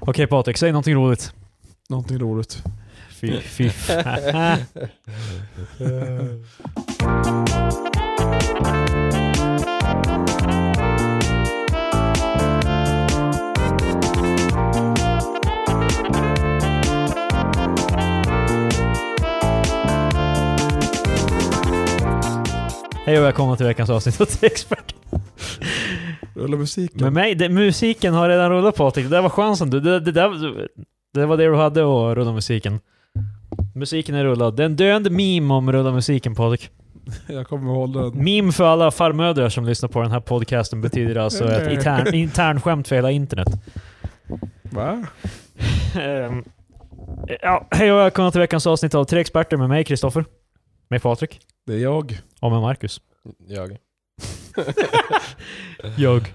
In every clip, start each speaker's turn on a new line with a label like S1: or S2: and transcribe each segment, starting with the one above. S1: Okej Patrik, säg någonting roligt.
S2: Någonting roligt.
S1: Fy, fy fan.
S2: Eh,
S1: Hej och välkomna till veckans avsnitt av T-Expert.
S2: Rulla musiken.
S1: Med mig, det, musiken har redan rullat Patrik. Det där var chansen. Du, det, det, där, det var det du hade att rulla musiken. Musiken är rullad. Det är en döende meme om rulla musiken Patrik.
S2: Jag kommer ihåg den.
S1: Meme för alla farmödrar som lyssnar på den här podcasten betyder alltså ett intern, internskämt för hela internet.
S2: Va?
S1: Ehm, ja, hej och välkomna till veckans avsnitt av Tre Experter med mig Kristoffer, med Patrik
S2: Det är jag.
S1: och med Marcus.
S3: Jag.
S1: Jag.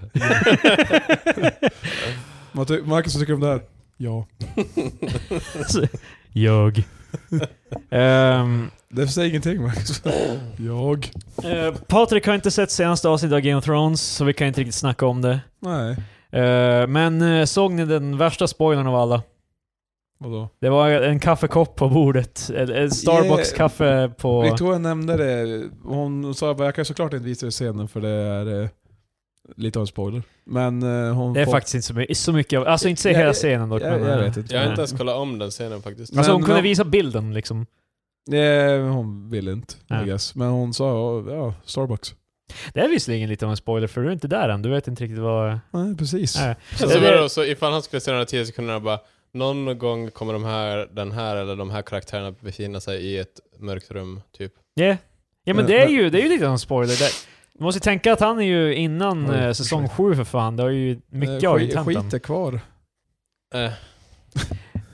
S2: Vad ty- Marcus, vad tycker du om det här? Ja.
S1: jag. Ehm,
S2: Det säger ingenting Marcus. Jag.
S1: eh, Patrik har inte sett senaste avsnittet av Game of Thrones, så vi kan inte riktigt snacka om det.
S2: Nej.
S1: Ehm, men eh, såg ni den värsta spoilern av alla?
S2: Vadå?
S1: Det var en kaffekopp på bordet. En, en Starbucks-kaffe på...
S2: Victoria nämnde det. Hon sa att jag kan såklart inte visa dig scenen för det är eh, lite av en spoiler. Men eh, hon...
S1: Det är
S2: får-
S1: faktiskt inte så mycket, så mycket av, alltså inte se
S2: Jag-
S1: hela
S2: jag-
S1: scenen dock.
S2: jag,
S1: men,
S2: jag
S1: eh,
S2: vet inte.
S3: Jag har inte
S1: Nej.
S3: ens kollat om den scenen faktiskt.
S1: Alltså hon
S2: Men-
S1: kunde
S2: men-
S1: visa bilden liksom.
S2: Eh, hon ville inte,
S1: Nej.
S2: I guess. Men hon sa ja, Starbucks.
S1: Det är visserligen lite av en spoiler för du är inte där än, du vet inte riktigt vad...
S2: Nej, precis.
S1: Nej.
S3: Alltså,
S1: det-
S3: vadå, så ifall han skulle se den här 10 sekunderna bara någon gång kommer de här, den här eller de här karaktärerna befinna sig i ett mörkt rum, typ.
S1: Yeah. Ja men
S2: Men-
S1: det är
S2: Eh, men-
S1: ju, det är ju lite av en spoiler. Det, du måste ju tänka att han är ju innan
S2: Oj,
S1: eh, säsong
S2: ursäkta.
S1: 7 för fan, det har ju mycket
S2: Eh,
S1: har ju
S2: skit,
S1: inte hänt än.
S2: skit är kvar.
S3: Eh,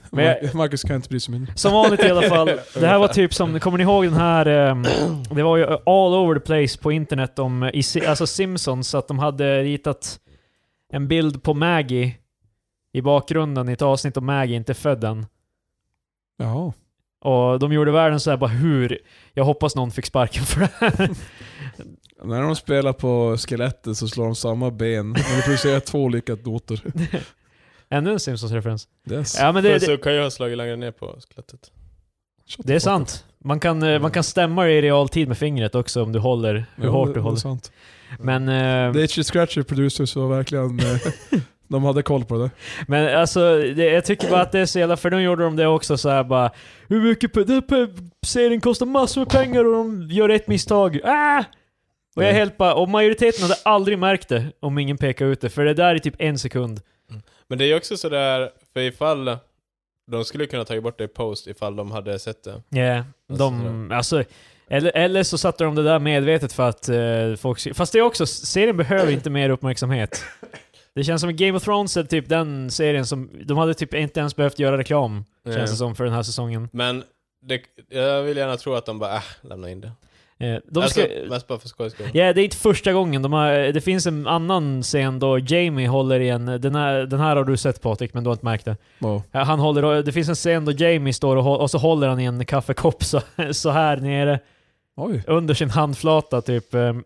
S1: Men jag-
S2: Mar- Marcus kan inte bry sig mindre.
S1: Som vanligt i alla fall. Det här var typ som, kommer ni ihåg den här, ehm, det var ju all over the place på internet om, eh, i, Si- alltså Simpsons, att de hade ritat en bild på Maggie i bakgrunden i ett avsnitt om Maggie inte är född än.
S2: Jaha.
S1: Och de gjorde världen så här bara hur? Jag hoppas någon fick sparken för det här.
S2: När de spelar på skelettet så slår de samma ben, men de producerar två olika doter.
S1: Ännu en Simpsons-referens.
S2: Yes.
S1: Ja men det, det,
S3: så kan jag ha slagit längre ner på skelettet.
S2: Shut
S1: det
S2: the
S1: är
S2: fuck up.
S1: sant. Man kan, eh, man kan stämma i realtid med fingret också om du håller, hur
S2: Ja,
S1: hårt
S2: det-
S1: du
S2: det är
S1: håller.
S2: sant.
S1: Men... eh,
S2: The Itchy Scratcher producers var verkligen... eh, de hade koll på det.
S1: Men alltså, det, jag tycker bara att det är så jävla... För de gjorde de det också så här bara... Hur mycket... pe- Den här serien kostar massor med pengar och de gör ett misstag. Ah! Och jag är helt bara... Och majoriteten hade aldrig märkt det om ingen pekade ut det. För det där är typ en sekund.
S3: Men det är ju också sådär, för ifall de skulle kunna ta bort det i post ifall de hade sett det.
S1: Ja, de... Alltså... Eller, eller så satte de det där medvetet för att eh, folk... Fast det är också... Serien behöver inte mer uppmärksamhet. Det känns som Game of Thrones är typ den serien som... De hade typ inte ens behövt göra reklam, känns det
S3: Eh,
S1: som, för den här säsongen.
S3: Men det, jag vill gärna tro att de bara, äh, lämna in det.
S1: Eh, de
S3: alltså,
S1: ska...
S3: mest bara för skojs skull.
S1: Ja, det är inte första gången. De har, det finns en annan scen då Jamie håller i en... Den här, den här har du sett Patrik, men du har inte märkt det.
S2: Ja.
S1: Ja, Han håller, det finns en scen då Jamie står och, hå- och så håller han i en kaffekopp så, så här nere,
S2: Oj.
S1: under sin handflata typ. Ehm,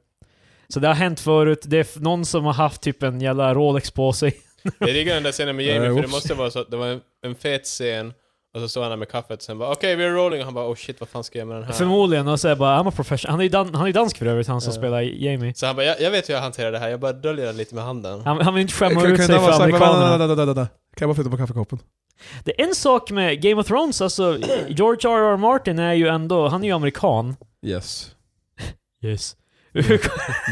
S1: Så det har hänt förut. Det är f- någon som har haft typ en jävla Rolex på sig.
S3: Jag diggar den där scenen med Jamie,
S2: Eh,
S3: för det
S2: oops.
S3: måste vara så att det var en, en fet scen, och så stod han där med kaffet, sen bara okej, vi är rolling, och han bara oh shit, vad fan ska jag med den här?
S1: Förmodligen, och så är bara I'm a professional. Han är ju dan- han är ju dansk för övrigt, han som
S3: Ja.
S1: spelar Jamie.
S3: Så han bara, jag, jag vet hur jag hanterar det här, jag bara döljer det lite med handen.
S1: Han, han vill inte skämma
S2: Kan-
S1: ut
S2: kan
S1: sig
S2: jag bara
S1: för
S2: säga-
S1: amerikanerna.
S2: vänta, vänta, vänta, vänta. Kan jag bara flytta på kaffekoppen?
S1: Det är en sak med Game of Thrones, alltså George R.R. Martin är ju ändå, han är ju amerikan.
S2: Yes.
S1: Yes.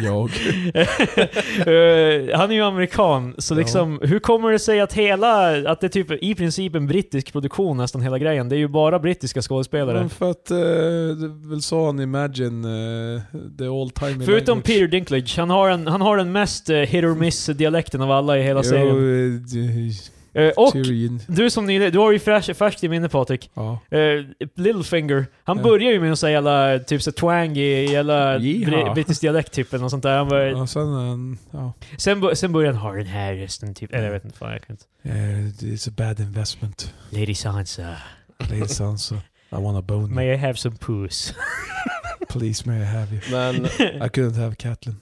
S2: Jag.
S1: Eh, han är ju amerikan, så
S2: Ja.
S1: liksom, hur kommer det sig att hela, att det är typ i princip en brittisk produktion nästan hela grejen? Det är ju bara brittiska skådespelare.
S2: Men för att, eh, det är väl sa han Imagine, eh, the all time
S1: Förutom Peter Dinklage, han har, en, han har den mest eh, hit or miss-dialekten av alla i hela serien. Eh,
S2: Och...
S1: och du som nyligen, du har ju fräsch, färskt i minne Patrik,
S2: Ja.
S1: Eh, Littlefinger, han
S2: Ja.
S1: börjar ju med att säga jävla, typ så twangy, jävla
S2: Yeehaw.
S1: bri- brittisk dialekt typ eller något sånt där. Han bara,
S2: ja. Sen, eh, ja.
S1: sen, bo- sen börjar han ha den här rösten typ, eller jag vet inte, fan jag kan inte.
S2: Eh, It's a bad investment.
S1: Lady Sansa,
S2: Mm. Lady Sansa. I want a bone.
S1: may I have some puss?
S2: Please may I have you.
S3: Men
S2: I couldn't have Catlin.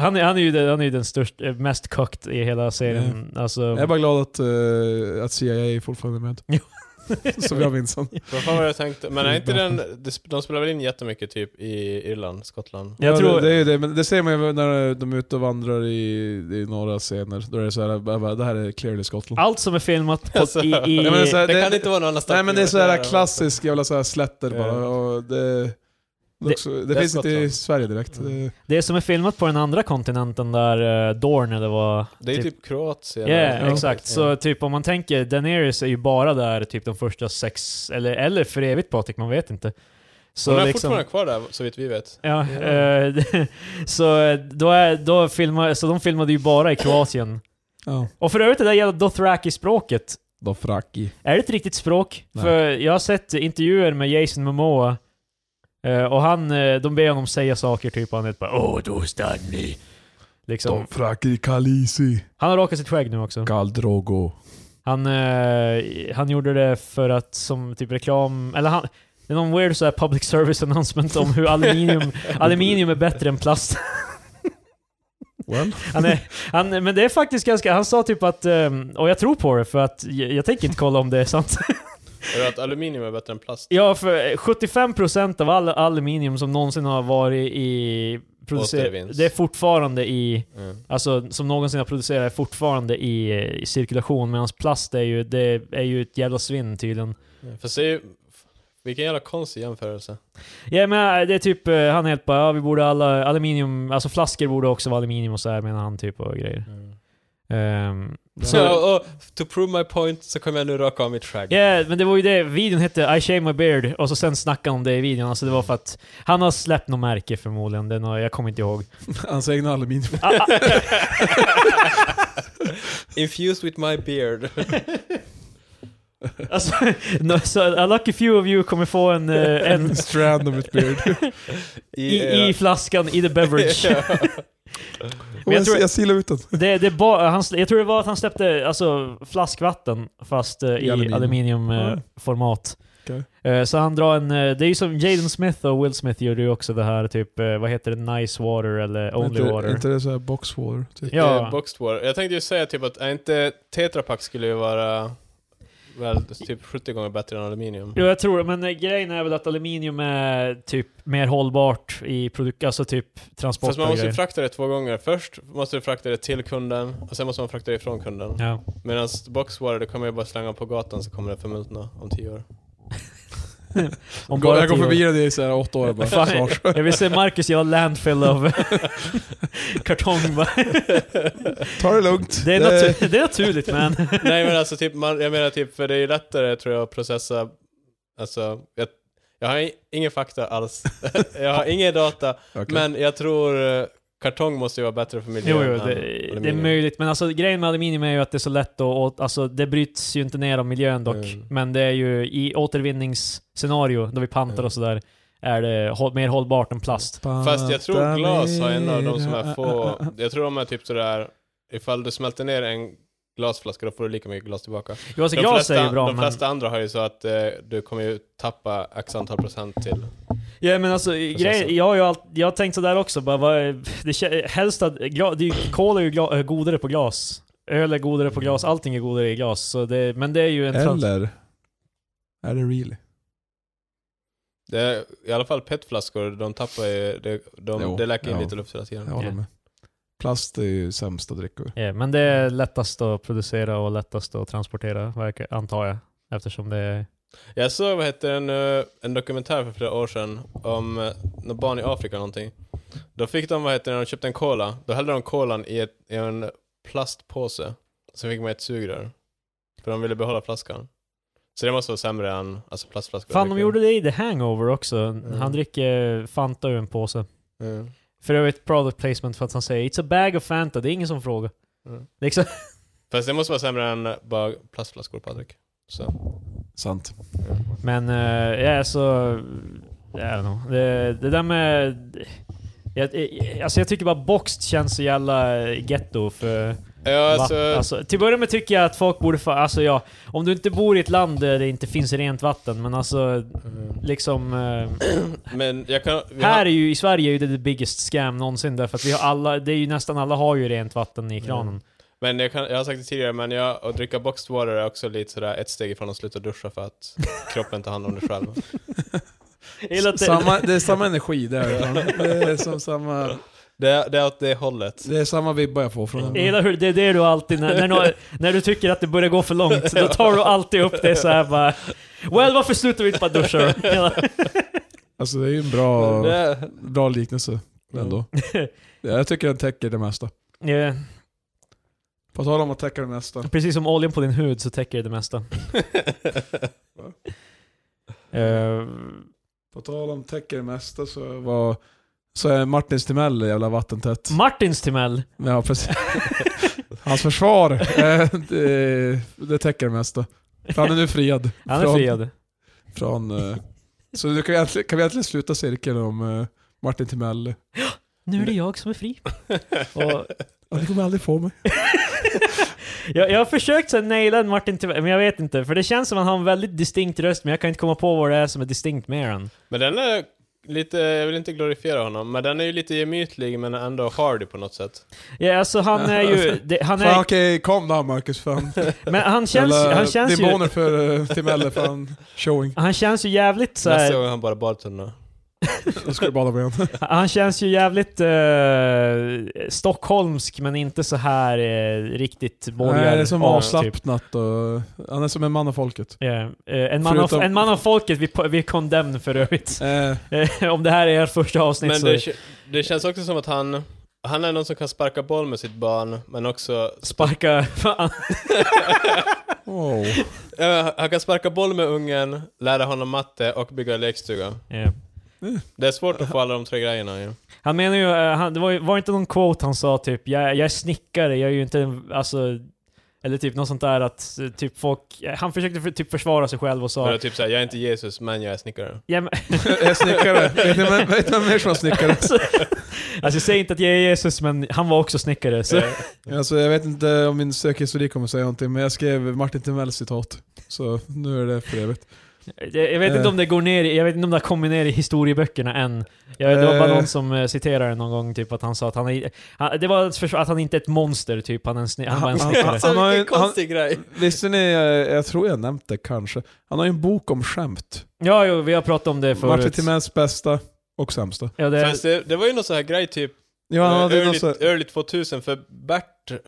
S1: Han är, han är ju den, han är ju den störst, eh, mest kokt i hela serien. Alltså,
S2: Jag är bara glad att, eh, att CIA är fortfarande med.
S1: Jo.
S2: Så vi har Vincent.
S3: Vad fan var det jag tänkte? Men är inte den, de sp- de spelar väl in jättemycket typ i Irland, Skottland?
S1: jag
S2: Ja,
S1: tror...
S2: det, det är ju det, men det ser man ju när de är ute och vandrar i, i några scener. Då är det så här, jag bara, det här är clearly Skottland.
S1: Allt som är filmat på,
S3: Alltså,
S1: i... i
S2: Ja, men det är så här-
S3: Det,
S2: det-
S3: kan inte vara någon annan
S2: Nej men det är så
S3: stadsdel.
S2: här klassisk jävla så här slätter bara.
S3: Ja.
S2: Och det, det,
S1: Det-
S2: också, det,
S3: det är
S2: finns inte i
S3: Skottland.
S2: Sverige direkt.
S3: Mm.
S2: Det-
S1: det som är filmat på den andra kontinenten där uh, Dorn eller vad...
S3: Det är typ Kroatien.
S1: Ja,
S3: eller-
S1: exakt. Så typ om man tänker, Daenerys är ju bara där typ de första sex, eller, eller för evigt Patrik, man vet inte. Så
S3: Hon är
S1: liksom-
S3: fortfarande kvar där, så vitt vi vet.
S1: Ja,
S3: Ja.
S1: eh, så, eh, då är, då filmar, så de filmade ju bara i Kroatien.
S2: Ja.
S1: Och för övrigt det där jävla Dothraki-språket,
S2: Dothraki.
S1: är det ett riktigt språk?
S2: Nej.
S1: För jag har sett intervjuer med Jason Momoa, eh, och han, eh, de ber honom säga saker typ, och han är bara Åh, då stanni. Liksom.
S2: Dothraki Kalisi.
S1: Han har rakat sitt skägg nu också.
S2: Kaldrogo.
S1: Han, eh, han gjorde det för att som typ reklam, eller han, det är någon weird så här public service announcement om hur aluminium, aluminium är bättre än plast.
S2: Well.
S1: Han är, han, men det är faktiskt ganska, han sa typ att, ehm, och jag tror på det för att jag, jag tänker inte kolla om det är sant.
S3: Är det att aluminium är bättre än plast?
S1: Ja, för 75% av all aluminium som någonsin har varit i producerat,
S3: Återvinns.
S1: det är fortfarande i,
S3: Mm.
S1: alltså som någonsin har producerat är fortfarande i, eh, i cirkulation medan plast är ju, det är ju ett jävla svinn tydligen.
S3: För se, vilken jävla konstig jämförelse.
S1: Ja men det är typ, eh, han är helt bara, ja, vi borde alla, aluminium, alltså flaskor borde också vara aluminium och så här menar han typ och grejer. Ehm,
S3: Så, och, to prove my point så kommer jag nu raka av mitt skägg.
S1: Ja, men det var ju det, videon hette I shave my beard och så sen snackade han om det i videon, alltså det var för att han har släppt något märke förmodligen, det är något, jag kommer inte ihåg.
S2: Hans egna aluminium.
S3: Infused with my beard.
S1: Alltså, no, so a uh, lucky few of you kommer få en, eh, en
S2: En strand of it beard.
S1: i, i
S3: eh,
S1: flaskan, i the beverage.
S2: Men jag,
S1: tror-
S2: jag silar ut den.
S1: Det, det ba, han, sl- jag tror det var att han släppte alltså, flaskvatten fast eh, i
S2: I aluminium.
S1: aluminiumformat.
S2: Ja.
S1: Eh, format.
S2: Okej.
S1: Eh, så han drar en, eh, det är ju som Jaden Smith och Will Smith gjorde ju också det här typ, eh, vad heter det, nice water eller only
S2: inte,
S1: water.
S2: inte det såhär box water? Typ.
S1: ja.
S3: ja. boxed water. Jag tänkte ju säga typ att, är inte Tetra Pak skulle ju vara väl typ 70 gånger bättre än aluminium?
S1: Jo, jag tror det. Men eh, grejen är väl att aluminium är typ mer hållbart i produkt, alltså typ transport
S3: Fast man
S1: och
S3: måste ju
S1: grejer.
S3: frakta det två gånger. Först måste du frakta det till kunden, och sen måste man frakta det ifrån kunden.
S1: Ja.
S3: Medan boxwater, det kommer jag bara slänga på gatan så kommer det förmultna om tio år.
S1: Om bara
S2: jag går
S1: tio år.
S2: förbi den i såhär åtta år bara.
S1: Fan,
S2: Snart.
S1: jag vill se Marcus göra landfill av kartong bara.
S2: Ta det lugnt.
S1: Det är, natur- det är naturligt man.
S3: Nej men alltså typ, man, jag menar typ, för det är ju lättare tror jag att processa, alltså, jag, jag har i- ingen fakta alls. jag har ingen data,
S1: typ-
S2: Okej.
S3: men jag tror eh, kartong måste ju vara bättre för
S1: Jo,
S3: miljön
S1: jo
S3: än
S1: det, det är
S3: aluminium.
S1: möjligt. Men alltså, grejen med aluminium är ju att det är så lätt att... åt- Alltså, det bryts ju inte ner av miljön dock.
S3: Mm.
S1: Men det är ju i återvinningsscenario, då vi pantar
S3: Mm.
S1: och sådär, är det hå- mer hållbart än plast.
S3: Fast jag tror glas har en av de som är få, jag tror de är typ sådär, ifall du smälter ner en glasflaska då får du lika mycket glas tillbaka.
S1: Jo, alltså,
S3: de
S1: glas är ju
S3: flesta,
S1: bra,
S3: de
S1: men...
S3: flesta andra har ju så att eh, du kommer ju tappa x antal procent till.
S1: Ja, men alltså,
S3: Processen.
S1: grej, jag, har ju allt, jag har tänkt sådär också. Bara, vad, det, kä- helst att, gla, det är ju, kol är ju gla, godare på glas. Öl är godare på glas, allting är godare i glas. Så det, men det är ju en... trans-
S2: Eller? Är det really?
S3: Det är, I alla fall petflaskor, de tappar ju, de, de,
S2: Jo,
S3: det läcker in
S2: ja.
S3: lite luft hela tiden.
S2: Jag håller
S1: Ja.
S2: med. Plast är ju sämsta drickor.
S1: Ja, men det är lättast att producera och lättast att transportera, verkar, antar jag. Eftersom det är...
S3: Jag såg, vad heter den, eh, en dokumentär för flera år sedan om eh, några barn i Afrika eller någonting. Då fick de, vad heter det, när de köpte en cola, då hällde de kolan i, ett, i en plastpåse. Sen fick man ett sugrör. För de ville behålla flaskan. Så det måste vara sämre än alltså plastflaskor.
S1: Fan, de gjorde det i The Hangover också. Han dricker Fanta ur en påse.
S3: Mm.
S1: För övrigt product placement för att han säger “It's a bag of Fanta”, det är ingen som frågar.
S3: Mm.
S1: Liksom.
S3: Fast det måste vara sämre än bara plastflaskor Patrik. Så.
S2: Sant.
S1: Men eh, ja, så... Jag vet det, det där med... Jag, eh, alltså jag tycker bara boxed känns så jävla getto eh, för...
S3: Ja,
S1: Va?
S3: alltså,
S1: Alltså, till början med tycker jag att folk borde... Fa- alltså ja, om du inte bor i ett land där det inte finns rent vatten, men alltså liksom... Eh,
S3: men jag kan... vi har-
S1: här är ju, i Sverige är ju det the biggest scam någonsin därför att vi har alla, det är ju nästan alla har ju rent vatten i kranen.
S3: Men jag, kan, jag har sagt det tidigare, men jag, att dricka boxed water är också lite sådär ett steg ifrån att sluta duscha för att kroppen tar hand om det själv.
S1: Jag gillar att det-
S2: Samma, det är samma energi därifrån. Det är, som samma,
S3: Det, det är åt det hållet.
S2: det är samma vibbar jag får från
S3: Mm.
S1: Jag
S2: den.
S1: gillar hur det är det du alltid, när, när, nå- när du tycker att det börjar gå för långt, då tar du alltid upp det så här bara Well, varför slutar vi inte bara duscha då?" Hela-
S2: Alltså det är ju en bra,
S3: Det,
S2: bra liknelse ändå. Jag tycker den täcker det mesta.
S1: Ja, Eh,
S2: På tal om att täcka det mesta.
S1: Precis som oljan på din hud så täcker det det mesta. Eh,
S2: På tal om täcker det mesta så var så är Martins Timell jävla vattentätt.
S1: Martins Timell,
S2: Ja, precis. Hans försvar, eh, det, det täcker det mesta. För han är nu friad.
S1: han är
S2: från,
S1: friad.
S2: Från, eh, så nu kan vi, äntligen, kan vi äntligen sluta cirkeln om eh, Martin Timell.
S1: Nu är det jag som är fri. Och
S2: Ja, ni kommer aldrig få mig.
S1: jag, jag har försökt så här naila en Martin Timell, men jag vet inte. För det känns som att han har en väldigt distinkt röst, men jag kan inte komma på vad det är som är distinkt med den.
S3: men den är lite, jag vill inte glorifiera honom, men den är ju lite gemytlig men ändå hardy på något sätt.
S1: Ja, alltså han är ju... Det, han
S2: Fan
S1: är,
S2: okej, kom då Marcus. Fan.
S1: men han känns, han känns ju...
S2: demoner för eh, Timell, fan. Showing.
S1: Han känns ju jävligt så
S3: Nästa
S1: här,
S3: gång han bara badtunna.
S2: Då ska du bada med honom.
S1: Han känns ju jävligt eh, stockholmsk, men inte så här eh, riktigt borgar.
S2: Nej, det är som
S1: Ja, typ.
S2: avslappnat och... Han är som en man av folket.
S1: Ja, eh, en, man av,
S2: Förutom-
S1: en man av folket, vi, po- vi är condemned för övrigt.
S2: Eh,
S1: Eh, Om det här är ert första avsnitt
S3: Men
S1: så...
S3: det, k- det känns också som att han, han är någon som kan sparka boll med sitt barn, men också...
S1: Sparka... Fan.
S2: oh.
S3: Eh, han kan sparka boll med ungen, lära honom matte och bygga lekstuga.
S1: Ja.
S3: Det är svårt att få alla de tre grejerna ju.
S1: Han menar ju, eh, han, det var, ju- var inte någon quote han sa typ jag, jag är snickare, jag är ju inte en- alltså... Eller typ något sånt där att eh, typ folk... Han försökte för, typ försvara sig själv och sa...
S3: Ja. Typ såhär, jag är inte Jesus, men jag är snickare.
S1: Ja, men,
S2: Jag är snickare. Vet ni vem- vet ni vem mer som är snickare?
S1: alltså, alltså jag säger inte att jag är Jesus, men han var också snickare.
S3: Eh.
S1: Så.
S2: Alltså, jag vet inte om min sökhistorik kommer säga någonting, men jag skrev Martin Timells citat. Så nu är det för evigt.
S1: Jag, jag vet inte
S2: Eh.
S1: om det går ner i, jag vet inte om det har kommit ner i historieböckerna än. Jag, det var bara
S2: Eh.
S1: någon som eh, citerade någon gång typ att han sa att han, är, han det var ett försvar- att han inte är ett monster typ, han, är en sni, han var en
S2: Han-
S1: snickare.
S3: alltså.
S2: han har ju- han,
S3: grej!
S2: visste ni, eh, jag tror jag nämnt det kanske, han har ju en bok om skämt.
S1: Ja, jo, vi har pratat om det
S2: Martin
S1: förut.
S2: Timells bästa och sämsta.
S1: Ja, det,
S3: Fast det, det var ju någon sån här grej typ,
S2: Ja, han hade någon
S3: early,
S2: sån...
S3: early 2000, för Bert,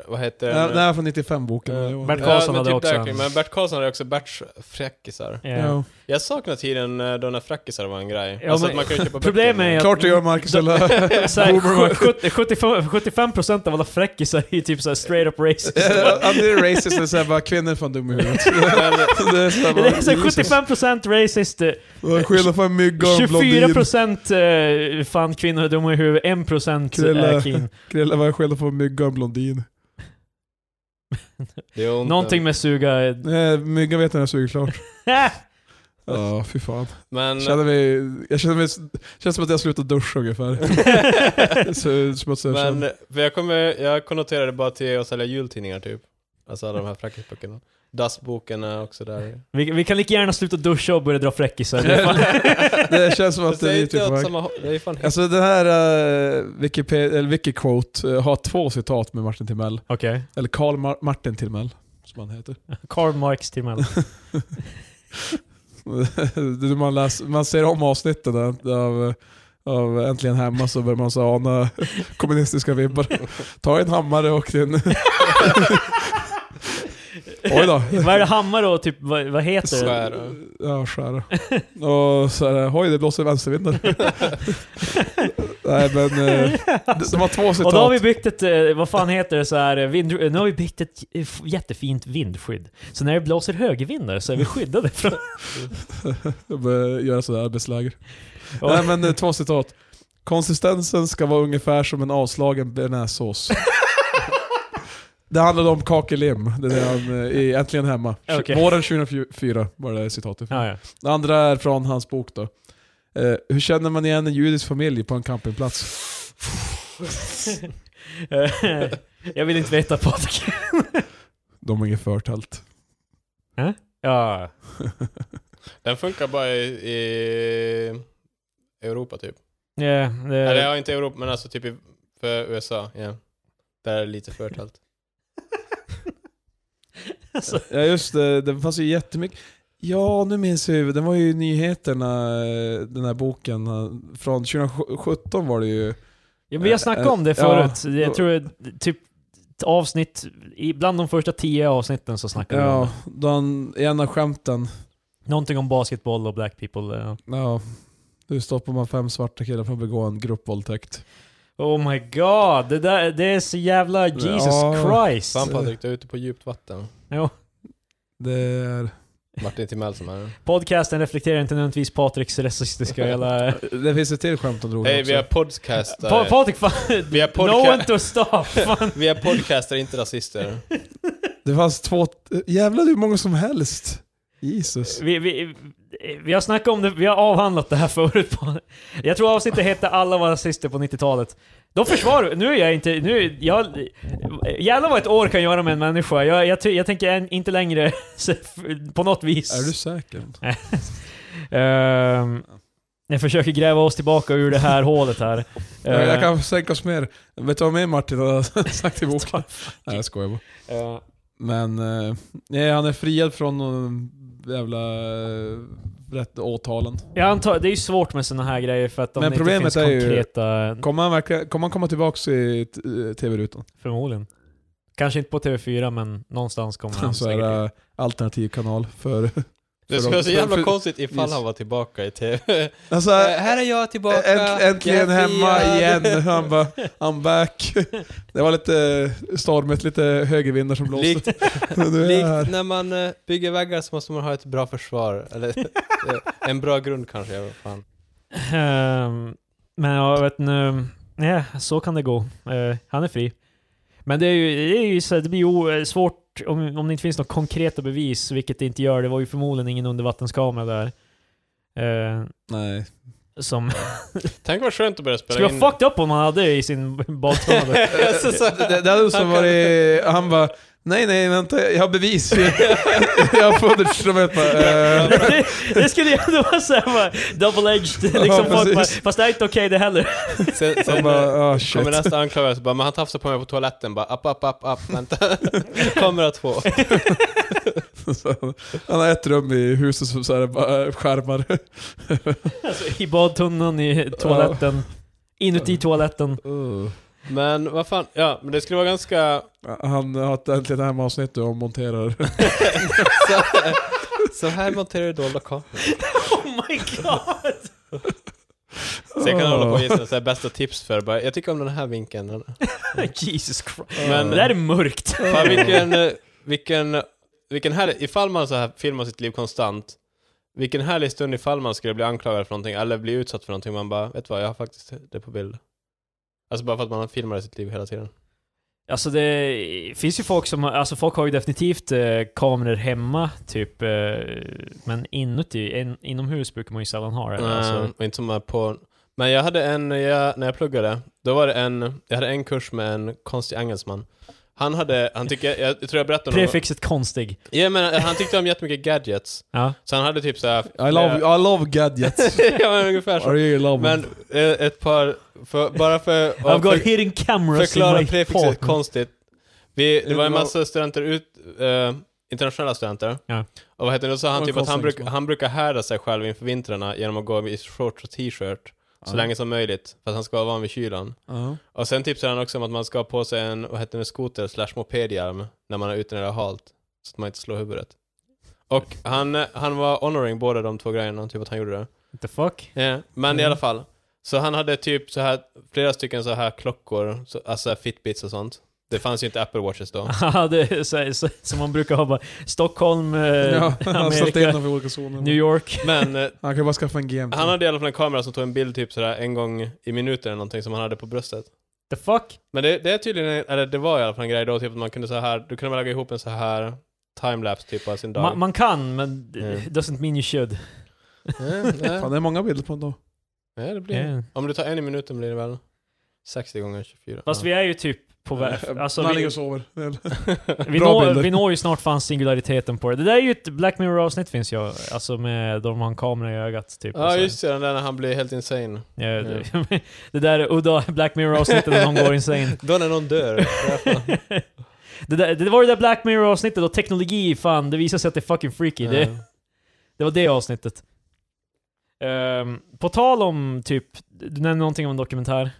S3: vad heter
S2: Nej,
S3: han?
S2: det här är från 95-boken.
S3: Eh,
S1: Bert Karlsson
S3: men
S2: typ
S1: hade också
S3: där
S1: en.
S3: kring, Men Bert Karlsson hade också Berts fräckisar.
S1: ja.
S2: Ja.
S3: Jag saknar tiden eh, då när fräckisar var en grej.
S1: Ja,
S3: alltså
S1: men-
S3: att man kunde köpa böcker.
S1: Problemet är
S2: Klart du gör Marcus, eller?
S1: att så här,
S2: Boomer
S1: sju-
S2: Martin.
S1: sjut- 75 75% av alla fräckisar är ju typ såhär straight up racist.
S2: Antingen racist eller såhär bara kvinnor är fan dumma i huvudet. Det är
S1: Det
S2: såhär bara,
S1: är så här 75% racist, eh,
S2: Jesus. Skillnad på en mygga och en blondin.
S1: 24% eh, fan kvinnor är dumma i huvudet, 1% är
S2: Krille.
S1: kin.
S2: Krille, vad är skillnad på en mygga och en blondin?
S3: Det är ont,
S1: Någonting med suga... eh,
S2: Nej, myggan vet när jag suger klart. Ja, fy fan.
S3: Men,
S2: Känner mig, jag känner mig, känns som att jag slutat duscha ungefär. Så smutsig jag känner.
S3: men för jag, kommer, jag konnoterade bara till att sälja jultidningar typ. Alltså alla de här fräckisböckerna. Dassboken är också där.
S1: Vi, vi kan lika gärna sluta duscha och börja dra fräckisar. Det är fan-
S2: Det känns som att
S3: Fast det är ju
S2: det är typ
S3: inte
S2: på
S3: åt
S2: väg.
S3: samma håll. Det är ju fan helt...
S2: Alltså den här uh, Wikipedia, eller Wikiquote eh, har två citat med Martin Timell.
S1: Okej.
S2: Eller Karl Mar- Martin Timell, som han heter.
S1: Karl Marx till mig.
S2: Det- man, läser, man ser om avsnitten där, av, av Äntligen Hemma så börjar man så ana kommunistiska vibbar. Ta en hammare och en... Oj då.
S1: Vad är det hammare och typ, vad, vad heter det?
S3: Svär.
S2: Ja, skära. Och så är det, oj det blåser vänstervindar. Nej men, eh, det, det var två
S1: Och då har vi
S2: citat.
S1: byggt ett, eh, vad fan heter det, så här, eh, vind, nu har vi byggt ett eh, f- jättefint vindskydd. Så när det blåser högervindar så är vi skyddade från...
S2: Jag börjar Göra sådär arbetsläger.
S1: Och,
S2: Nej men eh, två citat. Konsistensen ska vara ungefär som en avslagen bearnaisesås. det handlade om kakelim, det är han eh, i Äntligen Hemma.
S1: Okej.
S2: Våren 2004 var det citatet.
S1: ja, ja.
S2: Det andra är från hans bok då. Eh, hur känner man igen en judisk familj på en campingplats?
S1: Eh, jag vill inte veta Patrik.
S2: De har inget förtält.
S1: Ja.
S3: Den funkar bara i, i Europa typ.
S1: Ja,
S3: Eller
S1: det,
S3: ja, inte Europa, men alltså typ i, för USA. ja Där är det lite förtält.
S1: alltså,
S2: Ja just det, det fanns ju jättemycket. Ja, nu minns jag ju. Den var ju i nyheterna, eh, den här boken. eh, Från 2017 var det ju.
S1: ja, men jag snackade om det
S2: Ja,
S1: förut.
S2: då-
S1: jag tror jag- typ avsnitt, i- bland de första tio avsnitten så snackade vi om
S2: Ja,
S1: det.
S2: den, i en av skämten.
S1: Någonting om basketboll och black people. eh.
S2: Ja. Nu stoppar man fem svarta killar för att begå en gruppvåldtäkt.
S1: Oh my god, det, där, det är så jävla Jesus
S2: Ja,
S1: Christ.
S3: Fan Patrik, du är ute på djupt vatten.
S2: Det är...
S3: Martin Timell som är här.
S1: Podcasten reflekterar inte nödvändigtvis Patriks rasistiska jävla...
S2: Det finns ett till skämt om droger
S3: Hej,
S2: också.
S3: vi är podcastare.
S1: Pa Patrik, fan,
S3: vi är
S1: no
S3: podca-
S1: one to stop! Fan.
S3: vi är podcastare, inte rasister.
S2: Det fanns två... Jävlar hur många som helst. Jesus.
S1: Vi, vi, vi har snackat om det, vi har avhandlat det här förut. på- Jag tror avsnittet hette Alla var rasister på 90-talet. De försvarar... Nu är jag inte... Nu, jag, jävlar vad ett år kan göra med en människa. Jag, jag, ty- jag tänker en, inte längre på något vis.
S2: Är du säker?
S1: Ehm, jag försöker gräva oss tillbaka ur det här hålet här.
S2: Jag,
S1: Ehm,
S2: jag kan sänka oss mer. Vet du vad mer Martin har sagt i boken? Nej, jag skojar bara.
S1: ehm,
S2: Men eh, nej, han är friad från någon jävla eh, rätt åtalen.
S1: jag antar, det är ju svårt med såna här grejer för att de
S2: Men
S1: inte
S2: problemet
S1: finns
S2: är ju-
S1: konkreta...
S2: Kommer han, verkligen, kommer han komma tillbaka i t- eh, tv-rutan?
S1: Förmodligen. Kanske inte på TV4 men någonstans kommer han
S2: Så
S1: säkert.
S2: här, eh, alternativ kanal för...
S3: Det
S2: För
S3: skulle vara
S2: de-
S3: så
S2: för-
S3: jävla
S2: för-
S3: konstigt ifall
S2: yes.
S3: han var tillbaka i TV.
S2: Alltså,
S3: Eh, här är jag tillbaka.
S2: änt, äntligen
S3: jag är
S2: hemma
S3: friad.
S2: igen. Han bara, I'm back. Det var lite eh, stormigt, lite högervindar som blåste.
S3: Likt,
S2: Men nu är jag här.
S3: likt när man eh, bygger väggar så måste man ha ett bra försvar. Eller eh, en bra grund kanske. Jag vet fan.
S1: Ehm, men jag vet nu, nej, så kan det gå. Eh, han är fri. Men det, är ju, det, är ju så, här, det blir ju o- eh, svårt om, om det inte finns några konkreta bevis, vilket det inte gör. Det var ju förmodligen ingen undervattenskamera där. Eh,
S2: Nej.
S1: som
S3: Tänk vad skönt att börja spela
S1: skulle
S3: in.
S1: vara fucked up om han hade det i sin badtunna.
S3: Alltså, så-
S2: Det, det hade som varit... Han bara, nej nej vänta, jag har bevis. jag har fått ett instrument. Bara, eh,
S1: det, det skulle ju ändå vara såhär double-edged. Liksom,
S2: Ja,
S1: folk bara,
S2: precis.
S1: fast det här är inte okej det heller.
S3: Sen,
S2: Han
S3: sen eh,
S2: bara, ah
S3: kommer
S2: shit.
S3: nästa anklagelse bara, men han tafsade på mig på toaletten bara, app, app, app, app, vänta. Kamera två.
S2: Så han- Han har ett rum i huset som så här, bara skärmar.
S1: Alltså, I badtunnan, i toaletten, inuti toaletten.
S2: Uh.
S3: Men vad fan, ja, men det skulle vara ganska...
S2: Han har ett äntligen hemma avsnitt och monterar.
S3: Så, så här monterar du dolda kameror.
S1: Oh my god!
S3: Så jag kan hålla på och ge så här bästa tips för bara, jag tycker om den här vinkeln.
S1: Jesus Christ.
S3: Men-
S1: Det där är mörkt.
S2: Uh.
S3: Fan vilken, eh, vilken, vilken härlig, ifall man så här filmar sitt liv konstant, vilken härlig stund ifall man skulle bli anklagad för någonting eller bli utsatt för någonting, man bara, vet du vad, jag har faktiskt det på bild. Alltså bara för att man filmar sitt liv hela tiden.
S1: Alltså det finns ju folk som, alltså folk har ju definitivt eh, kameror hemma typ, eh, men inuti, in, inomhus brukar man ju sällan ha det. Alltså,
S3: Mm, och inte som är på... Men jag hade en, jag, när jag pluggade, då var det en, jag hade en kurs med en konstig engelsman. Han hade, han tycker, jag, jag tror jag berättade om honom.
S1: prefixet konstig.
S3: Ja, men han tyckte om jättemycket gadgets.
S1: Ja.
S3: Så han hade typ såhär...
S2: I love, I love gadgets.
S3: ja, men ungefär så.
S2: Are you in love?
S3: Men eh, ett par, för, bara för
S1: I've
S3: att
S1: got
S3: för,
S1: hidden cameras
S3: förklara
S1: in my
S3: prefixet
S1: partner.
S3: konstigt. Vi, det var en
S2: Love-
S3: massa studenter ut, eh, internationella studenter.
S1: Ja.
S3: Och vad heter det, då sa han
S2: Och
S3: typ att han, bruk,
S2: konstnärsman.
S3: han brukar härda sig själv inför vintrarna genom att gå i shorts och t-shirt så
S2: Ja.
S3: länge som möjligt, för att han ska vara van vid kylan.
S2: Ja.
S3: Och sen tipsar han också om att man ska ha på sig en, vad heter det, skoter slash mopedhjälm när man är ute när det är halt. Så att man inte slår huvudet. Och han, eh, han var honoring båda de två grejerna, typ att han gjorde det.
S1: What the fuck?
S3: Ja, Eh, men
S1: Mm.
S3: i alla fall. Så han hade typ så här, flera stycken så här klockor, så, alltså fitbits och sånt. Det fanns ju inte Apple Watches då.
S1: Ja, det är så, så, som man brukar ha bara, Stockholm, eh,
S2: Ja, alltså, han har ställt
S1: Amerika,
S2: innanför olika zoner.
S1: New York.
S3: Men eh,
S2: Han kan bara skaffa en game
S3: han
S2: till.
S3: hade i alla fall en kamera som tog en bild typ sådär en gång i minuten eller någonting som han hade på bröstet.
S1: The fuck?
S3: Men det, det är tydligen, eller det var i alla fall en grej då, typ att man kunde så här, du kunde väl lägga ihop en så här timelapse typ av sin dag.
S1: Ma, man kan, men
S3: Ja.
S1: doesn't mean you should.
S3: Ja, ja. Eh,
S2: Fan, det är många bilder på honom då.
S3: Ja, det blir Om du tar en i minuten blir det väl. 60 gånger 24.
S1: Fast vi är ju typ på väg. Alltså,
S2: Man
S1: vi,
S2: Eh, ligger och sover.
S1: vi,
S2: Bra
S1: når,
S2: bilder.
S1: vi når ju snart fan singulariteten på det. Det där är ju ett Black Mirror-avsnitt finns ju. Alltså med de har en kamera i ögat typ.
S3: Ja
S1: och så.
S3: just det, den där när han blir helt insane.
S1: Ja, det, det där är udda Black Mirror-avsnittet när någon går insane.
S3: Då när någon dör.
S1: Det, där, det var det där Black Mirror-avsnittet och teknologi, fan, det visar sig att det är fucking freaky.
S3: Ja.
S1: Det, det var det avsnittet. Ehm, på tal om typ, du nämnde någonting om en dokumentär.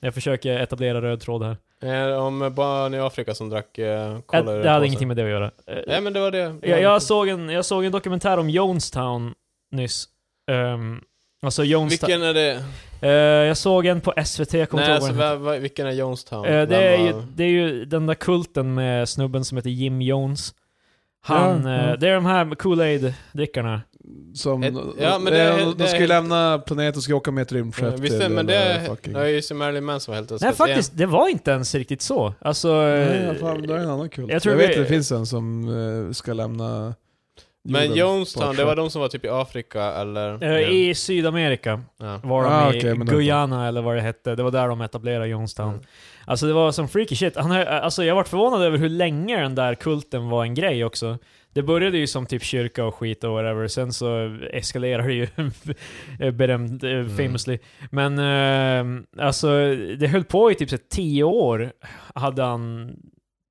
S1: Jag försöker etablera röd tråd här.
S3: Eh, Om barn i Afrika som drack eh,
S1: Äh,
S3: cola ur
S1: det
S3: en
S1: hade
S3: påse.
S1: ingenting med det att göra. Eh,
S3: Nej men det var det.
S1: jag, jag, såg en, jag såg en dokumentär om Jonestown nyss. Ehm, alltså Jonestown.
S3: Vilken är det?
S1: Eh, jag såg en på SVT, jag kommer
S3: Nej
S1: inte ihåg vad
S3: alltså,
S1: den
S3: va, va, vilken är Jonestown?
S1: Eh, det,
S3: Vem
S1: är
S3: var-
S1: ju, det är ju den där kulten med snubben som heter Jim Jones. Han,
S2: Ja,
S1: eh,
S2: ja.
S1: Det är de här Kool-Aid-drickarna.
S2: Som,
S3: Ett- ja, men det
S2: eh,
S3: är-
S2: de,
S3: det är-
S2: ska ju lämna planeten och ska åka med ett rymdskepp
S3: Eh, Visst
S2: till,
S3: men det
S2: eller
S3: är...
S2: fucking-
S3: Nej just det, Marilyn Manson var helt
S1: Nej
S3: älskad.
S1: faktiskt, det var inte ens riktigt så. Alltså, eh,
S2: Nej, fan, det är en annan kul.
S1: jag
S2: Jag,
S1: tror
S2: vet
S1: vi-
S2: att det finns en som eh, ska lämna
S3: Men
S2: jorden på
S3: Jonestown,
S2: ett
S3: det var
S2: skepp.
S3: de som var typ i Afrika eller?
S1: eh, i Sydamerika
S3: Ja.
S1: var de
S2: Ah,
S1: i
S2: okej, men det-
S1: Guyana eller vad det hette. Det var där de etablerade Jonestown.
S3: Mm.
S1: Alltså det var som freaky shit. Han, har- alltså, jag vart förvånad över hur länge den där kulten var en grej också. Det började ju som typ kyrka och skit och whatever, sen så eskalerade det ju berömt, eh,
S2: Mm.
S1: famously. Men eh, alltså, det höll på i typ så här tio år, hade han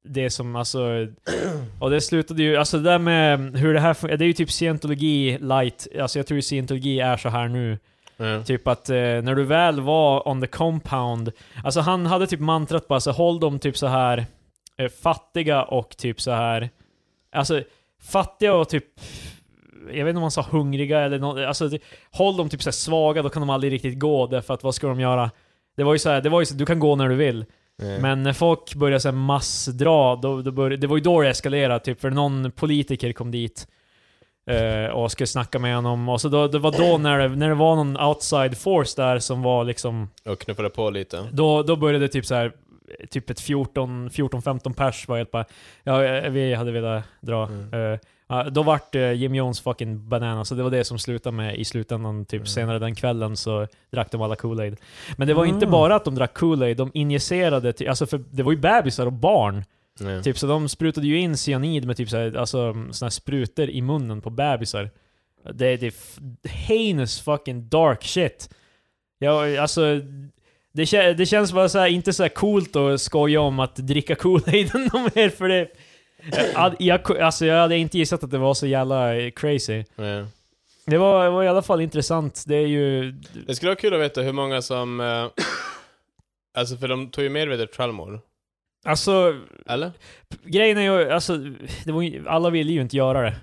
S1: det som alltså... Och det slutade ju, alltså det där med hur det här fun- det är ju typ scientologi light, alltså jag tror ju scientologi är så här nu.
S3: Mm.
S1: Typ att eh, när du väl var on the compound, alltså han hade typ mantrat bara så håll dem typ så här eh, fattiga och typ så här alltså fattiga och typ jag vet inte om han sa hungriga eller något, alltså det- håll dem typ så här svaga, då kan de aldrig riktigt gå därför att vad ska de göra? Det var ju så här, det var ju så, du kan gå när du vill.
S3: Mm.
S1: Men när folk började så här massdra, då, då började, det var ju då det eskalerade, typ, för någon politiker kom dit eh, och skulle snacka med honom. Och så då, det var då när det, när det var någon outside force där som var liksom,
S3: Och knuffade på lite.
S1: då, då började det typ så här typ ett 14 14-15 pers var helt bara, ja eh, vi hade velat dra.
S3: Mm.
S1: Eh, ja, då vart eh, Jim Jones fucking banana, så det var det som slutade med i slutändan, typ
S3: Mm.
S1: senare den kvällen så drack de alla Kool-Aid. Men det var inte
S2: Ah.
S1: bara att de drack Kool-Aid, de injicerade, ty- alltså för det var ju bebisar och barn.
S3: Mm.
S1: Typ, så de sprutade ju in cyanid med typ såhär, alltså, såna här sprutor i munnen på bebisar. Det, det är f- heinous fucking dark shit. Ja, alltså, det, kä- det känns bara så här, inte så här coolt att skoja om att dricka Kool-Aid någon mer för det. Jag, hade- jag, ku- alltså, jag hade inte gissat att det var så jävla eh, crazy.
S3: Mm.
S1: Det var, det var i alla fall intressant. Det är ju...
S3: Det skulle vara kul att veta hur många som... Eh, alltså för de tog ju medvetet självmord.
S1: Alltså,
S3: Eller?
S1: grejen är ju, alltså, det var ju, alla ville ju inte göra det.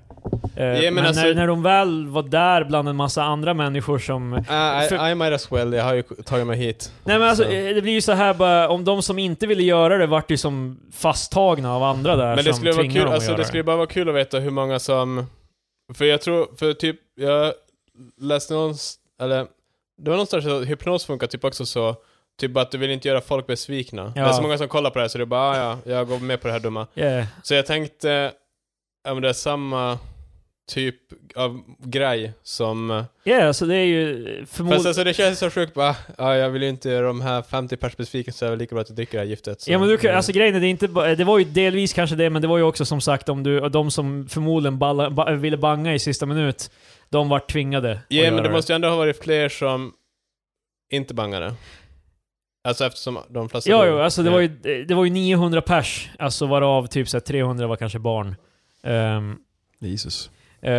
S1: Eh,
S3: Ja, men
S1: men
S3: alltså-
S1: när, när de väl var där bland en massa andra människor som...
S3: Ah, I,
S1: För-
S3: I might as well, jag har ju tagit mig hit.
S1: Nej men alltså,
S3: Så.
S1: eh, det blir ju så här bara, om de som inte ville göra det vart ju som fasttagna av andra där
S3: Men det
S1: som
S3: skulle, vara
S1: tvingar
S3: kul,
S1: dem att
S3: alltså,
S1: göra
S3: det skulle bara vara kul att veta hur många som... För jag tror, för typ, jag läste någonstans, eller det var någonstans att hypnos funkar typ också så, typ att du vill inte göra folk besvikna.
S1: Ja.
S3: Det är så många som kollar på det här så det är bara ah, ja, jag går med på det här dumma.
S1: Yeah.
S3: Så jag tänkte, om det är samma typ av grej som...
S1: yeah, så det är ju
S3: Fast
S1: förmodligen...
S3: alltså det känns så sjukt bara, ah, jag vill ju inte göra de här 50 pers besviken så jag vill lika bra att jag dricker det här giftet. Så.
S1: Ja men du kan, alltså grejen är, det, är inte, bara- det var ju delvis kanske det, men det var ju också som sagt om du, de som förmodligen balla, ba, ville banga i sista minut, de vart tvingade. att
S3: Ja,
S1: göra
S3: men det måste ju ändå ha varit fler som inte bangade. Alltså eftersom de flesta...
S1: Ja,
S3: dog.
S1: jo, alltså det, var ju, det var ju 900 pers, alltså varav typ så här 300 var kanske barn. Ehm,
S2: Jesus.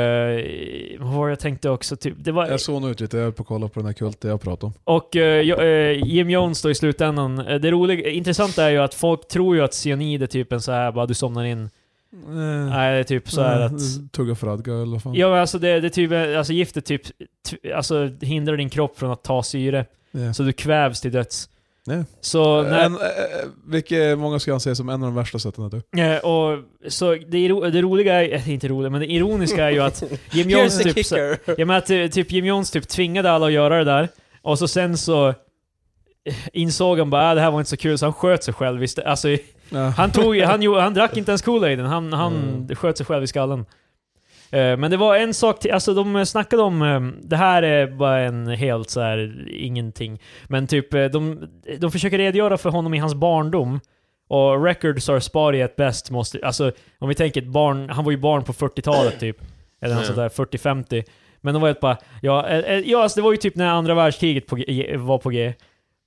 S1: eh, vad var det jag tänkte också? Typ, det var,
S2: Jag såg nog ut lite, jag höll på att kolla på den här kulten jag pratade om.
S1: och eh, jo- eh, Jim Jones då i slutändan. Eh, Det roliga, intressanta är ju att folk tror ju att cyanid är typ en så här bara du somnar
S2: Mm.
S1: in. Nej, det är typ så här att...
S2: Eh, Tugga fradga eller vad fan.
S1: Ja men alltså det, det är typ, alltså giftet typ, t- alltså hindrar din kropp från att ta syre.
S2: Ja.
S1: Så du kvävs till döds.
S2: Ja.
S1: Så när,
S2: En, eh, vilket många skulle anse som en av de värsta sätten att dö.
S1: Eh, och, så det, iro- det roliga är, eh, inte roliga, men det ironiska är ju att Jim Jones typ, så, jag menar, att, eh, typ Jim Jones typ tvingade alla att göra det där, och så sen så eh, insåg han bara att det här var inte så kul, så han sköt sig själv visst, alltså, i-
S2: Ja.
S1: han, tog, han, gjorde- han drack inte ens Kool-Aiden, han, han
S3: Mm.
S1: sköt sig själv i skallen. Eh, Men det var en sak till, alltså de snackade om, eh, det här är bara en helt så här ingenting, men typ eh, de, de försöker redogöra för honom i hans barndom. Och records are spotty at best, måste, alltså om vi tänker ett barn, han var ju barn på 40-talet typ. Eller något sånt
S3: Mm.
S1: där, 40-50. Men de var helt bara, ja, eh, eh, ja alltså det var ju typ när andra världskriget på, G- var på G.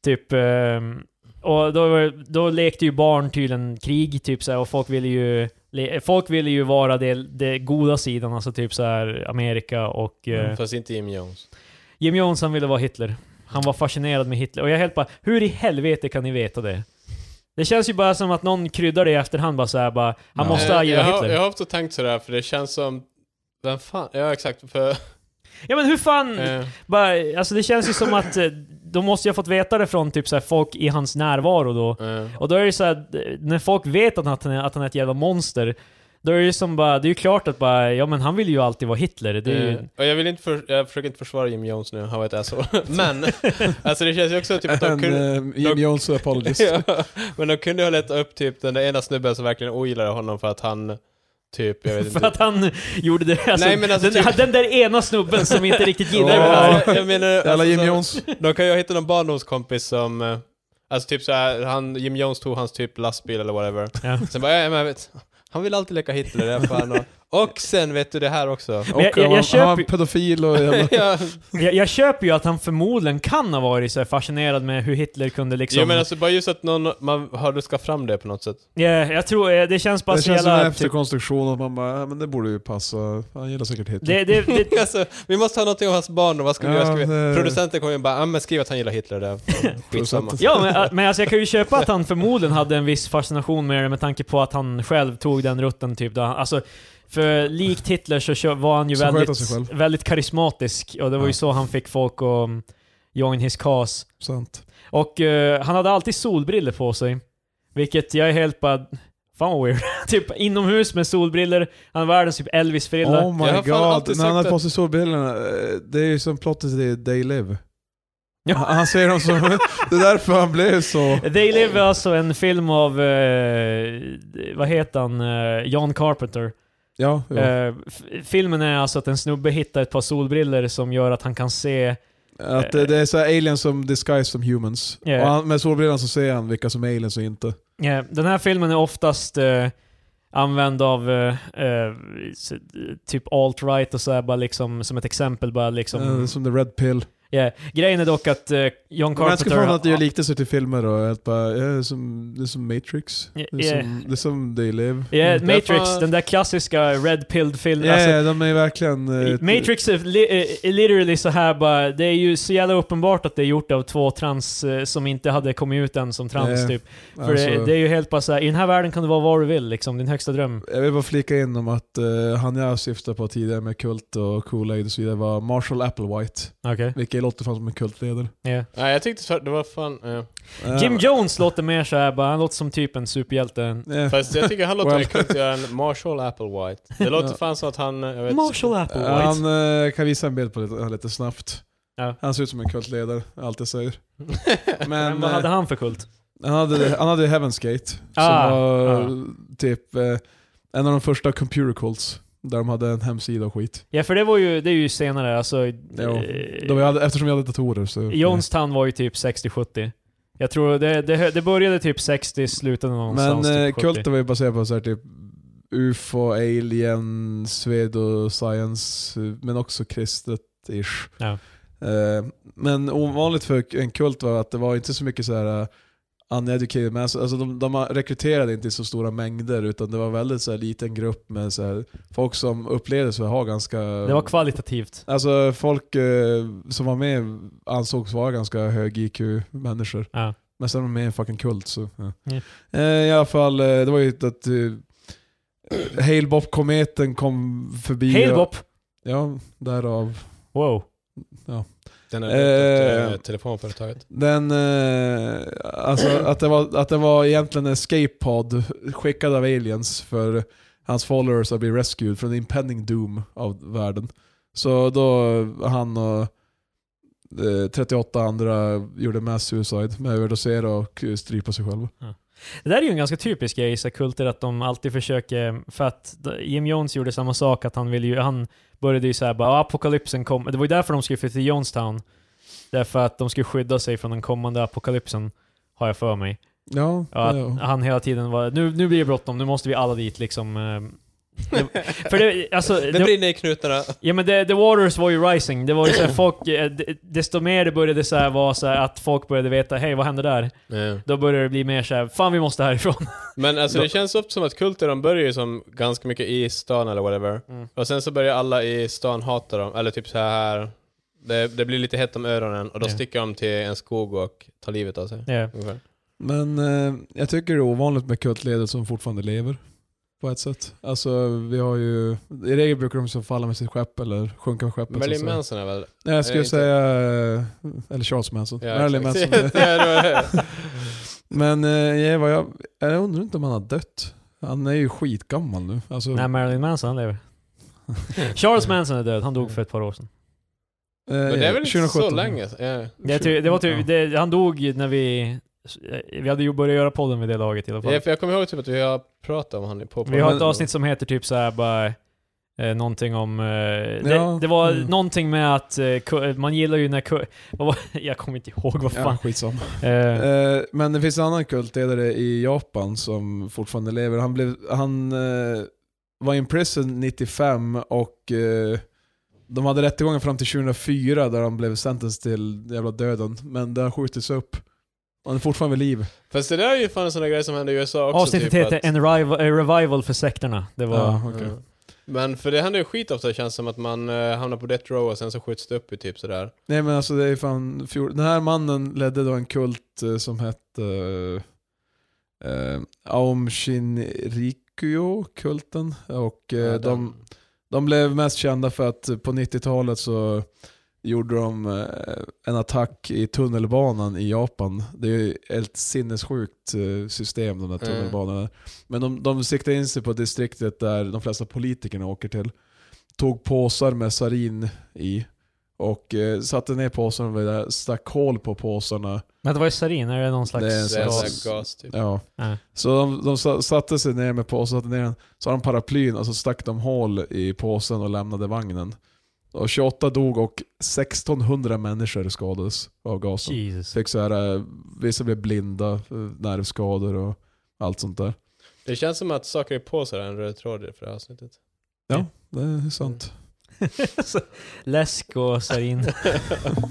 S1: Typ, ehm, och då, var- då lekte ju barn tydligen krig, typ så här, och folk ville ju, le- folk ville ju vara det, det goda sidan, alltså typ så här Amerika och... eh,
S2: Mm.
S3: Fast inte Jim Jones.
S1: Jim Johnson ville vara Hitler. Han var fascinerad med Hitler. Och jag helt bara, hur i helvete kan ni veta det? Det känns ju bara som att någon kryddar det i efterhand bara såhär bara, han
S2: Ja.
S1: måste ha
S3: Eh, jag,
S1: gillat
S3: har-
S1: Hitler.
S3: jag har ofta tänkt sådär, för det känns som... Vem fan? Ja, exakt. För,
S1: Ja men hur fan,
S3: eh,
S1: bara, alltså det känns ju som att eh, de måste ju ha fått veta det från typ såhär folk i hans närvaro då.
S3: eh,
S1: Och då är det så här, när folk vet att han, är, att han är ett jävla monster, då är det ju som bara, det är ju klart att bara, ja men han vill ju alltid vara Hitler. Det är
S3: eh,
S1: ju,
S3: och jag vill inte för, jag försöker inte försvara Jim Jones nu, han var ett asshole. Men, alltså det känns ju också typ att de
S2: En eh,
S3: kunde...
S2: Jim
S3: de-
S2: Jones apologist.
S3: ja, men de kunde ju ha letat upp typ den där ena snubben som verkligen ogillade honom för att han typ, jag vet inte.
S1: för att han gjorde det, alltså,
S3: Nej, men alltså
S1: den,
S3: typ-
S1: den där ena snubben som inte riktigt gillar
S3: Nej, men
S1: honom.
S3: alltså, jag menar,
S2: Jävla
S3: alltså,
S2: Jim
S3: så-
S2: Jones.
S3: De kan ju ha hittat någon barndomskompis som, eh, alltså typ såhär, han, Jim Jones tog hans typ lastbil eller whatever.
S1: Ja.
S3: Sen bara, ja, men jag vet, han vill alltid leka Hitler, det är fan. Och, och sen vet du det här också.
S2: Och
S1: jag- jag
S2: han, var-
S1: köper
S2: han var
S1: ju-
S2: pedofil och jävla...
S3: ja.
S1: Jag, jag köper ju att han förmodligen kan ha varit så här fascinerad med hur Hitler kunde liksom...
S3: Jo men alltså bara just att någon, man har ruskat fram det på något sätt.
S1: Ja, jag tror, eh, det känns bara
S2: Det
S1: så
S2: känns som en
S1: jävla... Typ,
S2: efterkonstruktion och man bara, ja, men det borde ju passa. Han gillar säkert Hitler.
S1: typ- det, det, det,
S3: alltså, vi måste ha någonting om hans barn och vad ska vi
S2: Ja,
S3: göra? Ska vi...
S2: det-
S3: Producenten kommer ju bara, ah, men skriv att han gillar Hitler, det är skitsamma.
S1: ja, men, eh, men alltså jag kan ju köpa att han förmodligen hade en viss fascination med det med tanke på att han själv tog den rutten typ. Då han, alltså, för likt Hitler så kö- var han ju
S2: Så sköt han sig
S1: väldigt,
S2: själv.
S1: väldigt karismatisk och det var ju
S2: Ja.
S1: så han fick folk att um, join his cause.
S2: Sant.
S1: Och eh, han hade alltid solbriller på sig. Vilket jag är helt bara... Fan vad weird. typ inomhus med solbriller. Han har världens typ Elvis-frilla.
S2: Oh
S3: Jag
S2: my
S3: har fan alltid
S2: god. När
S3: sagt
S2: han hade
S3: att-
S2: på sig solbrillorna, eh, det är ju som plottet i They Live.
S1: Ja.
S2: Han han ser dem som... det är därför han blev så...
S1: They Live är alltså en film av, eh, vad heter han, eh, John Carpenter.
S2: Ja, jo.
S1: Eh, f- filmen är alltså att en snubbe hittar ett par solbriller som gör att han kan se,
S2: Att det, det är så här aliens som disguise som humans.
S1: Ja.
S2: Och han, med solbrillorna så ser han vilka som är aliens och inte.
S1: eh, den här filmen är oftast eh, använd av eh, eh, s- typ alt-right och sådär bara liksom, som ett exempel bara liksom.
S2: Som, Eh, som the red pill.
S1: Ja, Grejen är dock att eh, John
S2: Men jag ska
S1: Carpenter...
S2: från att det gör liknelser till filmer och att bara, ja, det, är som, det är som Matrix.
S1: Ja,
S2: Det, är
S1: ja.
S2: som, det är som They Live.
S1: Ja, Matrix,
S3: Därför-
S1: den där klassiska red pilled
S2: Mm, Ja,
S1: filmen. alltså,
S2: ja, de är verkligen... eh, ett-
S1: Matrix är, li, eh, är literally så här bara, det är ju så jävla uppenbart att det är gjort av två trans eh, som inte hade kommit ut än som trans
S2: Ja,
S1: typ. För
S2: alltså,
S1: det, det är ju helt bara så här, i den här världen kan du vara vad du vill liksom, din högsta dröm.
S2: Jag vill bara flika in om att eh, han jag syftade på tidigare med Kult och Kool Aid och så vidare var Marshall Applewhite.
S1: Okej.
S2: Vilket låter fan som en kultledare.
S1: ja
S3: Nej jag tyckte så- det var fan, eh.
S2: Eh,
S1: Jim Jones låter mer så här bara, han låter som typ en superhjälte.
S2: eh,
S3: fast jag tycker han låter
S2: Well.
S3: mer kultigare än Marshall Applewhite. Det låter
S2: Ja.
S3: fan som att han, eh, jag vet
S1: Marshall Applewhite.
S2: Han eh, kan visa en bild på det lite snabbt.
S1: Ja.
S2: Han ser ut som en kultledare, allt jag säger.
S1: Men
S2: Men,
S1: vad
S2: eh,
S1: hade han för kult?
S2: Han hade, han hade Heaven's Gate,
S1: Ah,
S2: som var
S1: ah.
S2: typ eh, en av de första computer cults, där de hade en hemsida och skit.
S1: Ja för det var ju, det är ju senare alltså...
S2: Jo,
S1: eh,
S2: De hade, eftersom jag hade datorer så...
S1: Jonestown var ju typ 60-70. Jag tror det, det, det började typ 60, slutade
S2: Men
S1: någonstans
S2: eh,
S1: typ 70.
S2: kulten var ju baserad på så här, typ UFO, alien, pseudoscience, eh, men också kristet-ish.
S1: Ja.
S2: Eh, men ovanligt för en kult var att det var inte så mycket så här eh, uneducated mass, alltså de, de rekryterade inte i så stora mängder utan det var väldigt så här liten grupp med så här, folk som upplevdes för att ha ganska...
S1: Det var kvalitativt.
S2: Alltså folk eh, som var med ansågs vara ganska hög IQ-människor.
S1: Ja.
S2: Men sen var de med i en fucking kult så... Ja.
S1: Ja.
S2: Eh, I alla fall, eh, det var ju att eh, Halebop-kometen kom förbi. och-
S1: Halebop!
S2: Ja, därav.
S1: Wow.
S3: Den
S2: Eh.
S3: är äh, telefonföretaget.
S2: Den, eh, alltså att det, var, att det var egentligen en escape-pod skickad av aliens för hans followers att bli rescued från impending doom av världen. Så då han och eh, 38 andra gjorde mass suicide med överdoser och strypa sig själva.
S1: Det där är ju en ganska typisk grej i så här kulter att de alltid försöker, för att d- Jim Jones gjorde samma sak, att han ville ju, han började ju såhär bara "Ah, apokalypsen kom, det var ju därför de skulle flytta till Jonestown. Därför att de skulle skydda sig från den kommande apokalypsen, har jag för mig.
S2: Ja,
S1: Ja, att
S2: ja.
S1: han hela tiden var, nu, nu blir det bråttom, nu måste vi alla dit liksom. eh. Det, för det, alltså,
S3: Det
S1: det,
S3: brinner i knutarna.
S1: Ja men the, the Waters var ju rising, det var ju såhär folk, eh, d- desto mer det började såhär vara såhär att folk började veta hej vad hände där? Då började det bli mer såhär, fan vi måste härifrån.
S3: Men alltså det känns ofta som att kulter, de börjar ju som ganska mycket i stan eller whatever.
S1: Mm.
S3: Och sen så börjar alla i stan hata dem, eller typ så här. Det, det blir lite hett om öronen och då
S1: Ja.
S3: sticker de till en skog och tar livet av sig.
S1: Ja.
S3: Ungefär.
S2: Men eh, jag tycker det är ovanligt med kultledare som fortfarande lever. På ett sätt. Alltså vi har ju, i regel brukar de så falla med sitt skepp eller sjunka med skeppet. så att
S3: Marilyn
S2: säga.
S3: Manson är väl...
S2: Nej jag
S3: är
S2: skulle
S3: inte-
S2: säga, eh, eller Charles Manson.
S3: Ja,
S2: Marilyn
S3: exakt.
S2: Manson.
S3: Ja, det var-
S2: Men eh, jag, vad jag, jag undrar inte om han har dött. Han är ju skitgammal nu.
S3: Mm.
S2: Alltså,
S1: Nej Marilyn Manson han lever. Charles Manson är död, han dog för ett par år sedan.
S2: eh,
S3: Men det är väl inte så länge? sedan. Ja.
S1: Det, ty, det var typ, det, han dog när vi, vi hade ju börjat göra podden vid det laget i alla fall.
S3: Ja, för jag kommer ihåg typ att vi har pratat om han i på
S1: Vi har ett
S2: Men-
S1: avsnitt som heter typ såhär bara Eh, någonting om... Eh, det,
S2: Ja,
S1: det var
S2: mm.
S1: någonting med att eh, ku- man gillar ju när... ku- Vad var, jag kommer inte ihåg vad fan.
S2: Ja, skitsamma.
S1: Eh,
S2: Eh, men det finns en annan kultledare i Japan som fortfarande lever. Han, blev, han eh, var in prison 95 och eh, de hade rättegången fram till 2004 där han blev sentenced till jävla döden. Men det har skjutits upp. Han är fortfarande vid liv.
S3: Fast det där är ju fan en sån där grej som händer i USA också.
S1: Avsnittet
S3: typ
S1: heter
S3: att-
S1: en revival, eh, revival för sekterna. Det var...
S2: Ja, okej.
S3: Ja. Men för det händer ju skit ofta känns det som att man eh, hamnar på death row och sen så skjuts det upp i typ sådär.
S2: Nej men alltså det är fan fjol... Den här mannen ledde då en kult eh, som hette eh, eh, Aum Shinrikyo kulten och eh, de,
S3: Ja, den-
S2: de blev mest kända för att eh, på 90-talet så gjorde de eh, en attack i tunnelbanan i Japan. Det är ju ett sinnessjukt eh, system de där
S3: Mm.
S2: tunnelbanorna. Men de, de siktade in sig på distriktet där de flesta politikerna åker till. Tog påsar med sarin i och eh, satte ner påsarna vid det här, stack hål på påsarna.
S1: Men det var ju sarin, är det någon slags...
S2: Det är en
S3: Det är en sån
S2: gas.
S3: här gas typ.
S2: Ja.
S1: Ja.
S2: Så de, de sa- satte sig ner med påsen, satte ner den, så hade de paraplyn och så stack de hål i påsen och lämnade vagnen. Och 28 dog och 1600 människor skadades av gasen.
S1: Jesus.
S2: Fick så här, eh, vissa blev blinda, eh, nervskador och allt sånt där.
S3: Det känns som att saker i påsar är en röd tråd i det här avsnittet.
S2: Ja, det är sant.
S1: Läsk och sarin.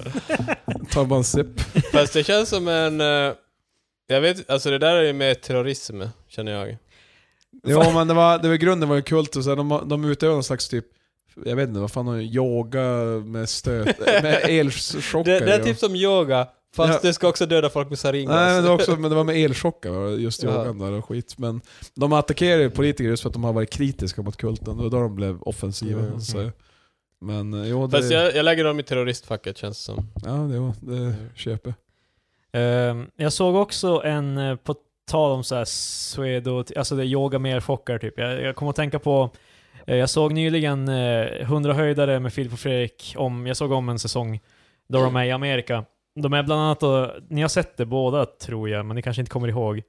S2: Ta bara en sipp.
S3: Fast det känns som en... eh, jag vet alltså det där är ju med terrorism, känner jag.
S2: Jo men det var, det var grunden var ju kult och så här, de, de utövade någon slags typ, jag vet inte vad fan de yoga med stöt, med
S3: Det,
S2: elchocker.
S3: det är
S2: och-
S3: typ som yoga, fast
S2: Ja.
S3: du ska också döda folk med saringas.
S2: Nej, men det, var också, men det var med elchockar, va? just
S3: Ja.
S2: yogan där och skit. Men de attackerar ju politiker just för att de har varit kritiska mot kulten, och då de blev offensiva.
S3: Mm.
S2: Så. Men eh, jo, det,
S3: Fast jag, jag lägger dem i terroristfacket känns det som.
S2: ja, det, jo, det köper
S1: Ehm, jag såg också en, eh, på tal om såhär suedo, alltså det är yoga med chockar typ. Jag, jag kommer att tänka på, eh, jag såg nyligen eh, 100 höjdare med Filip och Fredrik, om, jag såg om en säsong, då de är i Amerika. De är bland annat, och, ni har sett det båda tror jag, men ni kanske inte kommer ihåg.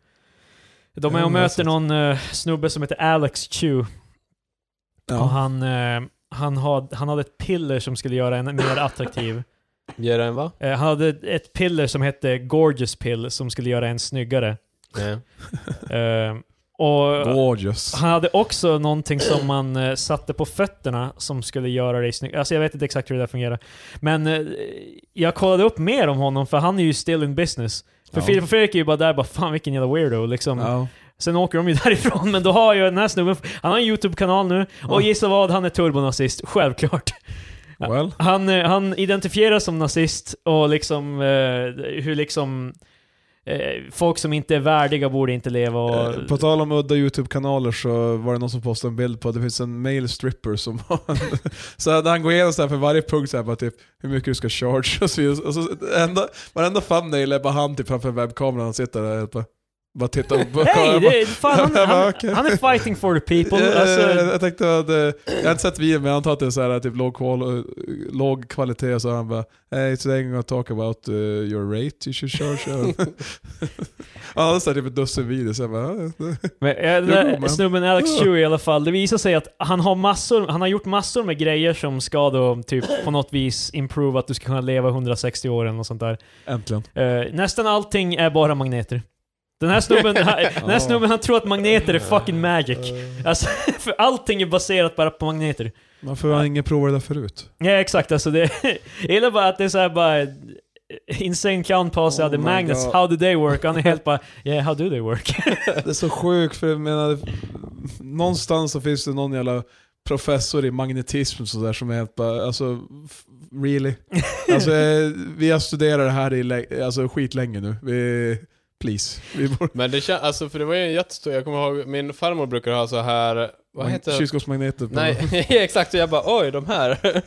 S1: De är
S2: Jo,
S1: och
S2: jag har
S1: möter
S2: sett.
S1: någon eh, snubbe som heter Alex Chu, och
S2: ja.
S1: han, eh, han, had, han hade ett piller som skulle göra en mer attraktiv.
S3: Ger en va?
S1: Eh, han hade ett piller som hette Gorgeous Pill som skulle göra en snyggare.
S3: Nej.
S1: Eh, och
S2: Gorgeous.
S1: han hade också någonting som man eh, satte på fötterna som skulle göra dig snygg. Alltså jag vet inte exakt hur det där fungerar. Men eh, jag kollade upp mer om honom för han är ju still in business. För
S2: Ja.
S1: Filip och Fredrik är ju bara där bara fan vilken jävla weirdo liksom.
S2: Ja.
S1: Sen åker de ju därifrån men då har ju den här snubben, han har en YouTube-kanal nu och
S2: Ja.
S1: gissa vad, han är turbonazist, självklart.
S2: Well.
S1: Han, eh, han identifieras som nazist och liksom eh, hur liksom eh, folk som inte är värdiga borde inte leva och...
S2: Eh, På tal om udda YouTube-kanaler så var det någon som postade en bild på att det finns en male stripper som har- Så hade han går igenom så här för varje punkt så här bara typ hur mycket du ska charge och så vidare. Och så enda, varenda thumbnail är bara han typ framför webbkameran och sitter där och bara Bara titta upp och
S1: Nej! Det, är- fan, han,
S2: Jag bara,
S1: han,
S2: okej.
S1: han är fighting for the
S2: jag,
S1: people. Alltså,
S2: jag, jag tänkte att, eh, jag har inte sett videon men jag antar att det är så här, typ låg, kval, eh, låg kvalitet och så han bara Hey today I'm gonna talk about eh, your rate you should charge. Han hade så här, typ ett dussin videos. Jag bara, "Ah, det-
S1: Men, eh, den
S2: Jo,
S1: där
S2: men-
S1: snubben Alex
S2: Ja.
S1: Chew i alla fall, det visar sig att han har massor, han har gjort massor med grejer som ska då typ på något vis improve att du ska kunna leva 160 år eller något sånt där.
S2: äntligen.
S1: Eh, nästan allting är bara magneter. Den här snubben, den här snubben han tror att magneter är fucking
S2: Eh,
S1: magic. Alltså, för allting är baserat bara på magneter.
S2: Varför har han ingen provat det där förut?
S1: Ja exakt, alltså det... Jag gillar bara att det är såhär bara... eh, Insane count passes,
S2: Oh
S1: the
S2: my
S1: magnets,
S2: God.
S1: how do they work? Han är helt bara, yeah how do they work?
S2: Det är så sjukt för jag menar, det- någonstans så finns det någon jävla professor i magnetism och sådär som är helt bara, alltså f- really? Alltså eh, vi har studerat det här i lä- alltså, skitlänge nu. Vi, please. Vi borde,
S3: Men det känns, alltså för det var ju en jättestor, jag kommer ihåg, min farmor brukar ha så här vad heter det?
S2: Kylskåpsmagneter. på-
S3: Nej, exakt. Och jag bara oj, de här.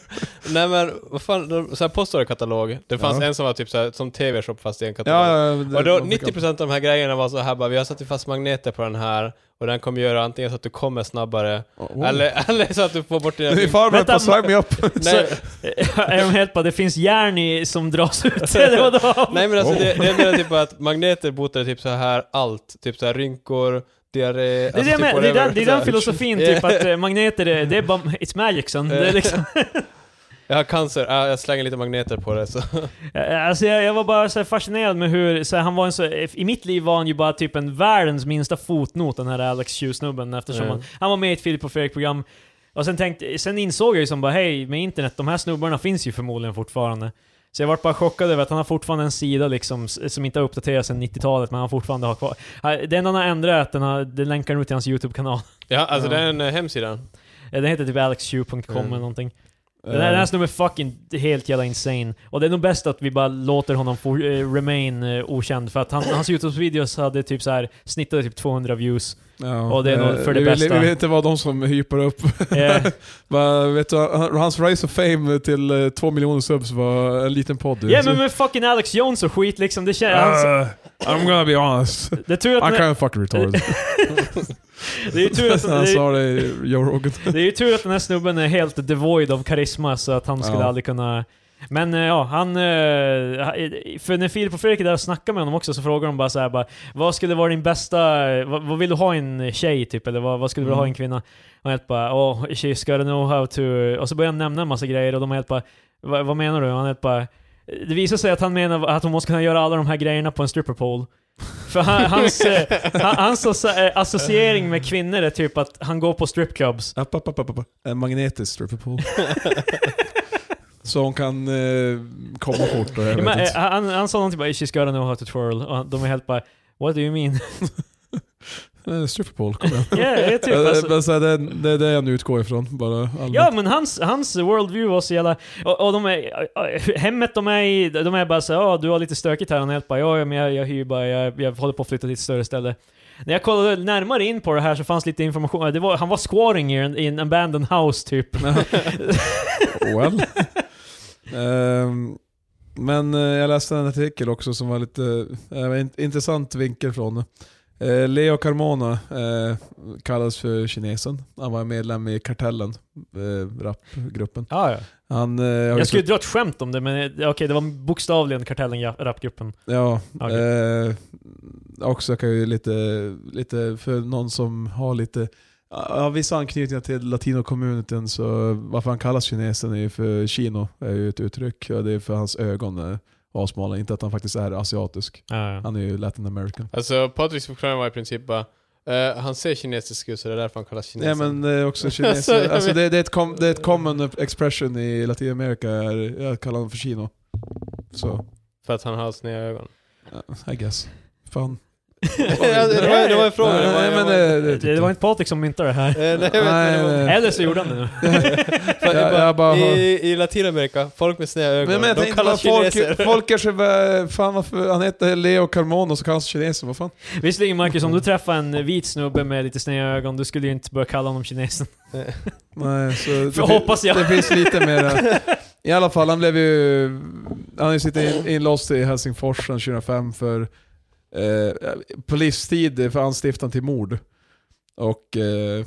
S3: Nej men, vad fan, de, så här postorderkatalog. Det fanns
S2: Ja.
S3: en som var typ så här, som TV-shop fast i en katalog.
S2: Ja, ja, ja, det-
S3: Och då
S2: man fick
S3: 90% av de här grejerna var så här bara, vi har satt fast magneter på den här och den kommer göra antingen så att du kommer snabbare,
S2: allt. Oh, oh.
S3: eller, eller så att du får bort dina...
S2: Min farbror höll på
S1: Vänta,
S2: att sign me up.
S3: nej,
S1: eh, är de helt bara, det finns järn i, som dras ut, eller vadå?
S3: nej men alltså
S2: Oh.
S3: det, det är mer typ att magneter botar typ så här allt, typ så här rynkor, diarré, alltså, typ det
S1: Det är, det,
S2: alltså, typ
S1: med, det, är den, det är den filosofin, typ
S3: Yeah.
S1: att eh, magneter, är- det är bara, it's magic son. Det
S2: Eh.
S1: är liksom,
S3: Jag har cancer, ah, jag slänger lite magneter på det så.
S1: Eh, alltså jag, jag var bara så här fascinerad med hur, så här, han var en så, eh, i mitt liv var han ju bara typ en världens minsta fotnot den här Alex Chew-snubben eftersom
S3: Mm.
S1: han, han var med i ett Filip och Fredrik-program. Och sen, tänkte, sen insåg jag ju som bara hej, med internet, de här snubbarna finns ju förmodligen fortfarande. Så jag vart bara chockad över att han har fortfarande en sida liksom, s- som inte har uppdaterats sedan 90-talet, men han fortfarande har kvar. Han- Det enda han har ändrat är att den, har, den länkar ut till hans YouTube-kanal.
S3: Ja, alltså
S2: Ja.
S3: den eh, hemsidan.
S1: Eh, Den heter typ alexchew.com
S3: Mm.
S1: eller någonting. Den här, den
S2: Eh. Ehm.
S1: här snubben är fucking helt jävla insane. Och det är nog bäst att vi bara låter honom få eh, remain eh, okänd, för att han, hans Youtube-videos hade typ så här snittade typ 200 views.
S2: Ja,
S1: och det är nog
S2: eh,
S1: för det
S2: vi,
S1: bästa.
S2: Vill, vi vill inte vara de som hypar upp.
S1: Eh,
S2: Va, vet du, han- hans rise of fame till eh, två miljoner subs var en liten podd.
S1: Ja men med fucking Alex Jones och skit liksom, det känns... Alltså,
S2: Uh, I'm gonna be honest.
S1: det är tur att...
S2: I'm
S1: Den,
S2: kind of fucking retarded.
S1: det är tur att...
S2: Han
S1: det är-
S2: sa det i Joe Rogan.
S1: Det är ju tur att den här snubben är helt devoid av karisma så att han skulle
S2: Ja.
S1: aldrig kunna... Men eh, ja, han... eh, För när Filip och Fredrik är där och snackar med honom också så frågar de bara så här, bara Vad skulle vara din bästa... Vad, vad vill du ha i en tjej typ? Eller vad, vad skulle du vilja ha i en kvinna? Och han helt bara oh, she's gotta know how to... Och så börjar han nämna en massa grejer och de är helt bara "Va- Vad menar du? Och han helt bara det visar sig att han menar att hon måste kunna göra alla de här grejerna på en stripperpole. För han, hans, eh, han, hans asso- associering med kvinnor är typ att han går på stripclubs
S2: App, app, app, app, app. En magnetisk stripperpool. Så hon kan eh, komma fort och jag
S1: Ja,
S2: vet
S1: Men, eh,
S2: inte.
S1: han, han sa någonting bara 'She's gotta know how to twirl' och han- de är helt bara 'What do you mean?'
S2: Eh, Stripperpool, kom igen.
S1: Ja, det är typ
S2: Eh,
S1: alltså.
S2: men så här, det, det är det jag nu utgår ifrån. Bara allmänt.
S1: Ja men hans, hans worldview var så jävla... Och, och de är, eh, hemmet de är i, de är bara så ja du har lite stökigt här, han är helt bara 'Ja ja, men jag, jag hyr bara, jag, jag håller på att flytta till ett större ställe' När jag kollade närmare in på det här så fanns lite information, det var, han var squatting i en, i en abandoned house typ.
S2: Well. Ehm, men eh, jag läste en artikel också som var lite eh, int- intressant vinkel från det. Eh, Leo Carmona eh, kallas för kinesen. Han var medlem i Kartellen, eh, rapgruppen.
S1: Ah, Ja, ja.
S2: Han, eh, har ju
S1: Jag skulle dra ett skämt om det men eh, okej, det var bokstavligen kartellen, ja, rapgruppen.
S2: Ja,
S1: Okej.
S2: eh, också kan ju lite, lite, för någon som har lite, ja, vissa anknytningar till latino-communityn så varför han kallas kinesen är ju för kino, är ju ett uttryck. Ja, det är för hans ögon är asmala, inte att han faktiskt är asiatisk.
S1: Ja, Ah, ja.
S2: Han är ju latin american.
S3: Alltså Patriks förklaring var i princip bara, eh, han ser kinesisk ut så det är därför han kallas
S2: Nej
S3: kinesen.
S2: men det är också
S3: Alltså, jag
S2: kineser, alltså,
S3: vet-
S2: det, det, är ett com, det är ett common expression i Latinamerika, är- jag kallar honom för kino. Så,
S3: För att han har sneda ögon.
S2: Eh, I guess. Fan.
S3: det, var, det var en fråga. det var-
S2: Nej,
S3: jag
S2: men
S3: var-
S2: det- det-
S1: Det var inte Patrik som myntade det här.
S3: Eh, nej, jag vet, men
S2: Nej,
S3: det var-
S2: nej.
S1: Eller så gjorde han det nu.
S3: Fan,
S2: Jag-
S3: jag bara,
S2: jag bara har-
S3: i, I Latinamerika, folk med sneda ögon,
S2: Men, men jag
S3: de
S2: tänkte bara,
S3: kallas kineser.
S2: folk, folk kanske bara, fan varför, han heter Leo Carmona så kallas han kineser, vad fan?
S1: Visserligen Marcus, om du träffar en vit snubbe med lite sneda ögon, du skulle ju inte börja kalla honom kinesen.
S2: Nej, så det,
S1: För hoppas jag.
S2: det finns lite mer. I alla fall, han blev ju, han har ju suttit in- inlåst i Helsingfors sedan 2005 för eh, på livstid för anstiftan till mord. Och eh,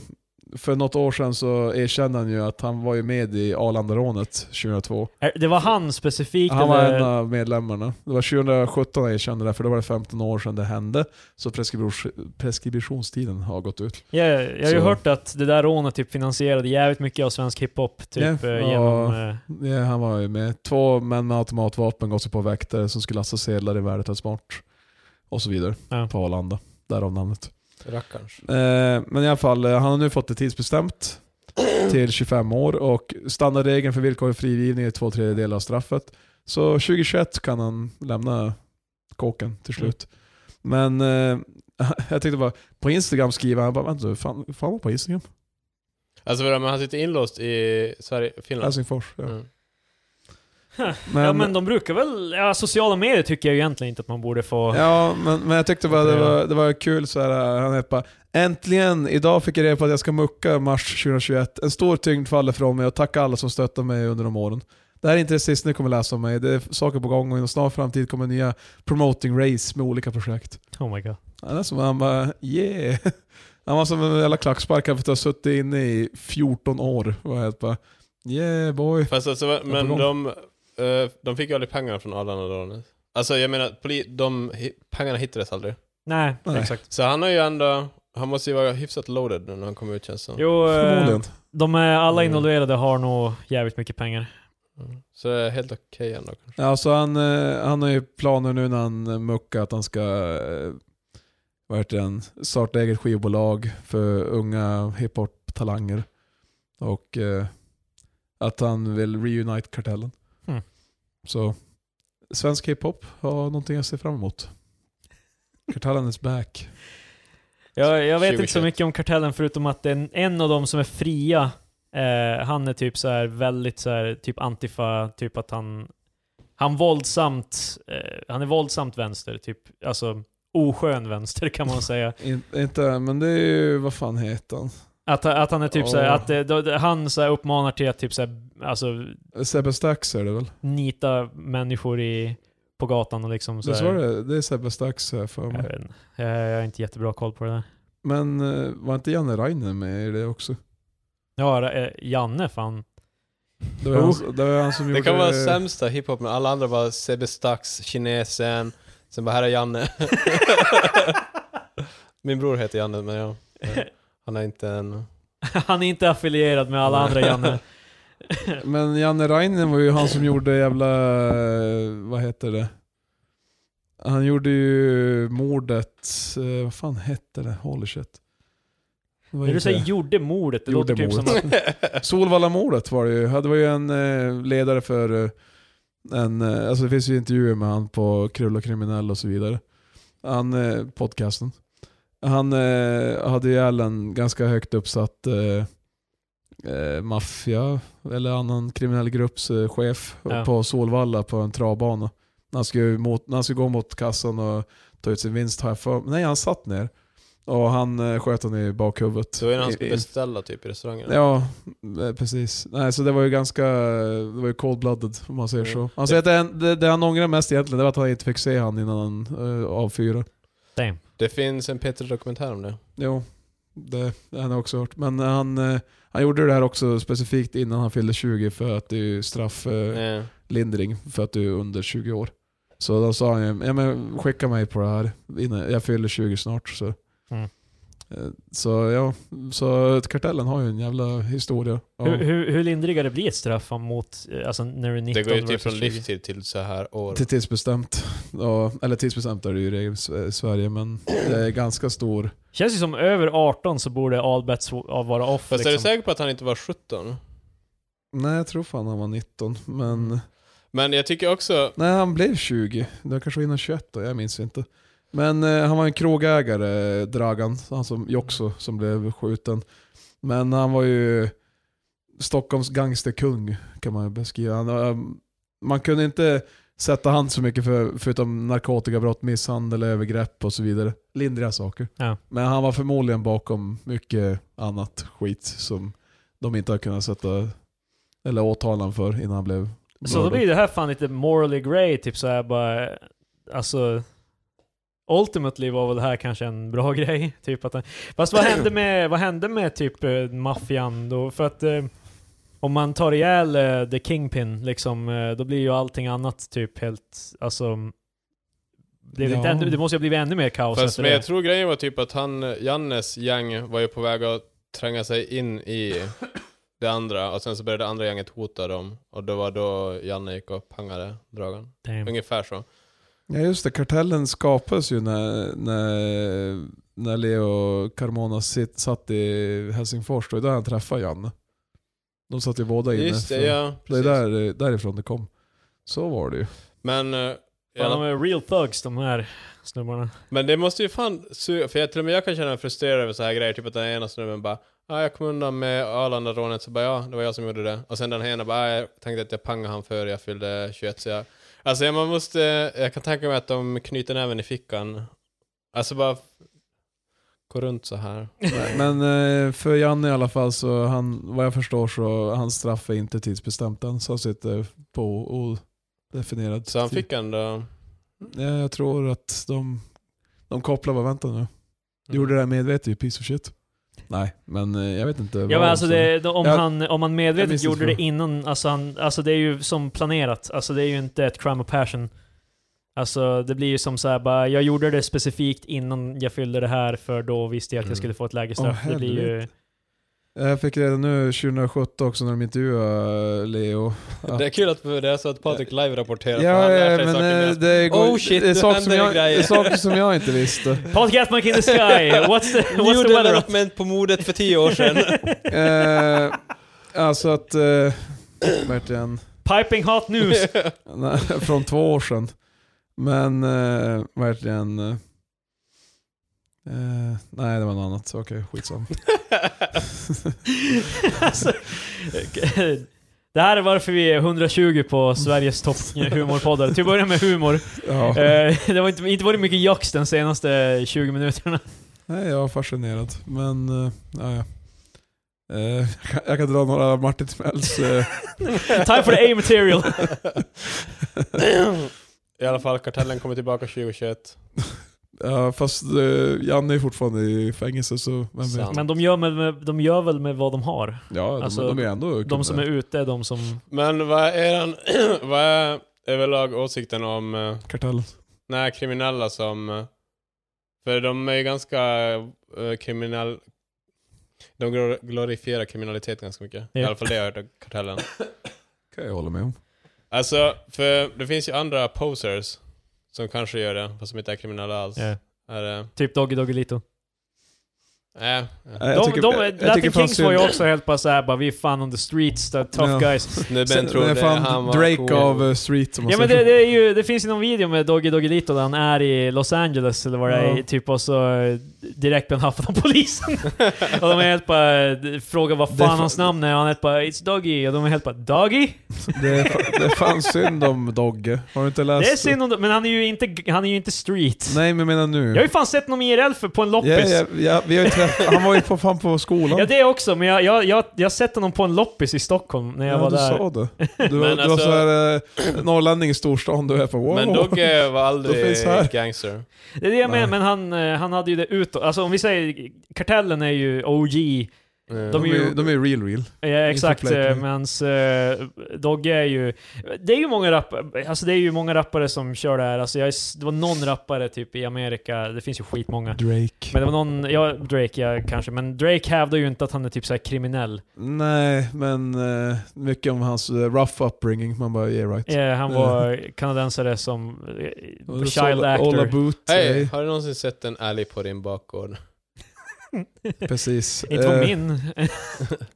S2: för något år sedan så erkände han ju att han var ju med i Arlandarånet 2002.
S1: Är- Det var han specifikt
S2: Han var
S1: eller?
S2: en av medlemmarna. Det var 2017 han erkände det, för då var det 15 år sedan det hände. Så preskribus- preskriptionstiden har gått ut.
S1: Ja, ja, jag har ju
S2: Så-
S1: hört att det där rånet typ finansierade jävligt mycket av svensk hiphop. Typ
S2: Ja,
S1: eh,
S2: ja.
S1: genom... eh,
S2: Ja, han var ju med. Två män med automatvapen gav sig på väktare som skulle lasta sedlar i värdet av smart. Och så vidare.
S1: Ja.
S2: På Arlanda. Därav namnet.
S3: Rackarns.
S2: Eh, men i alla fall, eh, han har nu fått det tidsbestämt till 25 år och standardregeln för villkorlig frigivning är två tredjedelar av straffet. Så 2021 kan han lämna kåken till slut. Men eh, jag tänkte bara, på Instagram skriver han, bara, vänta nu, fan, fan var på Instagram?
S3: Alltså vadå, men han sitter inlåst i Sverige, Finland?
S2: Helsingfors. Alltså, Ja.
S3: Mm.
S1: Ja men de brukar väl, ja, sociala medier tycker jag ju egentligen inte att man borde få.
S2: Ja, men, men jag tyckte bara det var, det var kul så här, han heter bara Äntligen! Idag fick jag reda på att jag ska mucka mars 2021. En stor tyngd faller från mig och tack alla som stöttar mig under de åren. Det här är inte det sista ni kommer läsa om mig. Det är saker på gång och inom snar framtid kommer nya promoting race med olika projekt.
S1: Oh my god.
S2: Han är som han bara yeah. Han var som en jävla klackspark för att ha suttit inne i 14 år. Och helt bara yeah boy.
S3: Fast alltså, men
S2: på
S3: de, eh, de fick ju aldrig pengarna från Arlandarånet. Alltså jag menar, poli, de, hi- pengarna hittades aldrig.
S1: Nej,
S2: Nej.
S1: exakt.
S3: Så han har ju ändå, han måste ju vara hyfsat loaded nu när han kommer ut känns det som.
S1: Jo, eh,
S2: Förmodligen.
S1: de är alla
S3: Mm.
S1: involverade har nog jävligt mycket pengar.
S3: Mm. Så det är helt okej ändå kanske.
S2: Ja, så han, eh, han har ju planer nu när han eh, muckar att han ska eh, vad heter den, starta eget skivbolag för unga hiphop-talanger. Och eh, att han vill reunite kartellen.
S1: Hmm.
S2: Så svensk hiphop har någonting jag ser fram emot. Kartellen is back.
S1: Jag, jag vet inte så
S3: 2021.
S1: mycket om Kartellen förutom att en, en av dem som är fria, eh, han är typ så här väldigt så här, typ antifa, typ att han, han våldsamt, eh, han är våldsamt vänster, typ, alltså oskön vänster kan man säga.
S2: In, inte, men det är ju, vad fan heter han?
S1: Att, att han är typ så här,
S2: Åh.
S1: att eh, då, han så här uppmanar till att typ så här, alltså
S2: Sebbe Stax är det väl?
S1: nita människor i, på gatan och liksom så
S2: Visst
S1: här.
S2: var det? Det är Sebbe Stax här för
S1: Jag,
S2: mig.
S1: vet inte. jag, jag har inte jättebra koll på det där.
S2: Men eh, var inte Janne Reiner med i det också?
S1: Ja, eh, Janne fan.
S2: Det var,
S1: Oh.
S2: han, det var han som
S3: Det
S2: gjorde...
S3: kan vara sämsta hiphop, men alla andra bara Sebbe Stax, kinesen, sen bara här är Janne. Min bror heter Janne, men ja. Han är inte en...
S1: Han är inte affilierad med alla andra Janne.
S2: Men Janne Reinen var ju han som gjorde jävla... eh, Vad heter det? Han gjorde ju mordet... eh, Vad fan hette det? Holy shit. Det var
S1: När
S2: ju
S1: du säger
S2: det.
S1: gjorde mordet, det
S2: Gjorde
S1: låter typ
S2: mordet.
S1: som att...
S2: Solvallamordet var det ju. Det var ju en eh, ledare för eh, en... eh, Alltså det finns ju intervjuer med han på Krull och kriminell och så vidare. Han, eh, podcasten. Han eh, hade ju ihjäl en ganska högt uppsatt eh, eh, maffia eller annan kriminell grupps eh, chef
S1: Ja.
S2: på Solvalla på en travbana. När han skulle, mot, när han skulle gå mot kassan och ta ut sin vinst har jag för Nej, han satt ner. Och han eh, sköt honom i bakhuvudet.
S3: Så är det han
S2: I-
S3: ska
S2: i-
S3: beställa typ i restaurangen.
S2: Ja, eh, precis. Nej, så det var ju ganska det var ju cold-blooded om man säger
S3: Mm.
S2: så. Han säger att det, det, det han ångrar mest egentligen det var att han inte fick se han innan han uh, avfyrade.
S1: Damn.
S3: Det finns en Peter-dokumentär om det.
S2: Jo, det, det har jag också hört. Men han, eh, han gjorde det här också specifikt innan han fyllde 20 för att det är ju strafflindring
S3: Eh,
S2: för att du är under 20 år. Så då sa han ju, ja, men skicka mig på det här, innan, jag fyller 20 snart. Så.
S1: Mm.
S2: Eh, Så ja, så kartellen har ju en jävla historia. av-
S1: Hur, hur, hur lindriga det blir ett straff mot, eh, alltså när du är 19
S3: Det går ju typ
S1: versus
S3: från
S1: 20.
S3: livstid till så här år.
S2: Till tidsbestämt. Ja, eller tidsbestämt är det ju i regel i S- Sverige, men det är ganska stor.
S1: Känns ju som över 18 så borde all bets w- vara off
S3: Fast är du
S1: liksom.
S3: säker på att han inte var 17?
S2: Nej, jag tror fan han var 19, men...
S3: Men jag tycker också...
S1: Alltså-
S2: Nej, han blev 20. Det kanske var innan 21 då, jag minns inte. Men eh, han var en krogägare, eh, Dragan, han som Joxo, som blev skjuten. Men han var ju Stockholms gangsterkung, kan man ju beskriva. Han, eh, man kunde inte sätta hand så mycket för, förutom narkotikabrott, misshandel, övergrepp och så vidare. Lindriga saker.
S1: Ja.
S2: Men han var förmodligen bakom mycket annat skit som de inte har kunnat sätta, eller åtala honom för innan han blev
S1: Så då
S2: mördad.
S1: blir det här fan lite morally grey, typ såhär bara, alltså... ultimately var väl det här kanske en bra grej. Typ att, den- fast vad hände med, vad hände med typ eh, maffian då? För att eh, om man tar ihjäl eh, the kingpin, liksom, eh, då blir ju allting annat typ helt, alltså... Blev det, inte
S2: Ja.
S1: ännu, det måste ju ha blivit ännu mer kaos
S3: Fast
S1: efter
S3: men
S1: det.
S3: jag tror grejen var typ att han, eh, Jannes gäng var ju på väg att tränga sig in i det andra och sen så började det andra gänget hota dem och det var då Janne gick och pangade dragen.
S1: Damn.
S3: Ungefär så.
S2: Ja just det, kartellen skapades ju när, när, när Leo Carmona sit, satt i Helsingfors, då är det där han träffade Janne. De satt ju båda inne.
S3: Just det,
S2: för-
S3: ja.
S2: det är
S3: Precis.
S2: där, därifrån det kom. Så var det ju.
S3: Men, eh, i
S1: Ja,
S3: alla
S1: de är real thugs de här snubbarna.
S3: Men det måste ju fan suga, för jag, till och med jag kan känna mig frustrerad över så här grejer, typ att den ena snubben bara ah, jag kom undan med Arlanda-rånet, så bara ja, det var jag som gjorde det. Och sen den ena bara ah, jag tänkte att jag pangade han för jag fyllde 21 så jag... Alltså jag, man måste, jag kan tänka mig att de knyter näven i fickan. Alltså bara gå runt så här.
S2: Men eh, för Janne i alla fall, så han, vad jag förstår så hans straff är inte tidsbestämt än. Så han sitter på odefinierad
S3: Så han
S2: tid.
S3: fick ändå...
S2: Ja, jag tror att de, de kopplar bara, vänta
S3: Mm.
S2: nu. Du gjorde det här medvetet ju, piece of shit. Nej, men eh, jag vet inte.
S1: Ja
S2: vad
S1: men alltså
S2: som-
S1: det, de- om,
S2: Jag-
S1: han, om han
S2: jag minns
S1: medvetet
S2: inte
S1: gjorde det
S2: frågan.
S1: innan, alltså, han, alltså det är ju som planerat. Alltså det är ju inte ett crime of passion. Alltså det blir ju som såhär bara, jag gjorde det specifikt innan jag fyllde det här för då visste jag att
S3: Mm.
S1: jag skulle få ett lägre straff.
S2: Åh,
S1: det blir ju...
S2: helvete. Eh, Jag fick reda nu 2017 också när de intervjuade eh, Leo. Ja.
S3: Det är kul att det är så att Patrik live-rapporterar, för
S2: Ja,
S3: han lär
S2: ja
S3: sig
S2: men
S3: saker
S2: eh,
S3: medan-
S2: det, går,
S3: Oh shit,
S2: det är
S3: nu
S2: saker
S3: händer
S2: som jag,
S3: det grejer.
S2: det är saker som jag inte visste.
S1: Paul Gatmark in the sky! What's the, what's
S3: New
S1: the weather?
S3: development på modet för tio år sedan.
S2: Eh, alltså att... Eh, verkligen.
S1: Piping hot news!
S2: Nej, från två år sedan. Men eh, verkligen... Eh, eh, nej, det var något annat. Så Okej, skitsamma.
S1: alltså, det här är varför vi är 120 på Sveriges topphumorpoddar. Till att börja med humor.
S2: Ja.
S1: Eh, det har inte, inte varit mycket jax den senaste 20 minuterna.
S2: Nej, jag var fascinerad. Men, eh, ja, ja. Eh, jag, kan, jag kan dra några Martin Timells... Eh,
S1: Time for the A-material.
S3: I alla fall, kartellen kommer tillbaka 2021.
S2: ja, fast eh, Janne är fortfarande i fängelse så vem vet.
S3: Sant.
S1: Men de gör, med, de gör väl med vad de har?
S2: Ja, de,
S1: Alltså,
S2: de är ändå
S1: De som är ute är de som...
S3: Men vad är, eran, vad är överlag åsikten om eh,
S2: Kartell.
S3: när kriminella som... eh, För de är ju ganska eh, kriminell... De glor- glorifierar kriminalitet ganska mycket. I
S1: Ja.
S3: alla fall det jag har hört av kartellen.
S2: kan jag hålla med om.
S3: Alltså, för det finns ju andra posers som kanske gör det, fast som inte är kriminella alls.
S1: Ja.
S3: Är det...
S1: eh, Typ Doggy Doggelito.
S3: Nej.
S2: Nej, jag
S1: De,
S2: tycker-
S1: de,
S2: jag- jag
S1: Latin
S2: tycker fan
S1: Kings var ju
S2: synd.
S1: också helt bara såhär bara vi är fan on the streets, the tough
S2: Ja.
S1: guys.
S3: Snubben
S2: Sen-
S3: trodde
S2: det är fan
S3: han var
S2: Drake
S3: cool.
S2: av eh, Street som man
S1: Ja men det,
S2: säger.
S1: det, är ju, det finns ju någon video med Doggy Doggelito där han är i Los Angeles eller vad det är,
S2: Ja.
S1: typ och så eh, direkt blir han haffad av polisen. och de är helt bara, eh, frågar vad
S2: Det är
S1: fan
S2: fan-
S1: hans namn är och han är helt bara 'It's Doggy' och de är helt bara 'Doggy?'
S2: det, är fa- det är fan synd om Dogge. Har du inte läst?
S1: Det är synd om men han är ju inte, han är ju inte street.
S2: Alltså- Nej men jag menar nu.
S1: Jag har ju fan sett honom IRL för, på en loppis.
S2: Ja, ja, ja, vi har ju träff- han var ju på, fan på skolan.
S1: Ja det också, men jag, jag, jag, jag har sett honom på en loppis i Stockholm när jag
S2: Ja,
S1: var
S2: du
S1: där.
S2: sa det. Du, var-
S3: Men
S2: du
S3: alltså-
S2: var såhär eh, norrlänning i storstan, du är på wow.
S3: Men Dogge var
S2: Då
S3: aldrig
S2: finns här.
S3: gangster.
S1: Det är det jag menar,
S2: Nej.
S1: men han, eh, han hade ju det utåt. Alltså om vi säger, kartellen är ju OG,
S3: Mm.
S1: de
S2: de,
S1: är ju-
S2: är, de är typ. real real.
S1: eh, exakt,
S2: play, play.
S1: medan Dogge är ju... Det är ju många rappare, alltså det är ju många rappare som kör det här. Alltså jag, är s- det var någon rappare typ i Amerika, det finns ju skitmånga.
S2: Drake.
S1: Men det var någon, ja Drake ja, kanske, men Drake hävdar ju inte att han är typ så här kriminell.
S2: Nej, men eh, mycket om hans eh, rough upbringing. Man bara yeah right.
S1: Eh, han var kanadensare som eh,
S2: Och så
S1: child
S2: Ola- Ola
S1: actor.
S2: Boot.
S3: Hej,
S2: eh,
S3: har du någonsin sett en älg på din bakgård?
S2: Precis.
S1: Inte var
S2: Eh,
S1: min.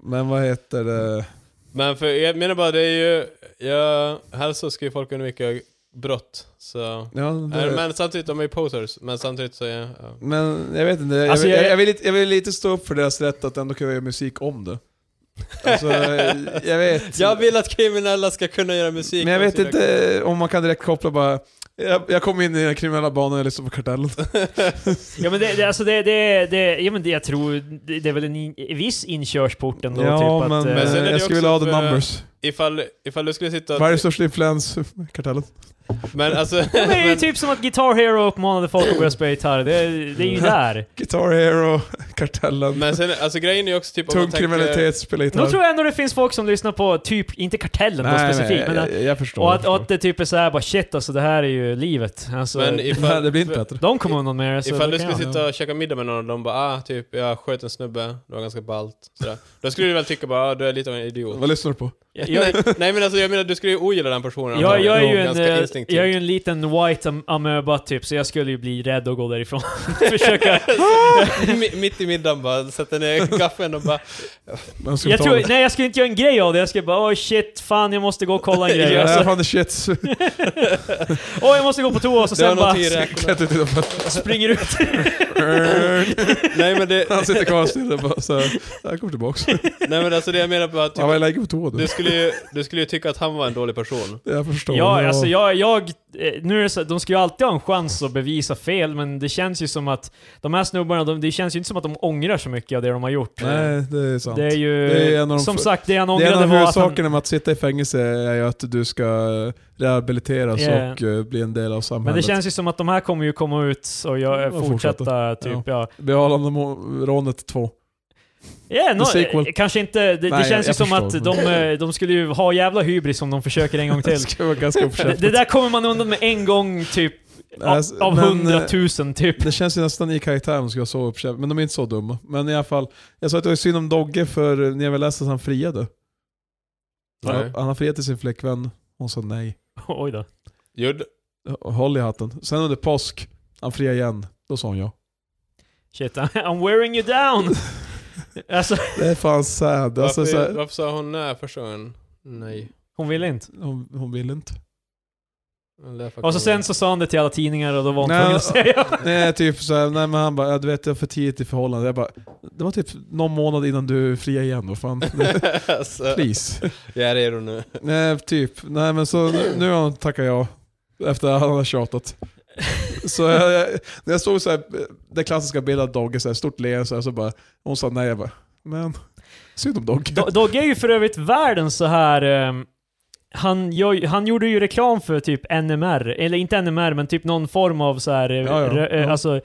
S2: Men vad heter det?
S3: Men för, jag menar bara, det är ju... Jag, här så skriver folk under mycket brott, så...
S2: Ja, det,
S3: Nej, Men samtidigt, de är ju posers, men samtidigt så är... Ja.
S2: Men jag vet inte, jag,
S1: Alltså,
S2: vill,
S1: jag-
S2: jag, jag, vill, lite- jag vill lite stå upp för deras rätt att ändå kunna göra musik om det. Alltså, jag vet.
S3: Jag vill att kriminella ska kunna göra musik.
S2: men jag
S3: om
S2: vet
S3: sina-
S2: inte om man kan direkt koppla bara... Jag, jag kom in i den kriminella banan, jag lyssnade på Kartellen.
S1: Ja men det, det, alltså det, det, det, ja, men det jag tror, det, det är väl en in, viss inkörsport ändå.
S2: ja,
S1: typ
S2: men,
S1: att, eh,
S3: Men sen är det
S2: jag skulle
S3: också
S2: vilja ha the
S3: för-
S2: numbers.
S3: Ifall, ifall du skulle sitta...
S2: Vad är största influens? Kartellen.
S3: Men alltså...
S1: ja, men det är ju
S3: men-
S1: typ som att Guitar Hero uppmanade folk att börja spela gitarr. Det, det är ju
S2: Mm.
S1: där.
S2: Guitar Hero, Kartellen.
S3: Men sen, alltså grejen är ju också typ om
S2: Tung
S3: man tänker...
S2: kriminalitet, spela gitarr.
S1: Då tror jag ändå det finns folk som lyssnar på typ, inte Kartellen då specifikt, men
S2: jag, jag, jag förstår.
S1: och,
S2: jag
S1: att, och
S2: förstår.
S1: att det typ är såhär bara shit alltså det här är ju livet. Alltså,
S3: Men
S2: Nej,
S3: ifall,
S2: det blir inte bättre.
S1: de kommer undan med det. Så
S3: ifall
S1: Alltså, det
S3: du
S1: kan
S3: skulle
S1: jag.
S3: sitta och käka middag med någon och de bara ah, typ jag sköt en snubbe, det var ganska ballt. Sådär. Då skulle du väl tycka bara ah, du är lite av en idiot.
S2: Vad lyssnar du på?
S1: jag,
S3: nej, nej men alltså jag menar du skulle ju ogilla den personen.
S1: jag, jag, är ju
S3: antagligen.
S1: en,
S3: Ganska
S1: eh,
S3: instinktivt.
S1: jag är ju en liten white am- amöba typ, så jag skulle ju bli rädd och gå därifrån. Försöka...
S3: Mi- Mitt i middagen bara sätter ner gaffeln och bara
S2: Vem ska
S1: Jag
S2: betala?
S1: tror, nej jag skulle inte göra en grej av det, jag skulle bara oh shit, fan jag måste gå och kolla en
S2: Ja,
S1: grej.
S2: det här är
S1: Alltså,
S2: fan the shit.
S1: Åh jag måste gå på toa, och så
S3: det var
S1: sen bara
S3: någonting i räkorna.
S2: Kan inte titta på
S1: springer ut.
S3: Nej men det,
S2: Han sitter kvar still och bara såhär, han kommer tillbaks.
S3: nej men alltså det jag menar bara att
S2: Han var i
S3: typ,
S2: läge på toa
S3: du
S2: nu.
S3: skulle ju, du skulle ju tycka att han var en dålig person.
S2: Jag förstår.
S1: Ja, alltså jag, jag... eh, Nu är det så, de ska ju alltid ha en chans att bevisa fel, men det känns ju som att de här snubbarna, de, det känns ju inte som att de ångrar så mycket av det de har gjort.
S2: Nej, det är sant.
S1: Det är ju...
S2: Det är en av de
S1: som
S2: f-
S1: sagt, det han
S2: Det är en
S1: ångrade
S2: av
S1: var att han...
S2: huvudsakerna med att sitta i fängelse är ju att du ska rehabiliteras
S1: Ja.
S2: och eh, bli en del av samhället.
S1: Men det känns ju som att de här kommer ju komma ut och jag,
S2: Och
S1: fortsätta,
S2: fortsätta.
S1: typ ja.
S2: Behalande rånet 2.
S1: Yeah, no,
S2: The sequel.
S1: eh, kanske inte, det,
S2: Nej,
S1: det
S2: jag-
S1: känns ju
S2: jag
S1: som
S2: förstår.
S1: att de, eh, de skulle ju ha jävla hybris om de försöker en gång
S2: Det
S1: till.
S2: ska vara ganska
S1: det,
S2: uppkäftigt.
S1: det där kommer man undan med en gång typ, av,
S2: Alltså,
S1: av
S2: men, eh,
S1: hundratusen typ.
S2: Det känns ju nästan i karaktär om de skulle vara så uppkäftiga, men de är inte så dumma. Men i alla fall, jag sa att det var synd om Dogge för eh, när jag väl läste att han friade.
S3: Nej.
S2: Han, han har friat till sin flickvän, hon sa nej.
S1: Oj då.
S3: Gjorde,
S2: Håll i hatten. Sen under påsk, han friade igen. Då sa hon ja.
S1: Shit, I'm wearing you down! alltså,
S2: Det är fan sad. Alltså, så
S3: varför,
S2: här,
S3: varför sa hon nej första gången? Nej.
S1: hon ville inte.
S2: hon, hon vill inte.
S1: Och så sen så sa han det till alla tidningar och då var hon tvungen att säga ja.
S2: Nej, typ så här, nej men han bara, ja, du vet jag är för tidigt i förhållande. Jag bara, det var typ någon månad innan du friade igen. Vad fan.
S3: alltså,
S2: Please.
S3: jag är redo nu.
S2: nej, typ. Nej men så nu- nu har hon tackat ja. Efter att han har tjatat. Så jag, jag, när jag såg så här, den klassiska bilden av Dogge, så här, stort leende så, här, så bara, hon sa nej. Jag bara, men synd om Dogge.
S1: Do- Dogge är ju för övrigt världen så här... ehm, han, gör ju- han gjorde ju reklam för typ NMR, eller inte NMR men typ någon form av så här, eh,
S2: Ja, ja,
S1: rö- eh,
S2: ja.
S1: alltså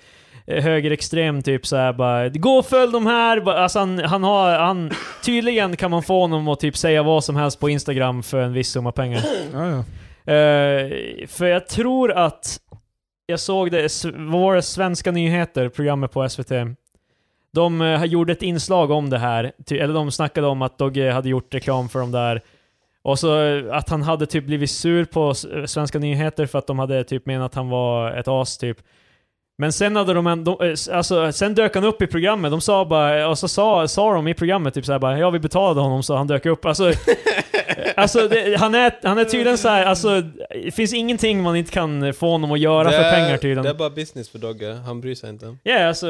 S1: eh, högerextrem typ så här bara Gå och följ de här! Bara, Alltså han, han har, han, tydligen kan man få honom att typ säga vad som helst på Instagram för en viss summa pengar.
S2: Ja, ja.
S1: Eh, för jag tror att jag såg det, s- vad var det, Svenska nyheter, programmet på SVT. De eh, gjorde ett inslag om det här, ty, eller de snackade om att Dogge hade gjort reklam för de där. Och så eh, att han hade typ blivit sur på s- eh, Svenska nyheter för att de hade typ menat att han var ett as typ. Men sen hade de, en, de eh, s- alltså, sen dök han upp i programmet, de sa bara, eh, och så sa, sa de i programmet typ såhär bara ja vi betalade honom så han dök upp. Alltså, alltså det, han, är, han är tydligen såhär, alltså det finns ingenting man inte kan få honom att göra för
S3: är-
S1: pengar tydligen.
S3: Det är bara business för Dogge, han bryr sig inte.
S1: Ja, alltså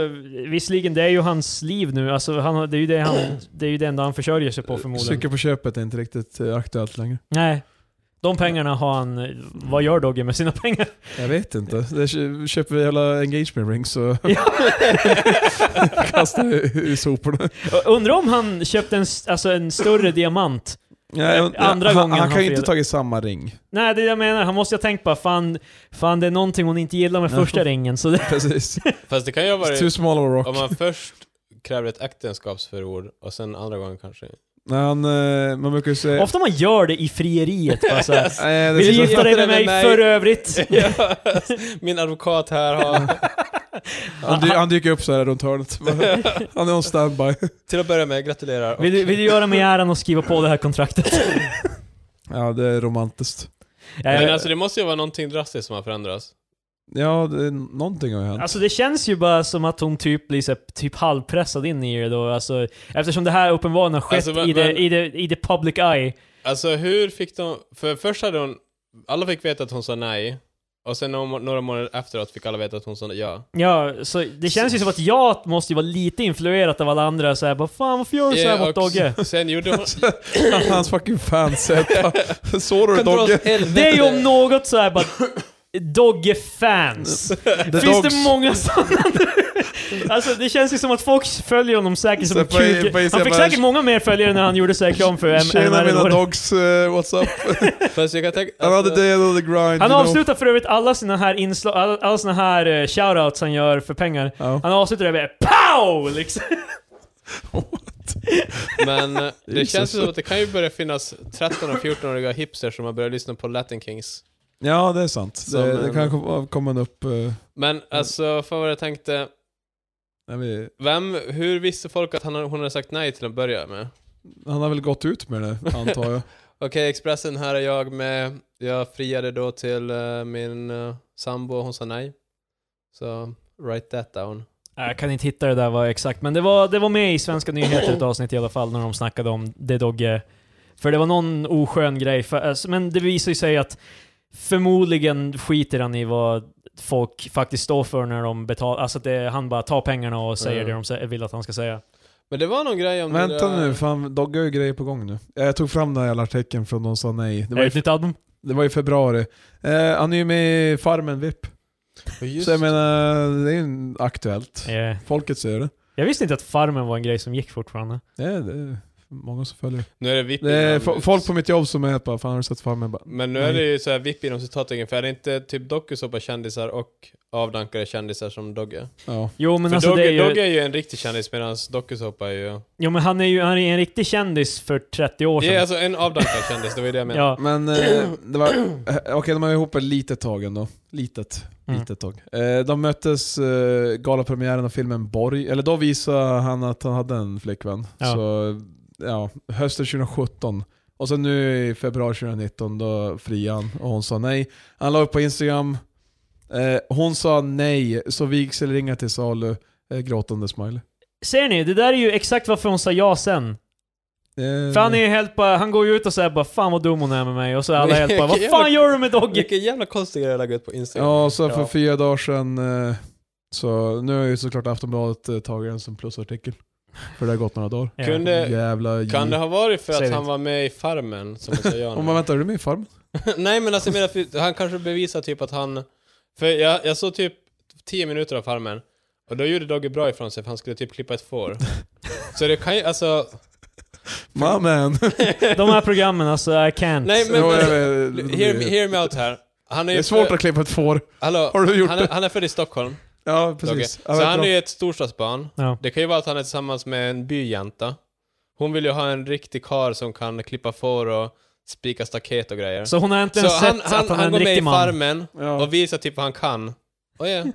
S1: visserligen, det är ju hans liv nu. Alltså, han, har- det, är ju det, han, det är ju det enda han försörjer sig
S2: Eh,
S1: på förmodligen.
S2: Cykel på köpet är inte riktigt eh, aktuellt längre.
S1: Nej. De pengarna har han... Vad gör Dogge med sina pengar?
S2: Jag vet inte. Det kö- köper vi hela engagement rings och
S1: Ja.
S2: kastar i- i soporna.
S1: Undrar om han köpte en, s- alltså, en större diamant? andra
S2: han,
S1: gången
S2: han
S1: han
S2: kan ju inte
S1: fel.
S2: ta i samma ring.
S1: Nej, det är det jag menar. Han måste ju ha tänkt bara fan, fan det är någonting hon inte gillar med
S2: Ja.
S1: första ringen. Så det,
S2: Precis.
S3: Fast det kan ju ha
S2: It's
S3: varit
S2: too small of a rock.
S3: Om man först kräver ett äktenskapsförord och sen andra gången kanske.
S2: Nej, han, eh, man brukar ju säga...
S1: ofta man gör det i frieriet. Bara, så här,
S2: Nej,
S1: Vill du
S2: det,
S3: är så-
S1: gifta dig med
S3: Gifta
S1: mig
S3: dig med
S1: för
S3: mig.
S1: övrigt?
S3: Min advokat här har,
S2: han, dy, han dyker upp så här runt hörnet. Han är on standby.
S3: till att börja med, gratulerar. Och
S1: Vill du, vill du göra mig äran och skriva på det här kontraktet?
S2: Ja, det är romantiskt.
S3: Men
S1: Eh,
S3: alltså det måste ju vara någonting drastiskt som har förändrats.
S2: Ja, det, någonting har ju hänt.
S1: Alltså det känns ju bara som att hon typ blir så här, typ halvpressad in i det då, alltså, eftersom det här uppenbarligen har skett
S3: Alltså, men-
S1: i, det,
S3: men-
S1: i, det, i the public eye.
S3: Alltså hur fick de... För först hade hon... Alla fick veta att hon sa nej. Och sen några må- några månader efteråt fick alla veta att hon sa ja.
S1: Ja, så det känns ju som att jag måste ju vara lite influerat av alla andra såhär bara Fan varför gör du såhär mot
S3: Eh, och
S1: Dogge?
S3: Sen gjorde hon...
S2: Hans fucking fanset. Såg du Dogge?
S1: Det är ju om något såhär bara Dogge-fans.
S2: The
S1: Finns
S2: dogs.
S1: det många sådana nu? Alltså det känns ju som att folk följer honom säkert som
S2: Så
S1: en
S2: på- på
S1: kuk. Han
S2: Instagram
S1: fick
S2: bara,
S1: säkert många mer följare när han gjorde så här reklam för M-
S2: Tjena mina
S1: MR-året.
S2: dogs, eh, what's up?
S3: Fast jag kan tänka... alltså-
S2: Another day, another grind.
S1: Han
S2: you know.
S1: avslutar för övrigt alla sina här inslag, alla, alla sina här eh, shoutouts han gör för pengar.
S2: Ja.
S1: Han avslutar det med POW! Liksom.
S3: Men eh, det
S2: Jesus.
S3: känns ju som att det kan ju börja finnas 13 och 14-åriga hipsters som har börjat lyssna på Latin Kings.
S2: Ja, det är sant.
S3: Som,
S2: Det, det
S3: eh,
S2: kan kom- komma en upp... eh,
S3: Men alltså, fan vad jag tänkte.
S2: nej, vi,
S3: Vem, hur visste folk att han, hon hade sagt nej till att börja med?
S2: han har väl gått ut med det, antar jag.
S3: Okej, Expressen, här är jag med. Jag friade då till eh, min uh, sambo och hon sa nej. Så, write that down.
S1: Äh, Jag kan inte hitta det där vad exakt, men det var, det var med i Svenska nyheter ett avsnitt i alla fall när de snackade om det Dogge. För det var någon oskön grej, för, alltså, men det visar ju sig att förmodligen skiter han i vad folk faktiskt står för när de betalar. Alltså att det, han bara tar pengarna och säger
S3: Ja.
S1: det de sä- vill att han ska säga.
S3: Men det var någon grej om det
S2: Vänta
S3: där-
S2: nu, fan Dogge har ju grejer på gång nu. Eh, Jag tog fram den här jävla artikeln från de sa nej. Det
S1: Det
S2: var,
S1: var
S2: i,
S1: ett nytt album.
S2: det var i februari. Eh, han är ju med i Farmen VIP.
S3: Ja, just
S2: Så jag menar, det är ju aktuellt.
S1: Eh,
S2: Folket ser det.
S1: Jag visste inte att Farmen var en grej som gick fortfarande.
S2: Det är, det är många som följer.
S3: Nu är det VIP.
S2: Det är
S3: inom-
S2: fo- folk på mitt jobb som är helt bara 'Fan har du sett Farmen?' Bara,
S3: Men nu är det ju så här VIP inom citattecken, för är det inte typ dokusåpa-kändisar och avdankade kändisar som Dogge?
S2: ja.
S1: Jo men
S3: för
S1: alltså
S3: Dogge,
S1: det är ju...
S3: Dogge är ju en riktig kändis medan dokusåpa är ju...
S1: Jo men han är ju han är en riktig kändis för 30 år
S3: Ja,
S1: sedan.
S3: alltså en avdankad kändis, det var ju det jag menade.
S1: Ja.
S2: Men eh, det var... eh, Okej, de var ihop ett litet tag ändå. Litet.
S1: Mm.
S2: Litet tag. Eh, de möttes eh, galapremiären av filmen Borg. Eller då visade han att han hade en flickvän.
S1: Ja.
S2: Så, ja, hösten 2017. Och sen nu i februari 2019 då friade han och hon sa nej. Han la upp på Instagram. Eh, hon sa nej, så vigselringar till salu. Eh, gråtande smiley.
S1: Ser ni? Det där är ju exakt varför hon sa ja sen.
S2: Eh,
S1: För han är ju helt bara, han går ju ut och säger bara 'Fan vad dum hon är med mig' och så är alla helt bara 'Vad fan gör du med Dogge?'
S3: Vilken jävla konstig grej jag lagt ut på Instagram.
S2: Ja, så för
S3: Typ. Ja.
S2: fyra dagar sedan eh, så nu har ju såklart Aftonbladet eh, tagit den som plusartikel. För det har gått några dagar.
S1: Ja.
S3: Kunde,
S2: Jävla J.
S3: Eh, kan det ha varit för
S1: Säg
S3: att
S1: det
S3: han
S1: inte.
S3: var med i Farmen, som jag sa ja
S2: Om man
S3: nu?
S2: väntar, är du med i Farmen?
S3: Nej men alltså jag menar, för han kanske bevisar typ att han... För jag, jag såg typ 10 minuter av Farmen, och då gjorde Dogge bra ifrån sig för han skulle typ klippa ett får. så det kan ju, alltså...
S2: My man!
S1: De här programmen alltså, I can't.
S3: Nej men...
S2: Jo, jag vet.
S3: Hear me, hear me out här. Han är,
S2: det
S3: ju
S2: är svårt
S3: född-
S2: att klippa ett får.
S3: hallå,
S2: Har du gjort
S3: han, är, han är född i Stockholm.
S2: Ja,
S3: Dogge.
S2: precis. Jag
S3: Så
S2: vet
S3: han
S2: inte
S3: är
S2: om-
S3: ju ett storstadsbarn.
S1: Ja.
S3: Det kan ju vara att han är tillsammans med en byjänta. Hon vill ju ha en riktig kar som kan klippa får och spika staket och grejer.
S1: Så hon har äntligen
S3: Så
S1: sett
S3: han, han,
S1: att han,
S3: han
S1: är
S3: går
S1: en
S3: med i
S1: riktig man.
S3: Farmen
S2: Ja.
S3: och visar typ vad han kan. Oh, yeah.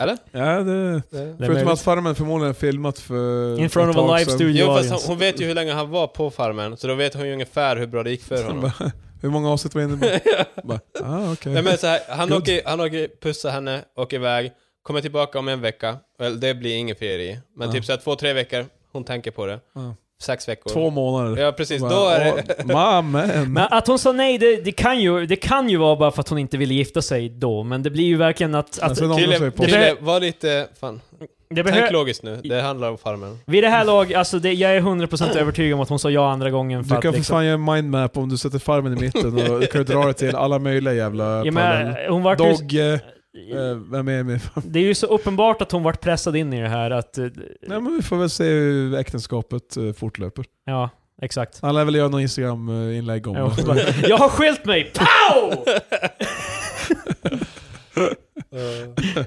S3: Eller?
S2: Ja, det...
S1: Det är
S2: Förutom
S1: möjligt.
S2: att Farmen förmodligen är filmat för...
S1: In front
S2: ett
S1: of a
S2: tag
S1: live
S2: sedan.
S1: studio
S3: Jo, fast hon,
S1: audience.
S3: hon vet ju hur länge han var på Farmen, så då vet hon ju ungefär hur bra det gick för honom.
S2: Hur många avsnitt var inne på? Bara, ah, okej.
S3: Nej, men så här, han,
S2: Good.
S3: åker, han åker, pussar henne, åker iväg, kommer tillbaka om en vecka. Well, det blir ingen ferier Men
S2: Ja.
S3: typ så här, två, tre veckor, hon tänker på det.
S2: Ja.
S3: Sex veckor.
S2: Två månader.
S3: Ja, precis. Då är det...
S2: Bara, "Åh, My man!
S1: Men att hon sa nej, det, det, kan ju, det kan ju vara bara för att hon inte ville gifta sig då, men det blir ju verkligen att...
S2: Men
S1: att
S2: sen ångrar
S3: Kille,
S2: sig på-
S1: det-
S3: kille, var lite... Fan,
S1: det
S3: tänk
S1: behö-
S3: logiskt nu. Det handlar om Farmen.
S1: vid det här laget, alltså det, jag är 100% övertygad om att hon sa ja andra gången för
S2: Du
S1: att
S2: kan för
S1: liksom,
S2: fan göra en mindmap om du sätter farmen i mitten och du kan ju dra det till alla möjliga jävla
S1: ja, men,
S2: paralleller.
S1: hon vart ju,
S2: Dog, eh, vem är med?
S1: Det är ju så uppenbart att hon vart pressad in i det här att... eh,
S2: Nej men vi får väl se hur äktenskapet eh, fortlöper.
S1: Ja, exakt.
S2: Han lär väl göra någon Instagram-inlägg om
S1: Ja, hon bara,
S2: det.
S1: jag har skilt mig! POW!
S2: Eh.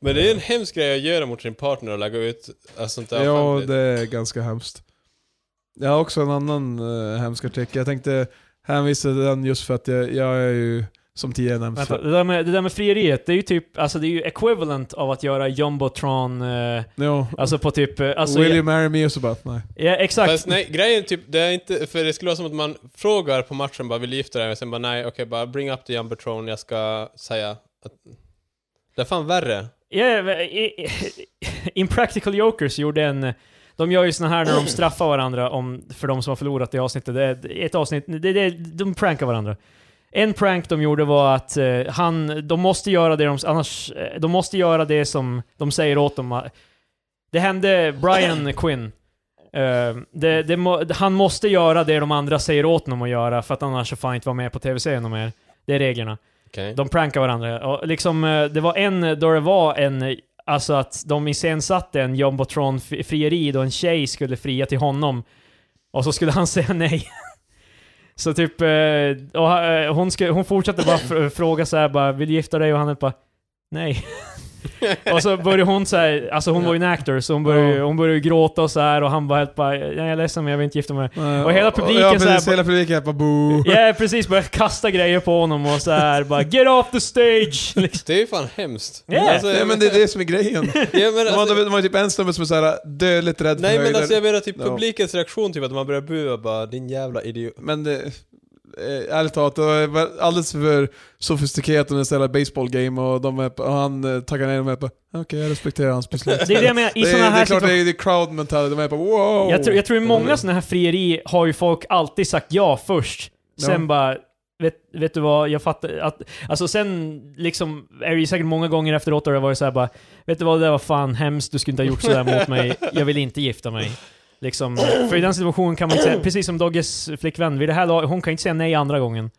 S3: Men det är en hemsk grej att göra mot sin partner och lägga ut alltså, sånt där
S2: ja,
S3: offentligt.
S2: det är ganska hemskt. Jag har också en annan eh, hemsk artikel. Jag tänkte hänvisa till den just för att jag, jag är ju, som tidigare nämnt,
S1: Vänta, det där, med, det där med frieriet, det är ju typ, alltså det är ju equivalent av att göra jumbotron, eh,
S2: ja,
S1: alltså på typ, eh, alltså...
S2: Will
S1: Ja,
S2: you marry me? Och så bara, nej.
S1: ja, exakt.
S3: Fast nej, grejen är typ, det är inte, för det skulle vara som att man frågar på matchen bara vill du gifta dig? Och sen bara nej, okej bara bring up the jumbotron, jag ska säga att... Det är fan värre.
S1: Ja, men, i- i- Impractical Jokers gjorde en... De gör ju såna här när de straffar varandra om, för de som har förlorat i avsnittet. Det är ett avsnitt, det, det, de prankar varandra. En prank de gjorde var att eh, han, de måste göra det de, annars, eh, de måste göra det som de säger åt dem. Det hände Brian Quinn. Eh, det, det, må- han måste göra det de andra säger åt honom att göra för att annars så får han inte vara med på tv-serien mer. Det är reglerna.
S3: Okej.
S1: De prankar varandra. Och liksom, eh, det var en då det var en, eh, alltså att de iscensatte en Jumbotron-frieri då en tjej skulle fria till honom. Och så skulle han säga nej. Så typ, eh, och eh, hon, skulle, hon fortsatte bara fr- fråga så här, bara vill du gifta dig? Och han bara nej. och så började hon så här, alltså hon var ju en actor så hon började, hon började gråta och så här och han bara helt bara, "Nej, jag är ledsen men jag vill inte gifta mig.
S2: Eh,
S1: Och hela publiken
S2: ja,
S1: så här
S2: precis,
S1: bara-
S2: hela publiken bara boo.
S1: Ja precis, började kasta grejer på honom och så här bara get off the stage! Liksom.
S3: Alltså, Det är ju fan hemskt. Alltså,
S1: Ja.
S2: Nej Alltså, men det är det som är grejen.
S3: ja, men
S2: De
S3: alltså-
S2: har, de har typ en snubbe som är såhär dödligt rädd för
S3: Nej men
S2: höjder.
S3: alltså jag menar typ
S2: Ja.
S3: publikens reaktion, typ att man börjar bua bara din jävla idiot.
S2: Men det, eh, ärligt talat, det var alldeles för sofistikerat om det är baseballgame och, de är, på- och han eh, taggar ner dem och är på okej jag respekterar hans beslut.
S1: Det är det jag menar, i
S2: det,
S1: sådana
S2: är, det
S1: här
S2: är klart det
S1: situationer.
S2: är, det är crowd mentality, de är på wow!
S1: Jag tror, jag tror i många sådana här frieri har ju folk alltid sagt ja först. Sen
S2: Ja.
S1: bara, vet, vet du vad, jag fattar att... Alltså sen liksom, är det ju säkert många gånger efteråt där det har varit såhär bara, vet du vad, det där var fan hemskt, du skulle inte ha gjort sådär mot mig, jag vill inte gifta mig. Liksom, för i den situationen kan man inte säga, precis som Dogges flickvän, vid det här laget, hon kan inte säga nej andra gången.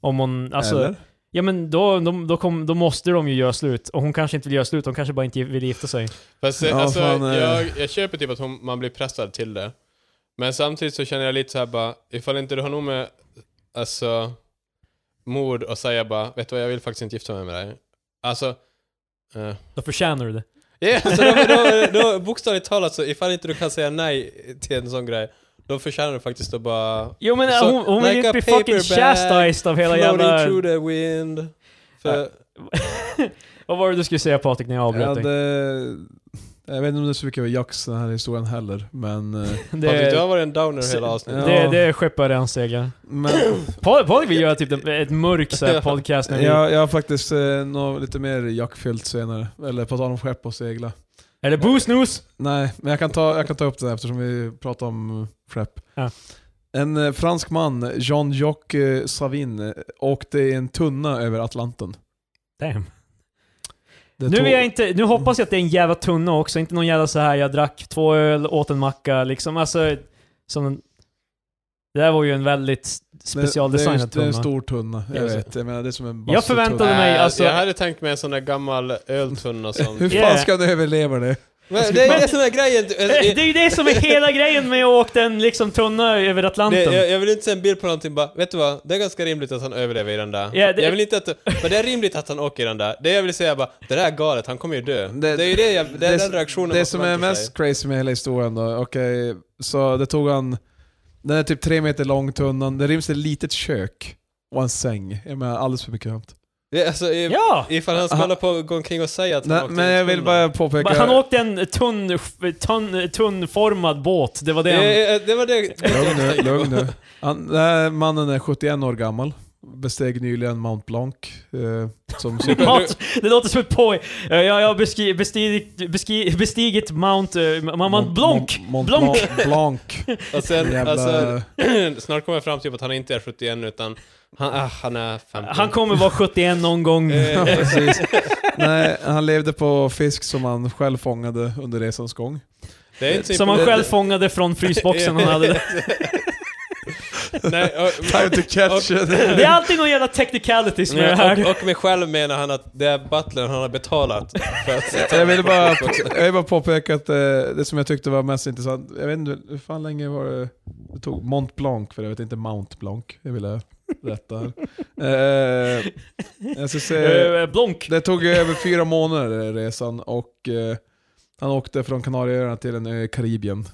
S1: Om hon, alltså,
S2: Eller?
S1: Ja men då, de, då, kom, då måste de ju göra slut, och hon kanske inte vill göra slut, hon kanske bara inte vill gifta sig.
S3: Fast eh,
S2: Ja,
S3: alltså,
S2: fan, eh.
S3: jag, jag köper typ att hon, man blir pressad till det. Men samtidigt så känner jag lite så här bara, ifall inte du har nog med alltså, mod och säga bara, vet du vad jag vill faktiskt inte gifta mig med dig. Alltså, eh,
S1: Då förtjänar du det.
S3: Ja, så då, då, då, bokstavligt talat så ifall inte du kan säga nej till en sån grej, då förtjänar du faktiskt att bara...
S1: Jo men
S3: Så,
S1: hon, hon vill
S3: like
S1: inte
S3: a
S1: bli fucking
S3: paper bag
S1: chastised av hela
S3: floating
S1: jävla...
S3: through the wind. För,
S1: Vad var det du skulle säga Patrik när jag
S2: Ja,
S1: avbröt dig?
S2: det, jag vet inte om det är så mycket var jax den här historien heller, men... eh,
S1: Det,
S3: Patrik, du
S1: det,
S3: har varit en downer hela
S1: Ja.
S3: avsnittet.
S1: det, skeppar redan seglar.
S2: men
S1: Pa- Patrik vill göra typ en- ett mörk så här podcast när vi...
S2: jag, jag har faktiskt eh, något lite mer jackfyllt senare, eller på tal om skepp och segla.
S1: Är det booze news?
S2: Nej, men jag kan ta, jag kan ta upp det här eftersom vi pratar om eh, Frepp.
S1: Ja.
S2: En eh, fransk man, Jean-Jacques eh, Savin, eh, åkte i en tunna över Atlanten.
S1: Damn.
S2: Det
S1: Nu,
S2: tog-
S1: är jag inte, nu hoppas jag att det är en jävla tunna också, inte någon jävla så här jag drack två öl, åt en macka liksom. Alltså, som en, det där var ju en väldigt
S2: det- det är en-
S1: specialdesignad
S2: Det är en
S1: tunna.
S2: stor tunna, jag
S3: Jag
S2: vet. Jag menar, det är som en
S1: Jag
S2: bastutunna.
S1: förväntade mig-
S3: Äh,
S1: alltså-
S3: Jag hade tänkt mig en sån där gammal öltunna som...
S2: Hur fan
S1: Yeah.
S2: ska du överleva det?
S3: Men det är det som är grejen! du-
S1: Eh, Det
S3: alltså,
S1: är ju det som är hela grejen med att åka en liksom tunna över
S3: Det,
S1: Atlanten.
S3: jag, jag vill inte se en bild på någonting bara, vet du vad? Det är ganska rimligt att han överlever i den där.
S1: Ja, det-
S3: Jag vill inte att... Men det är rimligt att han åker i den där. Det jag vill säga är bara, det där är galet, han kommer ju dö. Det, är ju det jag, det är den reaktionen
S2: Det
S3: man
S2: som är
S3: förväntar
S2: mest
S3: sig.
S2: crazy med hela historien då, okej, så det tog han... Den är typ tre meter lång, tunnan. Det ryms ett litet kök och en säng. Jag menar, alldeles för mycket hömt.
S3: Ja, alltså, i-
S1: Ja!
S3: Ifall han ska
S2: Aha.
S3: hålla på och gå omkring och säga att han
S2: Nej,
S3: åkte
S2: Men
S3: i
S2: jag vill
S3: tunneln.
S2: bara påpeka...
S1: Han åkte en tunn, tunn, tunnformad båt, det var det
S3: Ja,
S1: han...
S3: ja, ja, det var det.
S2: Lugn nu, lugn nu. Han, den här mannen är 71 år gammal. Besteg nyligen Mount Blanc. Eh, som
S1: Mat, det låter som ett poj. Eh, Jag, jag har beskri, bestigit, beskri, bestigit Mount, eh, Mount Blanc.
S2: Mont, Mont
S1: Blanc.
S2: Blanc. Blanc.
S3: Och sen,
S2: Jävla,
S3: alltså, snart kommer jag fram till typ att han inte är 71 utan han, ah, han är 50.
S1: Han kommer vara 71 någon gång.
S3: Eh,
S2: precis. Nej, han levde på fisk som han själv fångade under resans gång.
S3: det är inte så
S1: Som han
S3: imponerande.
S1: själv fångade från frysboxen han hade. där.
S3: Nej, och,
S2: Time to catch it.
S1: Det är alltid någon jävla technicalities med det här.
S3: och, och med själv menar han att det är butlern han har betalat för att
S2: Jag vill, bara, jag vill bara påpeka att eh, det som jag tyckte var mest intressant, jag vet inte hur fan länge var det det tog? Mont Blanc för jag vet inte Mount Blanc. Jag ville rätta här. Eh, jag ska säga,
S1: Eh, Blanc.
S2: Det tog ju över fyra månader resan och eh, han åkte från Kanarieöarna till en ö i Karibien.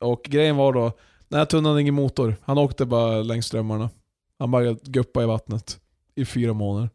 S2: Och grejen var då, den här tunnan hade ingen motor. Han åkte bara längs strömmarna. Han bara guppade i vattnet i fyra månader.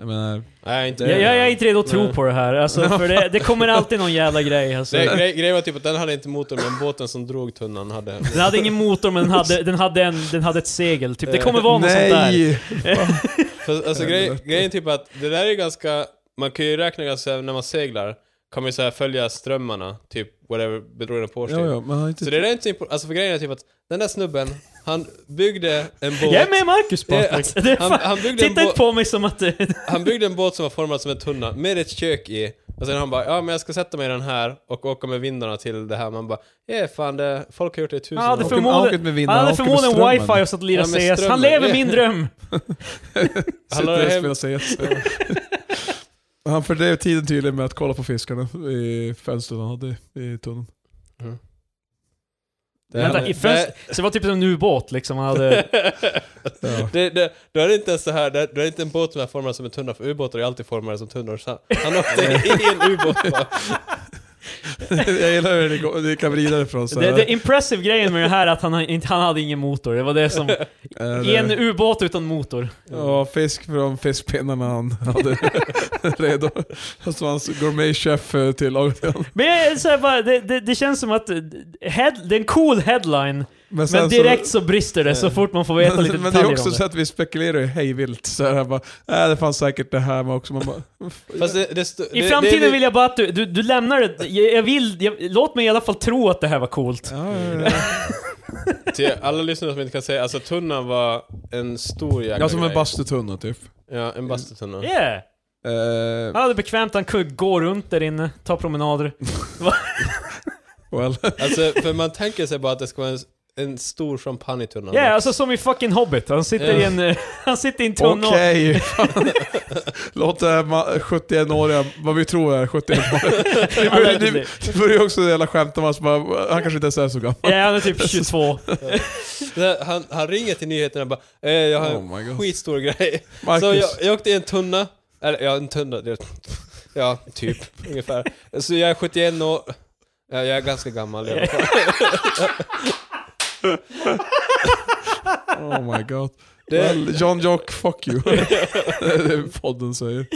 S2: Jag menar,
S3: Nej, inte
S1: Jag, jag är inte redo att tro
S3: Nej.
S1: på det här, alltså, för det, det kommer alltid någon jävla grej. Alltså.
S3: Det, grej, grejen var typ att den hade inte motor men båten som drog tunnan hade.
S1: Den hade ingen motor men den hade, den hade, en, den hade ett segel, typ. Det kommer vara något sånt där.
S2: nej!
S3: För, alltså grej, grejen är typ att det där är ganska, man kan ju räkna ganska när man seglar, kan man ju så här följa strömmarna, typ whatever, bedrogna
S2: Ja,
S3: påstår.
S2: ja, men han är inte...
S3: Så det där är inte så impo- Alltså för grejen är typ att den där snubben, han byggde en båt.
S1: Jag är med Marcus
S3: Det är-
S1: Patrik! Det är
S3: han,
S1: fan-
S3: han, byggde en
S1: Titta inte
S3: båt,
S1: på mig som att... eh, det-
S3: han byggde en båt som var formad som en tunna med ett kök i. Och sen han bara, ja men jag ska sätta mig i den här och åka med vindarna till det här. Man bara, ja fan det, folk har gjort det i tusen
S1: Han hade
S3: år.
S2: för- åker
S1: förmodligen,
S2: med vinden,
S1: han hade
S2: åker med
S1: förmodligen
S2: strömmen.
S1: wifi och satt och
S3: Ja,
S1: lirade
S3: med
S1: CS. Han
S3: strömmen.
S1: lever min dröm!
S2: Sitter
S3: Alla
S2: och
S3: hem-
S2: spelar CS. Han fördrev tiden tydligen med att kolla på fiskarna i fönstret han hade i tunneln.
S3: Mm.
S2: Det
S3: Vänta,
S2: hade-
S1: I fönstret- Så det var typ som en ubåt liksom, han hade...
S2: Ja.
S3: det, det, då är det inte ens så här, det, då är det inte en båt som är formad som en tunna, för ubåtar är alltid formade som tunnor. Så han- han åkte i en ubåt bara.
S2: Jag gillar hur det går- det kan vrida det ifrån. Så
S1: Det, det impressive grejen med det här är att han, har- inte, han hade ingen motor, det var det som...
S2: här,
S1: I en
S2: eh,
S1: ubåt utan motor.
S2: Ja, fisk från fiskpinnarna han hade redo. Och så hans gourmetchef eh, tillagade honom.
S1: Men jag är så här bara, det, det, det känns som att eh, head, det är en cool headline, men
S2: sen så-
S1: direkt så brister det så fort man får veta
S2: men,
S1: lite
S2: men det är
S1: detaljer
S2: också
S1: om
S2: så
S1: det.
S2: att vi spekulerar ju hejvilt. Så här, bara, äh, det fanns säkert det här med också. Man bara,
S3: Fast det, det, stå-
S1: I
S3: det,
S1: framtiden
S3: det,
S1: vill jag bara att du, du, du lämnar det, jag, jag vill, jag, låt mig i alla fall tro att det här var coolt.
S2: ja, ja, ja.
S3: Till alla lyssnare som inte kan säga, alltså tunnan var en stor jäkla
S2: ja, som en
S3: grej.
S2: bastutunna typ.
S3: Ja, en bastutunna.
S1: Yeah!
S2: Eh,
S1: Han hade bekvämt, han kunde gå runt där inne, ta promenader.
S2: well.
S3: Alltså, för man tänker sig bara att det ska vara en, en stor champagnetunna.
S1: Ja, yeah, alltså som i fucking Hobbit. Han sitter i en, eh, han sitter i en tunna och...
S2: Okej. Låt det här ma- 71-åriga, vad vi tror är 71-åriga. Det börjar-
S1: Allegedly.
S2: det- Det börjar ju också jävla skämt om hans, bara, han kanske inte ens är så gammal.
S1: Ja, han är typ 22.
S3: Så Han, han ringer till nyheterna och bara eh, jag har en
S2: Oh my god.
S3: skitstor grej.
S2: Marcus,
S3: Så jag, jag åkte i en tunna, eller ja, en tunna, det, ja, typ, ungefär. Så jag är 71 år, ja, jag är ganska gammal i alla fall.
S2: oh my god.
S3: Det-
S2: Well, John Jock, fuck you. det är det podden säger.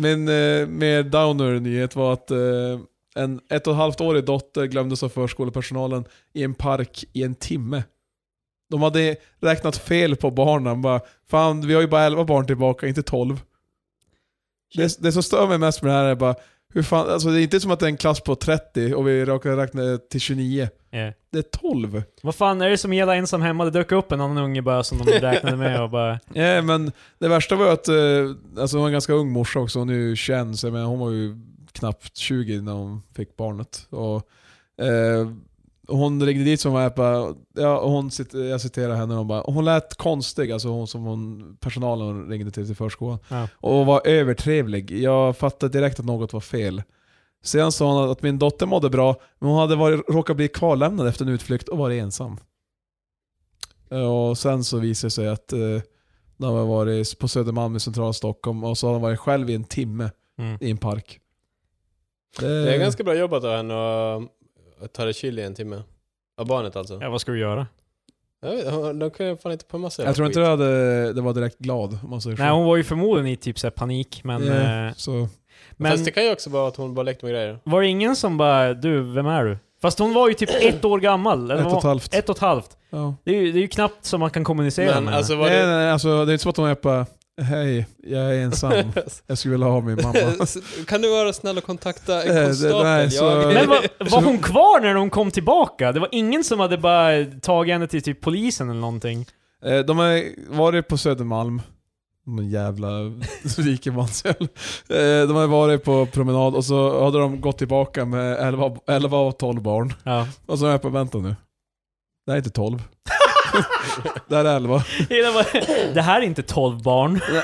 S2: Min eh, mer downer nyhet var att eh, en ett och ett halvt årig dotter glömdes av förskolepersonalen i en park i en timme. De hade räknat fel på barnen. Bara, Fan, vi har ju bara 11 barn tillbaka, inte 12. Det, det som stör mig mest med det här är bara, hur fan, alltså det är inte som att det är en klass på 30 och vi råkar räkna till 29.
S1: Ja.
S2: Det är 12.
S1: Vad fan är det som gäller ensam hemma? Det dök upp en annan unge bara som de räknade med och bara...
S2: Ja, men det värsta var ju att eh, alltså hon var en ganska ung morsa också, hon är ju känd, så jag menar, hon var ju knappt 20 när hon fick barnet. Och, eh, hon ringde dit som var jag bara, ja, och hon, cit- jag citerar henne, hon, bara, hon lät konstig, alltså hon som hon, personalen hon ringde till till förskolan.
S1: Ja.
S2: Och var övertrevlig. Jag fattade direkt att något var fel. Sen sa hon att min dotter mådde bra, men hon hade varit, råkat bli kvarlämnad efter en utflykt och varit ensam. Och sen så visade det sig att eh, när man varit på Södermalm i centrala Stockholm och så har han varit själv i en timme
S1: Mm.
S2: i en park.
S3: Det är ganska bra jobbat av henne att- att ta det chill i en timme. Av barnet alltså.
S1: Ja, vad ska du göra?
S3: Jag vet, de kan ju fan inte pumma sig.
S2: jag tror inte det, hade, det var direkt glad om man säger
S1: Nej,
S2: så.
S1: hon var ju förmodligen i typ så här panik, men...
S2: Ja,
S1: eh,
S2: så.
S1: Men
S3: Fast det kan ju också vara att hon bara lekte med grejer.
S1: var det ingen som bara, du, vem är du? Fast hon var ju typ ett år gammal. Eller
S2: Ett och ett
S1: var,
S2: halvt.
S1: ett och ett halvt.
S2: Ja.
S1: Det är ju, det är ju knappt som man kan kommunicera
S3: Men
S1: med
S3: alltså var
S2: Nej, nej,
S3: det...
S2: nej, alltså, det är inte så att hon är bara Hej, jag är ensam. Jag skulle vilja ha min mamma.
S3: Kan du vara snäll och kontakta
S2: Eh,
S3: en
S2: det-
S3: konstapel?
S2: nej, så-
S3: Jag-
S1: Men var, var hon kvar när hon kom tillbaka? Det var ingen som hade bara tagit henne till typ polisen eller någonting?
S2: Eh, De har varit på Södermalm. De är jävla rikemansöl. Eh, De har varit på promenad och så hade de gått tillbaka med 11, 11 och 12 barn.
S1: Ja.
S2: Och så är jag på vänta nu. Det här är inte 12. det här är 11.
S1: Det här är inte 12 barn.
S2: Eh,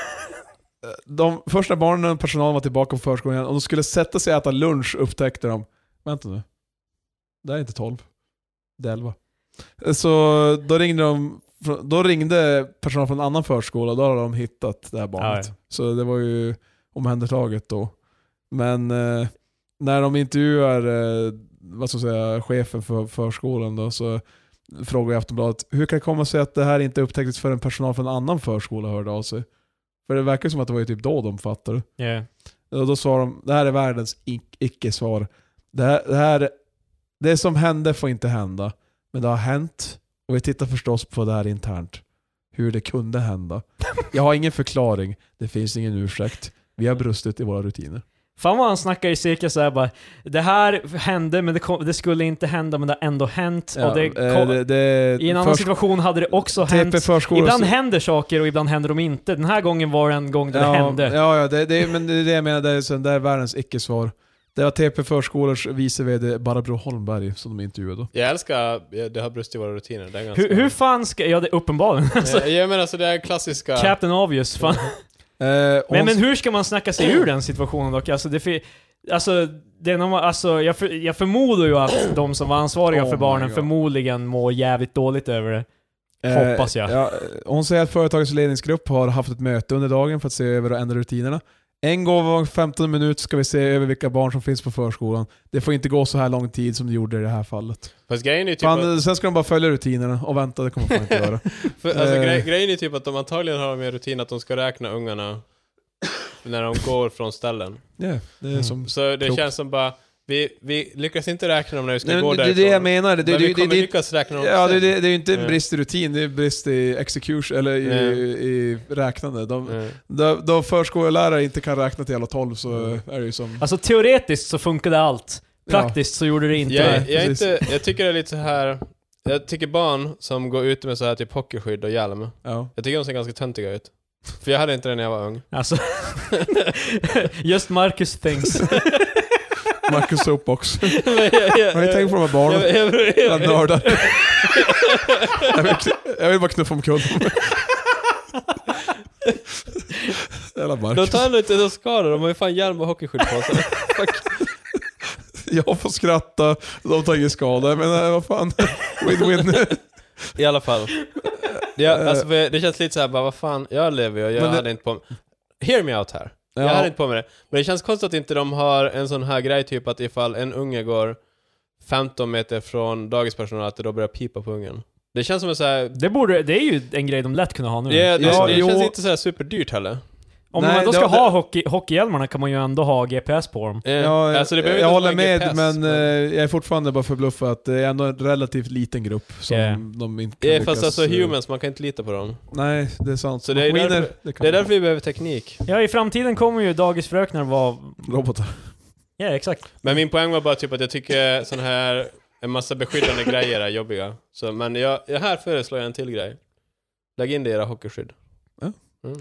S2: De första barnen och personalen var tillbaka på förskolan igen och de skulle sätta sig och äta lunch upptäckte de, vänta nu. Det här är inte 12. Det är 11. Så då ringde de då ringde personal från en annan förskola och då hade de hittat det här barnet.
S1: Ja, ja.
S2: Så det var ju omhändertaget då. Men eh, när de intervjuar eh, vad ska jag säga, chefen för förskolan då, så frågar jag Aftonbladet hur kan det komma sig att det här inte upptäcktes förrän personal från en annan förskola hörde av sig? För det verkar som att det var ju typ då de fattade.
S1: Yeah.
S2: Och då svarar de, det här är världens ic- icke-svar. Det, här, det, här, det som hände får inte hända. Men det har hänt och vi tittar förstås på det här internt. Hur det kunde hända. Jag har ingen förklaring. Det finns ingen ursäkt. Vi har brustit i våra rutiner.
S1: Fan vad han snackar i cirkel såhär bara, det här hände men det, kom, det skulle inte hända men det har ändå hänt. och det,
S2: eh,
S1: kom,
S2: det, det,
S1: I en annan situation hade det också hänt.
S2: TP förskola...
S1: Ibland händer saker och ibland händer de inte. Den här gången var det en gång där
S2: ja,
S1: det hände.
S2: Ja, ja det, det, men det är det jag menar, det är, så- det är världens icke-svar. Det var TP Förskolors vice VD Barbro Holmberg som de intervjuade.
S3: Jag älskar, ja, det har brustit i våra rutiner. Det är ganska...
S1: Hur, hur fan ska... Ja, det är uppenbarligen. Alltså,
S3: Jag, jag menar alltså det är klassiska...
S1: Captain Obvious. Fan.
S2: Eh,
S1: Men,
S2: hon-
S1: men hur ska man snacka sig ur den situationen dock? Alltså, det, fi- alltså, det är någon, alltså jag, för, jag förmodar ju att de som var ansvariga
S2: Oh
S1: för
S2: my
S1: barnen
S2: God.
S1: förmodligen mår jävligt dåligt över det.
S2: Eh,
S1: Hoppas jag.
S2: Ja, hon säger att företagets ledningsgrupp har haft ett möte under dagen för att se över och ändra rutinerna. En gång var 15 minut ska vi se över vilka barn som finns på förskolan. Det får inte gå så här lång tid som det gjorde i det här fallet.
S3: Fast grejen är ju typ att,
S2: Fan, sen ska de bara följa rutinerna och vänta, det kommer man fan inte göra.
S3: för, alltså,
S2: eh.
S3: grej, grejen är typ att de antagligen har med rutin att de ska räkna ungarna när de går från ställen.
S2: Ja, det är
S1: Mm.
S2: som...
S3: Så det
S2: Klokt.
S3: känns som bara, vi, vi lyckas inte räkna dem när vi ska
S2: Nej, men
S3: gå
S2: det, det är
S3: därifrån.
S2: det jag menar. Det, det,
S3: men vi
S2: det, det,
S3: kommer
S2: det,
S3: lyckas räkna dem
S2: ja, det,
S3: sen.
S2: det, det är ju inte en
S3: Ja.
S2: brist i rutin, det är brist i execution, eller i,
S3: Ja.
S2: i räknande. De,
S3: Mm.
S2: de, de förskollärare inte kan räkna till alla 12 så är det ju som...
S1: Alltså teoretiskt så funkade allt.
S2: Ja.
S1: Praktiskt så gjorde det inte
S3: Jag,
S1: det.
S2: Nej,
S3: jag, är
S2: precis.
S3: inte, jag tycker det är lite så här. Jag tycker barn som går ut med så här typ hockeyskydd och hjälm,
S2: Ja.
S3: jag tycker de ser ganska töntiga ut. För jag hade inte det när jag var ung.
S1: Alltså, just Marcus things.
S2: Marcus Soapbox.
S3: Men jag, jag, jag,
S2: Har ni tänkt på de här barnen?
S3: jag, jag, jag,
S2: Jävla nördar. jag, vill, jag vill bara knuffa omkull dem. Jävla
S3: De
S2: Marcus.
S3: tar ändå inte de skador, de har ju fan hjälm och hockeyskydd på sig.
S2: Jag får skratta, de tar ingen skada. Men nej, vad fan. Win-win.
S3: I alla fall. Ja, alltså, för det känns lite så här, bara vad fan, jag lever ju och jag
S2: Men det-
S3: hade inte på mig... Hear me out här. Jag hade inte på mig det. Men det känns konstigt att inte de har en sån här grej, typ att ifall en unge går 15 meter från dagispersonal, att det då börjar pipa på ungen. Det känns som en sån här...
S1: Det, borde, det är ju en grej de lätt kunde ha nu.
S3: Det, det,
S2: Mm. Ja,
S3: det
S2: jo.
S3: känns inte så här superdyrt heller.
S1: Om
S2: Nej,
S1: man då
S2: det-
S1: ska
S2: det-
S1: ha hockey, hockeyhjälmarna kan man ju ändå ha GPS på dem.
S3: Eh,
S2: Ja,
S3: alltså, det behöver
S2: jag
S3: inte
S2: håller
S3: vara
S2: med,
S3: GPS,
S2: men eh, jag är fortfarande bara förbluffad att det är ändå en relativt liten grupp som
S1: Ja.
S2: de inte
S3: Eh, fast alltså
S2: eh,
S3: humans, man kan inte lita på dem.
S2: Nej, det är sant.
S3: Så det är
S2: Maskiner,
S3: därför-
S2: det kan
S3: Det är därför vi behöver teknik.
S1: Ja, i framtiden kommer ju dagisfröknar vara...
S2: Robotar.
S1: Ja, exakt.
S3: Men min poäng var bara typ att jag tycker sån här en massa beskyddande grejer är jobbiga. Så, men jag, jag här föreslår jag en till grej. Lägg in det i era hockeyskydd.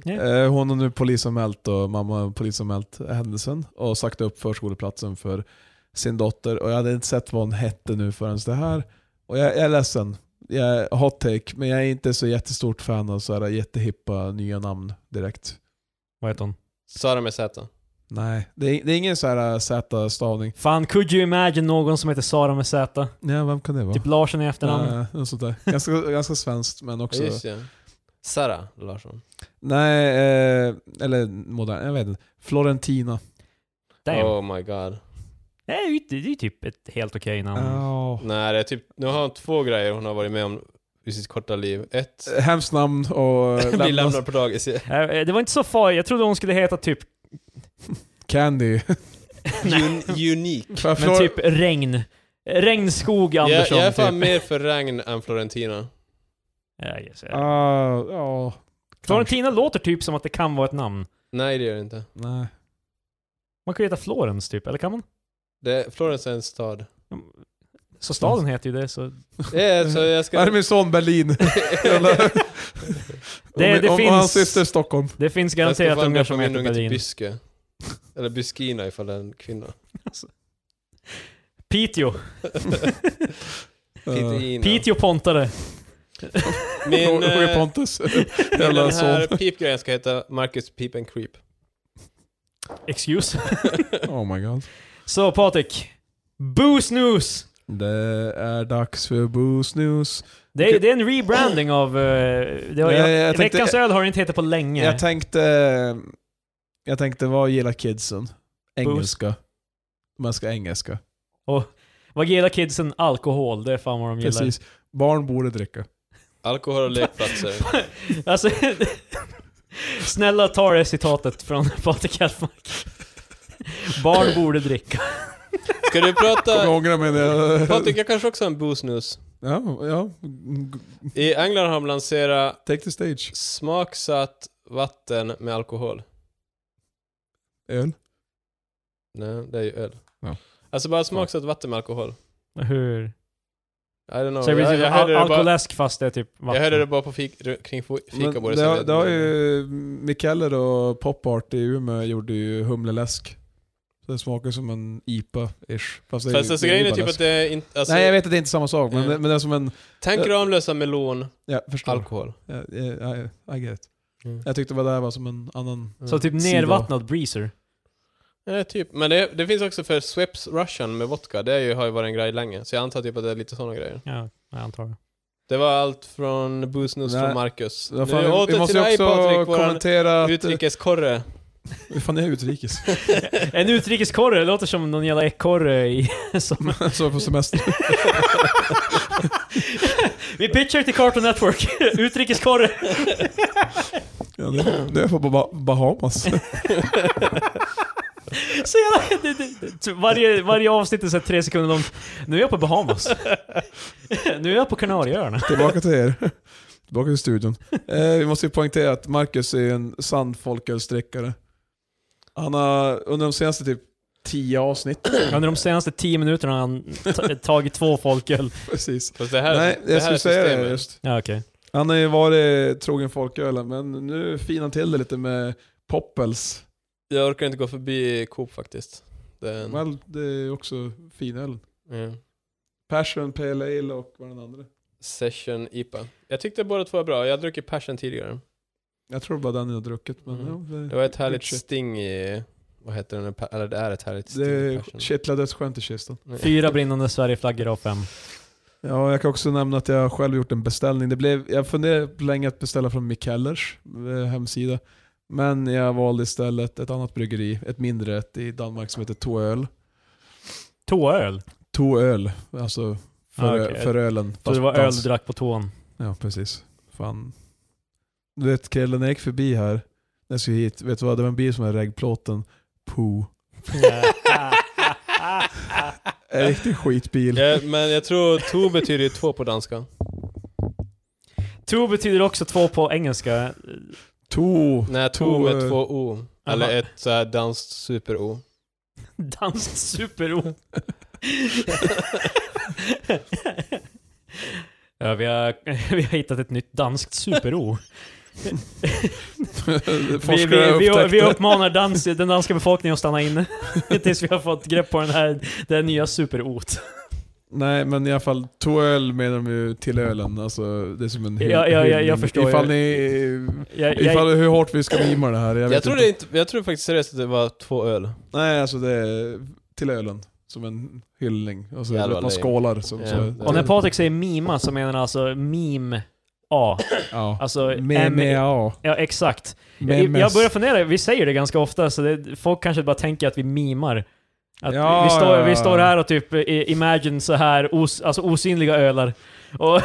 S3: Mm.
S2: Eh, Hon har nu polisanmält och mamma har polisanmält händelsen och sagt upp förskoleplatsen för sin dotter. Och jag hade inte sett vad hon hette nu förrän det här. Och jag, jag är ledsen. Jag är hot take, men jag är inte så jättestort fan av så här jättehippa nya namn direkt.
S1: Vad heter hon?
S3: Sara med Z.
S2: Nej, det är, det är ingen så här eh, Z-stavning.
S1: Fan, could you imagine någon som heter Sara med Z?
S2: Nej, vem kan det vara?
S1: Typ Larsson i efternamn.
S2: Nej, något sånt där. Ganska, ganska svenskt, men också...
S3: Ja, just det. Sara Larsson.
S2: Nej, eh, eller modern, jag vet inte. Florentina.
S1: Damn.
S3: Oh my god.
S1: Det är ju det är ju typ ett helt okej namn.
S2: Ja.
S3: Nej, det är typ, nu har hon två grejer hon har varit med om i sitt korta liv. Ett,
S2: Hemskt namn och...
S3: bli
S2: lämnas-
S3: lämnad på dagis.
S1: Eh, Det var inte så farligt. Jag trodde hon skulle heta typ...
S2: Candy.
S3: Un, unik.
S2: För
S1: Men
S2: Flor-
S1: typ regn. Regnskog
S3: Jag,
S1: Andersson.
S3: jag är fan
S1: typ.
S3: mer för regn än Florentina.
S1: Ja, yes, ja.
S2: Ah, ja.
S1: Florentina låter typ som att det kan vara ett namn.
S3: Nej, det gör det inte.
S2: Nej.
S1: Man kan ju heta Florens typ, eller kan man?
S3: Det, Florens är en stad.
S1: Så staden
S2: Mm.
S1: heter ju det, så...
S3: Ja, så jag
S2: Är det
S3: ska...
S2: min son Berlin? Eller-
S1: Det-
S2: om,
S1: det
S2: om
S1: finns-
S2: hans syster Stockholm.
S1: Det finns
S3: Jag ska
S1: garanterat
S3: fan
S1: ungar
S3: döpa
S1: som
S3: min
S1: heter
S3: unge till
S1: Berlin.
S3: Byske. Eller Byskina ifall det är en kvinna.
S1: Piteå.
S2: Eh,
S3: Pitina.
S1: Piteå Pontare.
S2: Min,
S3: Min,
S2: Roger
S3: eh,
S2: Pontus.
S3: min
S2: Jävla
S3: den här
S2: son.
S3: pipgrejen ska heta Marcus Peep and Creep.
S1: Excuse.
S2: Oh my god.
S1: Så Patrik. Boo Snooze!
S2: Det är dags för Boost News.
S1: Det är, det är en rebranding av... eh, det har,
S2: Ja,
S1: jag,
S2: jag tänkte-
S1: veckans öl har inte hetat på länge.
S2: Jag tänkte... Jag tänkte, vad gillar kidsen? Engelska. Man ska engelska.
S1: Vad gillar kidsen? Alkohol. Det är fan vad de gillar.
S2: Precis. Barn borde dricka.
S3: Alkohol och lekplatser.
S1: Alltså, snälla ta det citatet från Patrik Hellmark. Barn borde dricka.
S3: Ska du
S2: Jag
S3: prata...
S2: ångrar mig när jag...
S3: Patrik, jag kanske också har en boosnus.
S2: Ja, ja. G-
S3: I England har de lanserat
S2: Take the stage.
S3: smaksatt vatten med alkohol.
S2: Öl.
S3: Nej, det är ju öl.
S4: Ja.
S3: Alltså bara smaksatt vatten med alkohol.
S1: Hur?
S3: I don't know.
S1: Så det blir
S3: jag,
S1: typ
S3: jag, hörde det
S1: al-
S3: bara,
S1: alkoläsk fast det är typ vatten.
S3: jag hörde det bara på fik, kring fo-
S2: Men
S3: fikabordet.
S2: det,
S3: så
S2: har,
S3: jag-
S2: det har ju Mikaeler och Popart i Umeå gjorde ju humleläsk. Så det smakar som en IPA-ish. Fast, det är
S3: Fast
S2: ju-
S3: alltså,
S2: det är ju
S3: grejen är
S2: bara
S3: typ
S2: läsk.
S3: att det är inte... Alltså,
S2: Nej jag vet att det är inte samma sak, men,
S3: Ja.
S2: det, men det är som en...
S3: Tänk Ramlösa melon,
S2: Ja, förstår.
S3: alkohol.
S2: Ja, ja, ja, I get it.
S3: Mm.
S2: Jag tyckte bara det här var som en annan...
S1: Så typ
S2: Sida.
S1: nervattnad breezer.
S3: Ja, typ. Men det, det finns också för Sweps Russian med vodka. Det är ju, har ju varit en grej länge. Så jag antar typ att det är lite sådana grejer.
S1: Ja, jag antar det.
S3: Det var allt från Boosnus
S2: Nej.
S3: från Marcus.
S2: Ja,
S3: Nu
S2: fan, vi,
S3: åter
S2: vi
S3: till
S2: måste ju
S3: dig
S2: också
S3: Patrik, våran
S2: kommentera... att-
S3: utrikeskorre.
S2: Hur fan är utrikes?
S1: En utrikeskorre, det låter som någon jävla ekorre i... Som,
S2: så på semester.
S1: vi pitchar till Cartoon Network. utrikeskorre.
S2: Ja, det, det är på Ba- Bahamas.
S1: Så jävla, det, det, det, varje, varje avsnitt är så här tre sekunder långt. Nu är jag på Bahamas. nu är jag på Kanarieöarna.
S2: Tillbaka till er. Tillbaka till studion. Eh, vi måste ju poängtera att Marcus är en sann folkölsdrickare. Han har under de senaste typ tio avsnitt,
S1: Under de senaste tio minuterna har han ta- tagit två folköl.
S2: precis.
S3: Fast det här,
S2: Nej,
S3: det
S2: jag
S3: här
S2: skulle säga det
S3: systemet.
S2: just.
S1: Ja, okej.
S2: Han har ju varit trogen folkölen, men nu finar han till det lite med poppels.
S3: Jag orkar inte gå förbi Coop faktiskt. Det är en,
S2: Well, det är också finölen.
S3: ja.
S2: Passion, Pale Ale och vad den andra.
S3: Session IPA. Jag tyckte båda två var bra. Jag har druckit Passion tidigare.
S2: Jag tror bara den jag har druckit, men
S3: Mm.
S2: ja,
S3: Det
S2: det,
S3: var ett härligt
S2: Shit.
S3: sting i... Vad heter den? Pa- Eller det är ett härligt sting i
S2: det
S3: Passion.
S2: kittlade ett skönt i kistan.
S3: Nej.
S1: Fyra brinnande Sverigeflaggor av fem.
S2: Ja, jag kan också nämna att jag själv gjort en beställning. Det blev, jag funderade på länge att beställa från Mikellers eh, hemsida. Men jag valde istället ett annat bryggeri, ett mindre ett i Danmark som heter Toöl.
S1: Toaöl.
S2: Toöl, alltså för,
S1: Ah, okej.
S2: för ölen.
S1: Så det
S2: fast
S1: var öl
S2: dans.
S1: du drack på tån.
S2: Ja, precis. Fan. Du vet Krille, när jag gick förbi här, när jag skulle hit, vet du vad? Det var en bil som hade reggplåten. Po. En riktig skitbil.
S3: Ja, Eh, men jag tror to betyder ju två på danska.
S1: Two betyder också två på engelska.
S2: To.
S3: Nej, to
S2: To,
S3: med
S2: eh,
S3: två o. Eller
S1: aha.
S3: ett så här danskt super-o.
S1: Danskt super Ja, vi har, vi har hittat ett nytt danskt super Vi, vi,
S2: Forskare
S1: vi, vi
S2: upptäckte.
S1: uppmanar dans, den danska befolkningen att stanna inne tills vi har fått grepp på den här, det här nya superot.
S2: Nej, men i alla fall, toöl menar de ju till ölen. Alltså, det är som en hyll-
S1: Ja, ja, ja, jag
S2: hyllning.
S1: förstår.
S2: Ifall
S1: Jag-
S2: ni...
S1: Jag, jag,
S2: Ifall hur hårt vi ska mima det här. Jag,
S3: Jag,
S2: vet
S3: tror
S2: inte.
S3: det inte, jag tror faktiskt seriöst att det var två öl.
S2: Nej, alltså det är till ölen. Som en hyllning. Och så
S3: Jävlar,
S2: vet man
S3: det är-
S2: skålar. Som,
S3: Ja.
S2: så,
S1: och när Patrik säger mima så menar han alltså meme A.
S2: ja.
S1: Alltså
S2: Med
S1: M-
S2: MEA.
S1: Ja, exakt.
S2: Med
S1: jag, jag
S2: mess.
S1: börjar fundera, vi säger det ganska ofta, så det, folk kanske bara tänker att vi mimar. Att
S2: Ja,
S1: vi, står,
S2: ja,
S1: vi
S2: ja.
S1: står här och typ eh, Imagine så här, os, alltså osynliga ölar. Och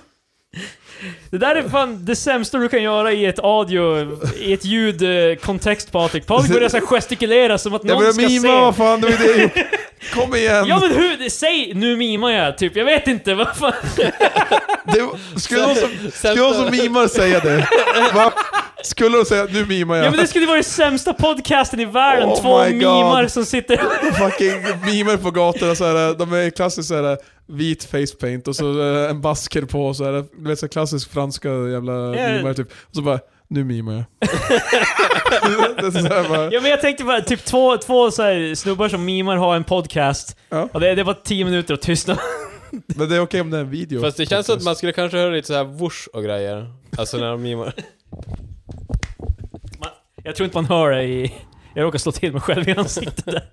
S1: det där är fan det sämsta du kan göra i ett audio, i ett ljudkontext Patrik. Patrik börjar så här gestikulera som att
S2: Jag
S1: någon ska
S2: börjar mima, vad
S1: se.
S2: fan. Det är det. Kom igen!
S1: Ja men hur, säg nu mimar jag, typ. Jag vet inte, vad fan.
S2: det, skulle, någon som, skulle någon som mimar säga det? Va? Skulle de säga nu mimar jag?
S1: Ja men det skulle vara den sämsta podcasten i världen,
S2: Oh
S1: två
S2: my God.
S1: mimar som sitter...
S2: fucking mimer på gatorna så här, de är klassiskt så här vit face paint och så eh, en basker på så här, du vet så här klassisk franska jävla
S1: Ja.
S2: mimare typ. Och så bara, nu mimar jag. det är så här bara,
S1: Ja men jag tänkte bara, typ två, två så här snubbar som mimar har en podcast.
S2: Ja.
S1: Och det, det var tio minuter och tystnad.
S2: men det är okej om det är en video.
S3: Fast det känns som att man skulle kanske höra lite så här whoosh och grejer. Alltså när de mimar.
S1: Jag tror inte man hör det i... Jag råkar slå till mig själv i ansiktet där.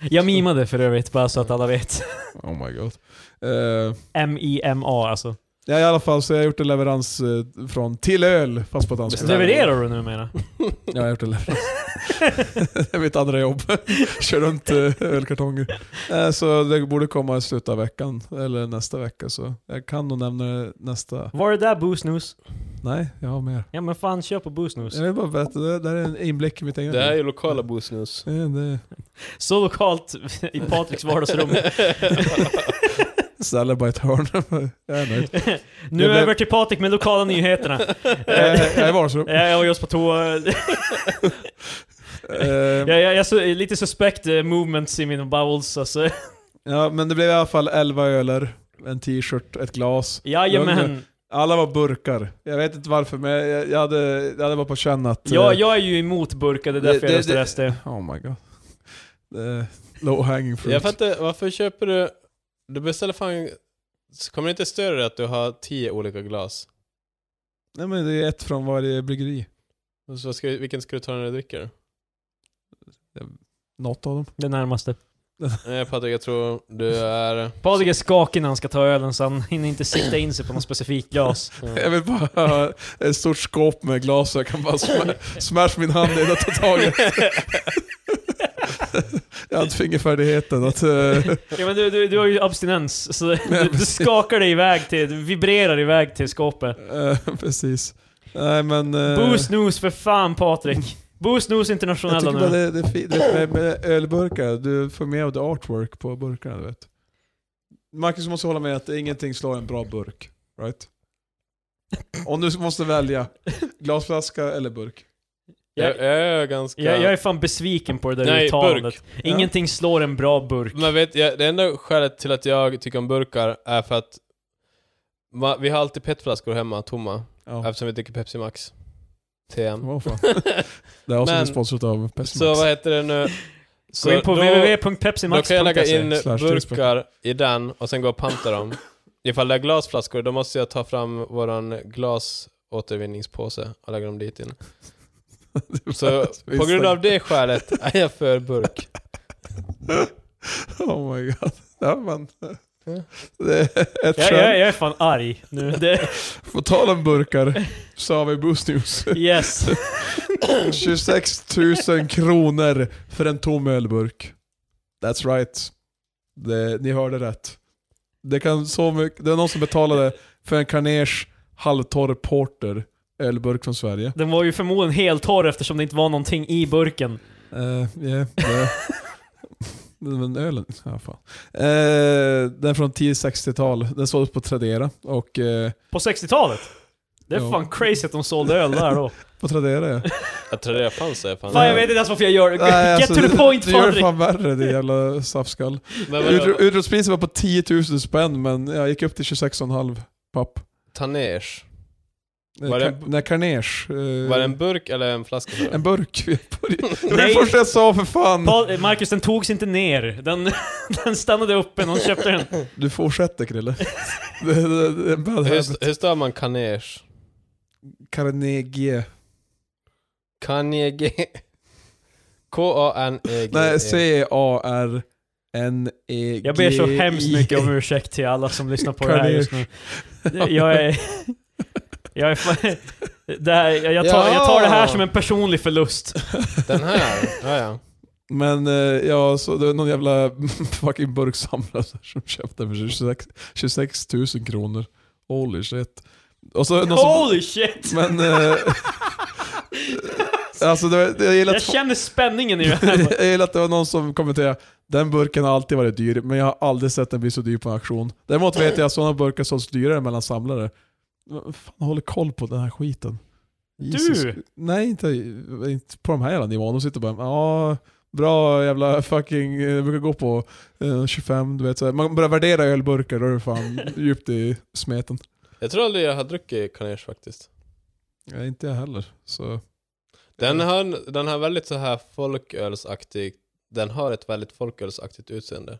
S1: Jag mimade för övrigt, bara så att alla vet.
S2: Oh my god. Eh,
S1: M-I-M-A alltså.
S2: ja i alla fall så jag har gjort en leverans eh, från till öl, fast på danska.
S1: Levererar du numera?
S2: Ja, jag har gjort en leverans. det är mitt andra jobb. Kör runt eh, ölkartonger. Eh, Så det borde komma i slutet av veckan, eller nästa vecka. Så jag kan nog nämna det nästa
S1: Var det där Boost News?
S2: Nej, jag har mer.
S1: Ja men fan, kör på Boost News.
S2: Jag vill bara berätta, det där är en inblick i mitt eget
S3: Det här är ju lokala boosnus.
S2: Ja, det-
S1: Så lokalt i Patriks vardagsrum.
S2: Ställer bara ett hörn. jag är nöjd.
S1: Nu
S2: Det blev-
S1: över till Patrik med lokala nyheterna.
S2: Eh, Jag är- jag är i vardagsrum.
S1: Jag var just på toa.
S2: Eh,
S1: Jag, jag, jag så, lite suspekt eh, movements i mina bowels alltså.
S2: ja, men det blev i alla fall 11 öler, en t-shirt, ett glas.
S1: Jajamän.
S2: Alla var burkar. Jag vet inte varför, men jag, jag, hade, jag hade bara på känn att... eh,
S1: Jag, jag är ju emot burkar, det är
S2: Det-
S1: därför
S2: det-
S1: jag röstar
S2: det-
S1: SD.
S2: Oh my god. Eh, low hanging fruit.
S3: Jag fattar varför köper du... Du beställer fan... Kommer det inte störa dig att du har tio olika glas?
S2: Nej men det är ett från varje bryggeri.
S3: Och Så ska, vilken ska du ta när du dricker?
S2: Något av dem.
S1: Det närmaste.
S3: Nej Patrik, jag tror du är...
S1: Patrik är skakig när han ska ta ölen så han hinner inte sikta in sig på något specifikt glas.
S2: Jag vill bara ha ett stort skåp med glas så jag kan bara sma- smash min hand in och ta tag i det. Jag hade fingerfärdigheten att... eh,
S1: Ja men du, du, du har ju abstinens, så du, du skakar dig iväg till, du vibrerar iväg till skåpet.
S2: eh, precis. Nej men... eh,
S1: Boo snooze för fan Patrik! Boo snooze
S2: jag
S1: internationella
S2: tycker bara
S1: nu.
S2: det, det är fint. Det är med, med ölburkar, du får med av the artwork på burkarna du vet. Marcus måste hålla med att ingenting slår en bra burk. Right? Om du måste välja, glasflaska eller burk.
S3: Jag,
S1: Jag,
S3: jag är ganska...
S1: jag, jag är fan besviken på det där
S3: Nej,
S1: uttalandet.
S3: burk.
S1: Ingenting slår en bra burk.
S3: Men vet jag, det enda skälet till att jag tycker om burkar är för att ma, vi har alltid petflaskor hemma, tomma.
S2: Ja.
S3: Eftersom vi dricker Pepsi Max. TM.
S2: Vad fan. Det här avsnittet är
S3: Men-
S2: sponsrat av Pessimax.
S3: Så vad heter det nu? Så
S1: Gå in på
S3: då- Då kan jag lägga
S1: www.pepsimax.se
S3: in
S2: slash
S3: burkar i den och sen gå och panta dem. Ifall det är glasflaskor, då måste jag ta fram våran glasåtervinningspåse och lägga dem dit in. Så på grund av det skälet är jag för burk.
S2: Oh my god. Ja, man.
S3: Ja.
S2: Det är ett
S1: jag,
S2: skäl.
S1: jag, jag är fan arg nu. Det,
S2: På tal om burkar så har vi Boost News.
S1: yes.
S2: 26 000 kronor för en tom ölburk. That's right. Det, ni hörde rätt. Det, kan så mycket, det är någon som betalade för en Carners halvtorr porter ölburk från Sverige.
S1: Den var ju förmodligen helt torr eftersom det inte var någonting i burken.
S2: Uh, yeah, det. Men ölen, ja fan. Eh, den är från 10-60-tal. Den såldes på Tradera. Och, eh,
S1: På 60-talet? Det är
S2: Ja.
S1: fan crazy att de sålde öl där då.
S2: på Tradera ja.
S3: Jag tror det fanns det. Fan.
S1: Fan jag vet inte ens varför jag gör det.
S2: Nej,
S1: Get
S2: alltså,
S1: to the
S2: du-
S1: point
S2: Du gör det
S1: Patrik!
S2: fan värre din jävla safskall.
S3: Men
S2: Utro-
S3: vadå?
S2: Utropspriset var på 10 000 spänn men jag gick upp till 26,5 papp.
S3: Taners.
S2: Eh,
S3: Var det-
S2: Ka- Nej, Carners. eh,
S3: Var det en burk eller en flaska? för?
S2: en burk? det var det
S1: Nej.
S2: första jag sa för fan.
S1: Pa- eh, Marcus, den togs inte ner. Den, den stannade uppe, någon köpte den.
S2: Du fortsätter Krille. det, det, det är en bad habit.
S3: Hur, hur stavar man kaners?
S2: Carnegie.
S3: Kanege. K-A-N-E-G.
S2: Nej, C-A-R-N-E-G-I.
S1: Jag ber så hemskt mycket om ursäkt till alla som lyssnar på det här just nu. Jag är... Jag är fan, det här, jag, tar, jag tar det här som en personlig förlust.
S3: Den här? Ja, ja.
S2: Men eh, ja, så det var någon jävla fucking burksamlare som köpte den för 26, 26 000 kronor. Holy shit. Och så någon som,
S1: Holy shit!
S2: men... Eh, alltså det, var- jag gillar
S1: Jag
S2: att,
S1: känner spänningen i det här.
S2: jag gillar att det var någon som kommenterade den burken har alltid varit dyr, men jag har aldrig sett den bli så dyr på en auktion. Däremot vet jag att sådana burkar sålts dyrare mellan samlare. Vem fan håller koll på den här skiten? Jesus. Nej, inte, inte på de här jävla nivån. De sitter bara ja, bra jävla fucking, jag brukar gå på eh, 25, du vet. Så här. Man börjar värdera ölburkar, då är det fan djupt i smeten.
S3: Jag tror aldrig jag har druckit kaners faktiskt.
S2: Ja, inte jag heller. Så.
S3: Den har, den har väldigt så här folkölsaktig, den har ett väldigt folkölsaktigt utseende.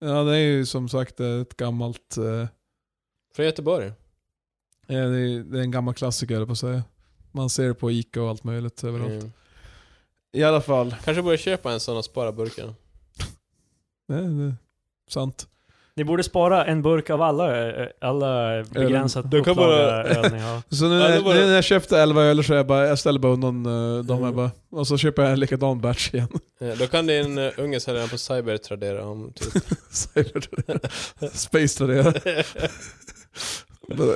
S2: Ja, det är ju som sagt ett gammalt, eh,
S3: Från Göteborg.
S2: ja, det är det är en gammal klassiker höll jag på att säga. Man ser det på Ica och allt möjligt överallt.
S3: Mm.
S2: I alla fall,
S3: Kanske borde köpa en sån och spara burken.
S2: det är, det är sant.
S1: Ni borde spara en burk av alla, eh, alla begränsat
S3: Du kan
S1: upplaga
S3: bara-
S1: öl ni har.
S2: Så nu,
S3: Ja, det
S2: när-
S3: var-
S2: nu när jag köpte 11 öl så är jag bara, jag ställer bara undan eh, dem.
S3: Mm.
S2: Jag bara, och så köper jag en likadan batch igen.
S3: Eh, Då kan din eh, unge sälja den på Cyber Tradera om typ.
S2: Cyber Tradera. Space Tradera.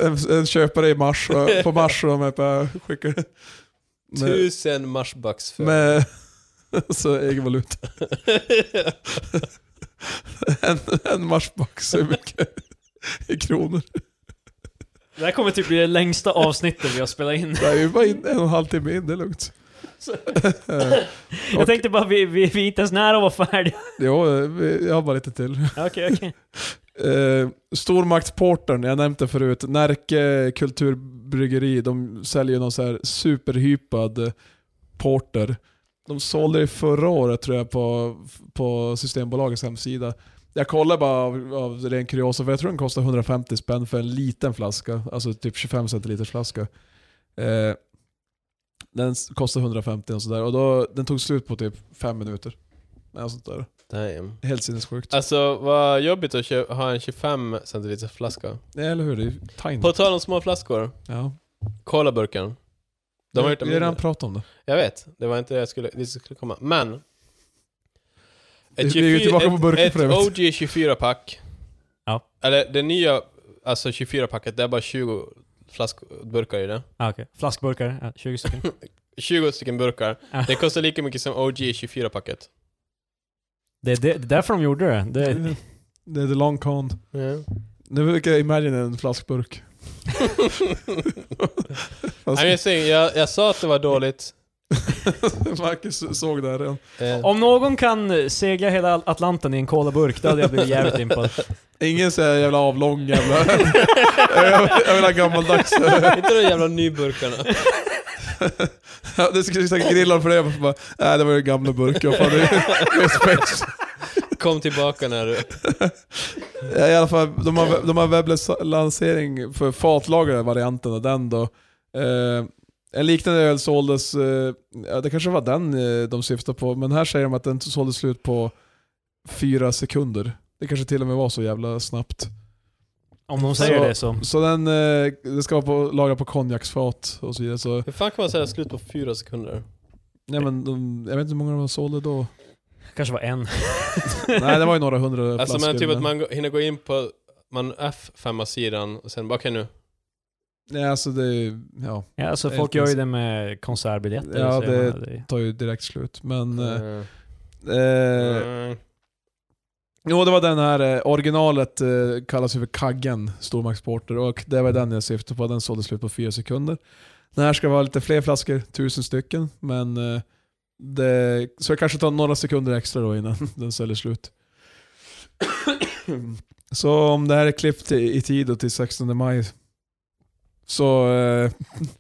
S2: En, en köpare i mars, och- på mars och de är bara skickar med,
S3: Tusen marsbucks för.
S2: med så egen valuta. En, en marsback så mycket i kronor.
S1: Det här kommer typ bli det längsta avsnittet vi har spelat in.
S2: Det är ju bara in, en och en halv timme in, det är lugnt.
S1: Jag
S2: Och-
S1: tänkte bara, vi, vi, vi är inte ens nära att vara färdiga.
S2: Jo, eh, jag har bara lite till.
S1: Okej, okej.
S2: Eh, Stormaktsporten, jag nämnde det förut. Närke kulturbryggeri, de säljer någon så här superhypad eh, porter. De sålde det förra året tror jag på, på Systembolagets hemsida. Jag kollar bara av, av ren kuriosa, för jag tror den kostar 150 spänn för en liten flaska. Alltså typ 25 centiliters flaska. Eh, den s- kostar 150 och sådär. Och då, den tog slut på typ fem minuter. Eller sånt där.
S3: Damn.
S2: Helt sinnessjukt.
S3: Alltså vad jobbigt att köpa, ha en 25 centiliters flaska.
S2: Eller hur? Det är ju tiny.
S3: På tal om små flaskor,
S2: Ja.
S3: Colaburken. De har gjort en
S2: Vi har redan
S3: mindre.
S2: pratat om det.
S3: Jag vet, det var inte det jag skulle, det som skulle komma. Men...
S2: Vi- vi är ju tillbaka på burken
S3: ett,
S2: för övrigt.
S3: OG 24-pack.
S1: Ja.
S3: Eller det nya, alltså 24-packet, det är bara 20 flaskburkar i det.
S1: Ah, okej. Flaskburkar, ja, 20 stycken.
S3: 20 stycken burkar.
S1: Ah.
S3: Det kostar lika mycket som OG 24-packet.
S1: Det är det, det är därför de gjorde det. det
S2: Det, är the long con. Nu fick jag imagine en flaskburk.
S3: I'm just saying, jag, jag sa att det var dåligt.
S2: Marcus såg det här redan.
S3: Eh,
S1: om någon kan segla hela Atlanten i en colaburk, då hade jag blivit jävligt impad.
S2: Ingen säger jävla avlång jävla... jag, jag vill ha gammaldags.
S3: inte de jävla nyburkarna.
S2: Ja, det skulle säkert grilla för det. Jag bara, nej det var ju gamla burk. Jag fan, det är med spex.
S3: Kom tillbaka när du...
S2: Ja, I alla fall, de har, de har webblansering för fatlagrade varianten av den då. Eh, en liknande öl såldes, eh, ja, det kanske var den eh, de syftade på, men här säger de att den såldes slut på fyra sekunder. Det kanske till och med var så jävla snabbt.
S1: Om de säger
S2: Så-
S1: det så.
S2: Så den, eh, den ska vara på, lagrad på konjaksfat och så vidare. Så,
S3: Hur fan kan man säga slut på fyra sekunder?
S2: nej, men de, jag vet inte hur många de sålde då.
S1: Kanske var en.
S2: nej det var ju några hundra
S3: Alltså
S2: flaskor.
S3: men typ att man gå- hinner gå in på man F5-sidan och sen bara okej nu.
S2: Nej alltså det är ju- ja,
S1: Ja, alltså folk gör ju det med konsertbiljetter.
S2: Ja,
S1: så jag
S2: det-
S1: menar, det...
S2: tar ju direkt slut. Men... Eh,
S3: Eh,
S2: eh,
S3: mm.
S2: Jo, det var den här. eh, Originalet eh, kallas ju för Kaggen, stormaktsporter. Och det var den jag syftade på. Den sålde slut på fyra sekunder. Den här ska vara lite fler flaskor, tusen stycken. Men eh, det, så det kanske tar några sekunder extra då innan den säljer slut. så om det här är klippt i, i tid och till 16 maj så, eh,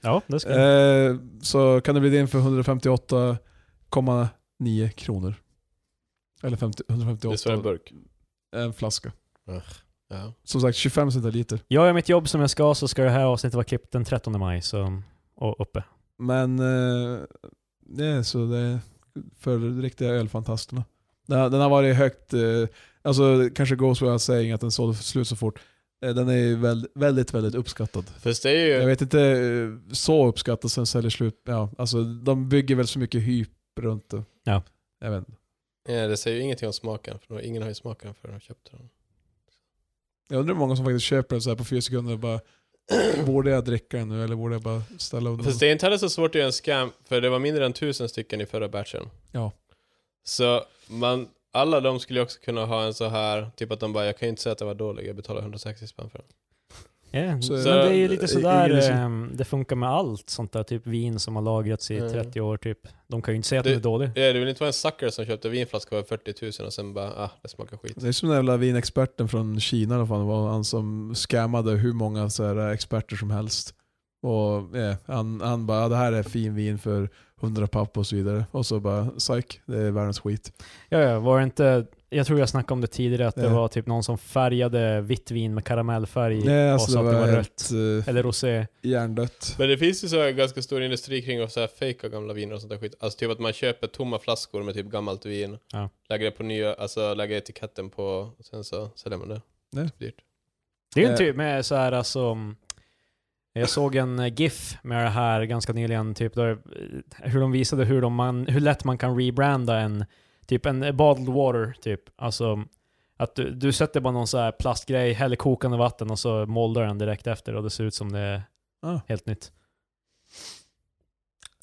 S1: Ja, det ska jag.
S2: eh, så kan det bli din för 158,9 kronor. Eller 50,
S3: Det är
S2: 158
S3: så en burk.
S2: en flaska.
S3: Ja.
S2: Som sagt, 25 centiliter.
S1: Jag gör mitt jobb som jag ska så ska det här avsnittet vara klippt den 13 maj så, och uppe.
S2: Men eh, det är så det är för riktiga ölfantasterna. Den, har- den har varit högt, eh, alltså kanske goes without saying att den sålde slut så fort. Eh, den är ju väl, väldigt, väldigt uppskattad.
S3: Fast det är ju...
S2: Jag vet inte, eh, så uppskattad sen säljer slut. Ja, alltså de bygger väl så mycket hyp runt det.
S1: Ja.
S2: Jag vet inte.
S3: Ja, det säger ju ingenting om smaken, för då- ingen har ju smaken förrän de köpte den.
S2: Jag undrar hur många som faktiskt köper den så här på fyra sekunder och bara Borde jag dricka den nu eller borde jag bara ställa undan?
S3: Fast det är inte heller så svårt att göra en scam, för det var mindre än tusen stycken i förra batchen.
S2: Ja.
S3: Så man, alla de skulle ju också kunna ha en så här, typ att de bara jag kan ju inte säga att det var dålig, jag betalar 160 spänn för den.
S1: Ja,
S2: Så-
S1: men det är ju
S2: i-
S1: lite
S2: ingen är
S1: sådär,
S2: så-
S1: ehm, det funkar med allt sånt där, typ vin som har lagrats i
S3: Mm.
S1: 30 år typ. De kan ju inte säga att
S3: Det-
S1: den är dålig.
S3: Ja, det vill inte vara en sucker som köpte vinflaska för 40 000 och sen bara ah, det smakar skit.
S2: Det är som den jävla vinexperten från Kina eller vad fan det var, han som scammade hur många så här, experter som helst. Och eh, han, han bara, "Ja, det här är fin vin för 100 papp och så vidare. Och så bara, psyk, det är världens skit.
S1: Ja, ja, var det inte, jag tror jag snackade om det tidigare, att det
S2: Ja.
S1: var typ någon som färgade vitt vin med karamellfärg
S2: Nej,
S1: och
S2: alltså
S1: sa
S2: det
S1: att det
S2: var
S1: var rött.
S2: helt eh,
S1: Eller rosé.
S2: hjärndött.
S3: Men det finns ju så här ganska stor industri kring att så här fejka gamla viner och sånt där skit. Alltså typ att man köper tomma flaskor med typ gammalt vin,
S1: Ja.
S3: lägger det på nya, alltså lägger etiketten på, och sen så säljer man det.
S2: Nej.
S3: Typ dyrt.
S1: Det är ju
S2: Eh.
S1: en typ med så här alltså, mm, jag såg en eh, GIF med det här ganska nyligen, typ där, eh, hur de visade hur, de man, hur lätt man kan rebranda en, typ en eh, bottled water typ. Alltså att du, du sätter bara någon så här plastgrej, häller kokande vatten och så moldar den direkt efter och det ser ut som det är
S2: Ah.
S1: helt nytt.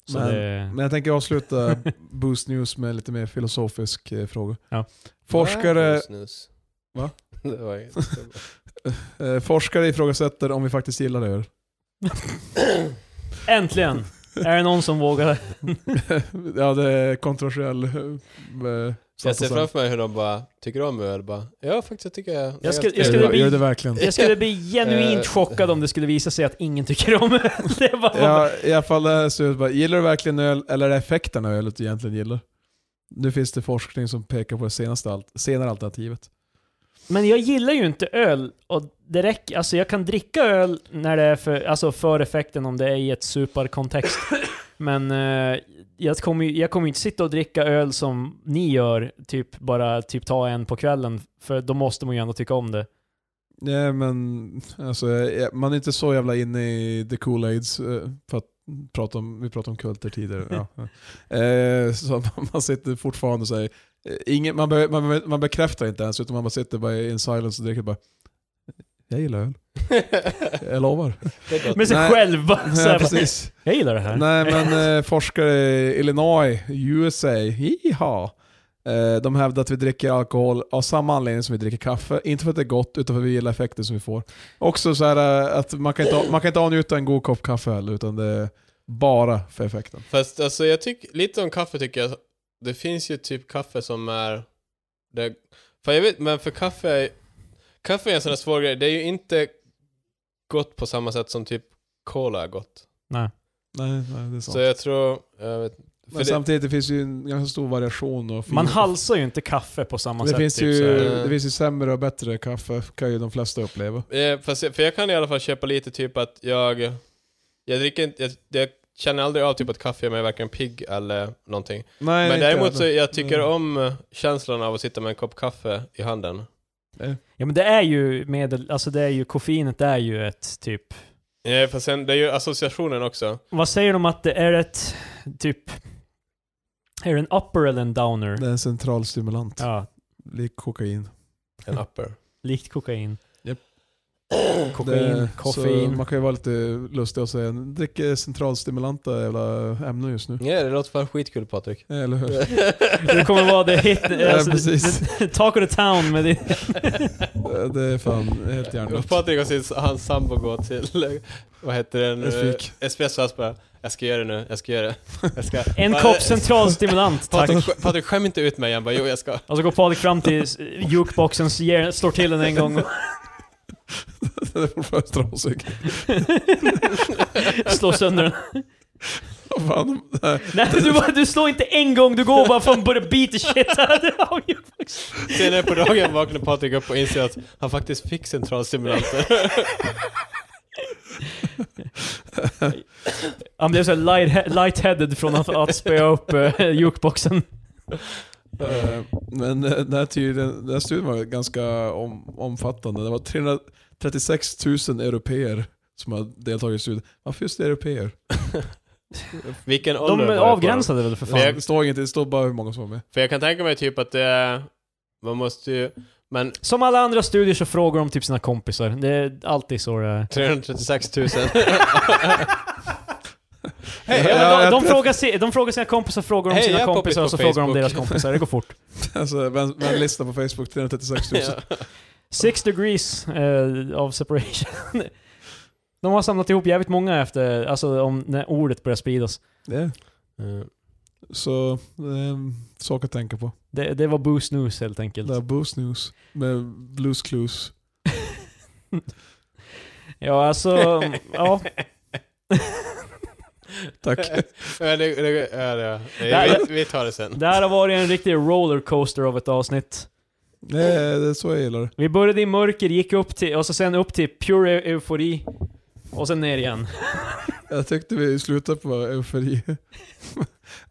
S1: Så
S2: Men-
S1: det,
S2: Men jag tänker avsluta Boost News med lite mer filosofisk eh, fråga.
S1: Ja.
S2: Forskare,
S3: Snus.
S2: Va?
S3: det var ju...
S2: eh, forskare ifrågasätter om vi faktiskt gillar öl.
S1: Äntligen! Är det någon som vågar?
S2: ja, det är kontroversiell. eh,
S3: Jag ser
S2: satsning.
S3: framför mig hur de bara, tycker du om öl? Bara, ja faktiskt, jag tycker jag...
S1: Jag ska-
S3: ganska-
S1: jag ska-
S2: Gör det- Gör det verkligen.
S1: Jag skulle bli genuint
S3: Eh.
S1: chockad om det skulle visa sig att ingen tycker om det. det. är bara-
S2: Ja, I alla fall det här ser ut bara, gillar du verkligen öl eller är det effekten av ölet du egentligen gillar? Nu finns det forskning som pekar på det senaste alt senare alternativet.
S1: Men jag gillar ju inte öl. Och det räcker, alltså jag kan dricka öl när det är för, alltså för effekten om det är i ett superkontext. Men eh, jag kommer ju jag kommer ju inte sitta och dricka öl som ni gör, typ bara typ ta en på kvällen. För då måste man ju ändå tycka om det.
S2: Nej men alltså, eh, man är inte så jävla inne i the cool aids eh, för att prata om, vi pratade om kulter tidigare. Ja, ja. Eh, så att man- man sitter fortfarande och säger, eh, ingen, man, be, man, be- man bekräftar inte ens utan man bara sitter bara in silence och dricker bara jag gillar öl, jag lovar.
S3: Det är gott.
S1: Med sig
S2: Nej.
S1: själv bara, så
S2: Ja,
S1: här, bara,
S2: precis.
S1: Jag gillar det här.
S2: Nej men eh, forskare i Illinois, USA, jiha. Eh, de hävdar att vi dricker alkohol av samma anledning som vi dricker kaffe. Inte för att det är gott, utan för att vi gillar effekten som vi får. Också så här eh, att man kan inte, man kan inte avnjuta en god kopp kaffe heller, utan det är bara för effekten.
S3: Fast alltså jag tycker, lite om kaffe tycker jag, det finns ju typ kaffe som är, det, fan jag vet, men för kaffe, är- kaffe är en sån där svår grej, det är ju inte gott på samma sätt som typ cola är gott.
S1: Nej.
S2: Nej, nej det är sant.
S3: Så jag tror, jag vet, för
S2: men
S3: det,
S2: samtidigt, det finns ju en ganska stor variation. Och fin-
S1: Man halsar ju inte kaffe på samma
S2: det
S1: sätt.
S2: finns,
S1: typ,
S2: ju,
S1: så här.
S3: här.
S2: det finns ju sämre och bättre kaffe, kan ju de flesta uppleva.
S3: eh, fast jag, för jag kan i alla fall köpa lite typ att jag, jag dricker inte, jag, jag känner aldrig av typ att kaffe gör mig varken pigg eller någonting.
S2: Nej,
S3: Men
S2: inte
S3: däremot
S2: jag.
S3: så jag tycker
S2: Mm.
S3: om känslan av att sitta med en kopp kaffe i handen.
S1: Ja men det är ju medel, alltså det är ju, koffeinet är ju ett typ
S3: Ja, fast sen, det är ju associationen också.
S1: Vad säger de att det är ett, typ... Är det en upper eller en downer?
S2: Det är en central stimulant,
S1: Ja,
S2: lik kokain.
S3: En upper.
S1: likt kokain.
S2: Japp.
S1: Kokain,
S2: Det- Så
S1: koffein.
S2: man kan ju vara lite lustig och säga drick eh, centralstimulanta jävla ämnen just nu. Eh,
S3: Ja, det låter fan skitkul Patrik.
S2: Eller hur?
S1: Det kommer vara det hit...
S2: Ja,
S1: Alltså,
S2: precis.
S1: det- Talk of the town med din...
S2: Eh, Det är fan helt hjärndött.
S3: Patrik och sin, hans sambo går till, eh, vad heter den?
S2: Ett fik.
S3: Eh, Espresso och bara, jag ska göra det nu, jag ska göra det. Jag ska.
S1: En
S3: Bara,
S1: kopp
S3: eh,
S1: centralstimulant, tack.
S3: Patrik, sk- Patrik skäm inte ut mig igen, bara jo jag ska.
S1: Och så går Patrik fram till s- jukeboxen, så ger- slår till den en gång och
S2: Det är fortfarande trasig.
S1: slår sönder den.
S2: Vad fan, det här-
S1: Nej, du, bara- du slår inte en gång, du går bara från börjar beat the shit out of jukeboxen.
S3: Senare på dagen vaknar Patrik upp och inser att han faktiskt fick centralstimulanter.
S1: Han blev så här light- lightheaded från att, att spöa upp eh, jukeboxen.
S2: eh, Men eh, den här, tydligen, den här studien var ganska om, omfattande. Det var 336 000 europeer som har deltagit i studien. Varför just europeer?
S3: Vilken
S1: De
S3: ålder var det på
S1: avgränsade väl för fan?
S3: Nej,
S2: Det står inget, det står bara hur många som var med.
S3: dem? För jag kan tänka mig typ att det är, man måste ju, men
S1: Som alla andra studier så frågar de typ sina kompisar. Det är alltid så det är.
S3: 336 000.
S1: Ja,
S2: Ja,
S1: men
S2: jag-
S1: de, de, frågar si, de frågar sina kompisar, frågar om
S3: Hej, jag
S1: sina
S3: är poppis
S1: kompisar
S3: på
S1: och så frågar de
S3: Facebook.
S1: deras kompisar. Det går fort.
S2: Alltså, vem, vem listar på Facebook 336 000?
S3: Ja.
S1: Six degrees eh, of separation. De har samlat ihop jävligt många efter, alltså om, när ordet börjar spridas.
S2: Det,
S3: Eh,
S2: så det är en sak att tänka på.
S1: Det, det var boost news helt enkelt.
S2: Det är Boost News med Blues Clues.
S1: Ja, alltså, ja.
S2: Tack.
S3: Ja, det, det, ja, det,
S1: Nej,
S3: ja.
S1: jag-
S3: Vi, vi tar det sen.
S1: Det här har varit en riktig rollercoaster av ett avsnitt.
S2: Nej, det är så jag gillar det.
S1: Vi började i mörker, gick upp till, och så sen upp till pure eu- eufori. Och sen ner igen.
S2: Jag tyckte vi slutade på eufori. Men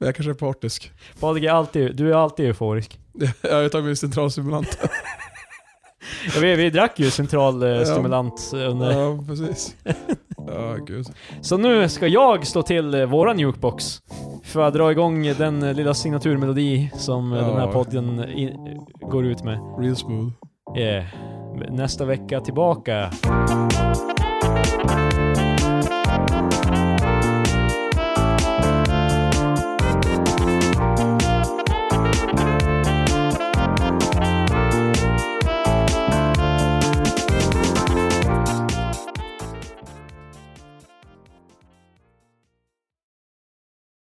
S2: jag kanske är partisk.
S1: Patrik är alltid, du är alltid euforisk.
S2: Jag har tagit min centralstimulant.
S1: Ja, vi, vi drack ju central eh,
S2: Ja.
S1: stimulant under...
S2: Ja, precis. Ja, gud.
S1: Så nu ska jag slå till eh, våran jukebox. För att dra igång den eh, lilla signaturmelodi som eh, den här
S2: Ja.
S1: podden i, går ut med.
S2: Real smooth.
S1: Yeah. Nästa vecka tillbaka.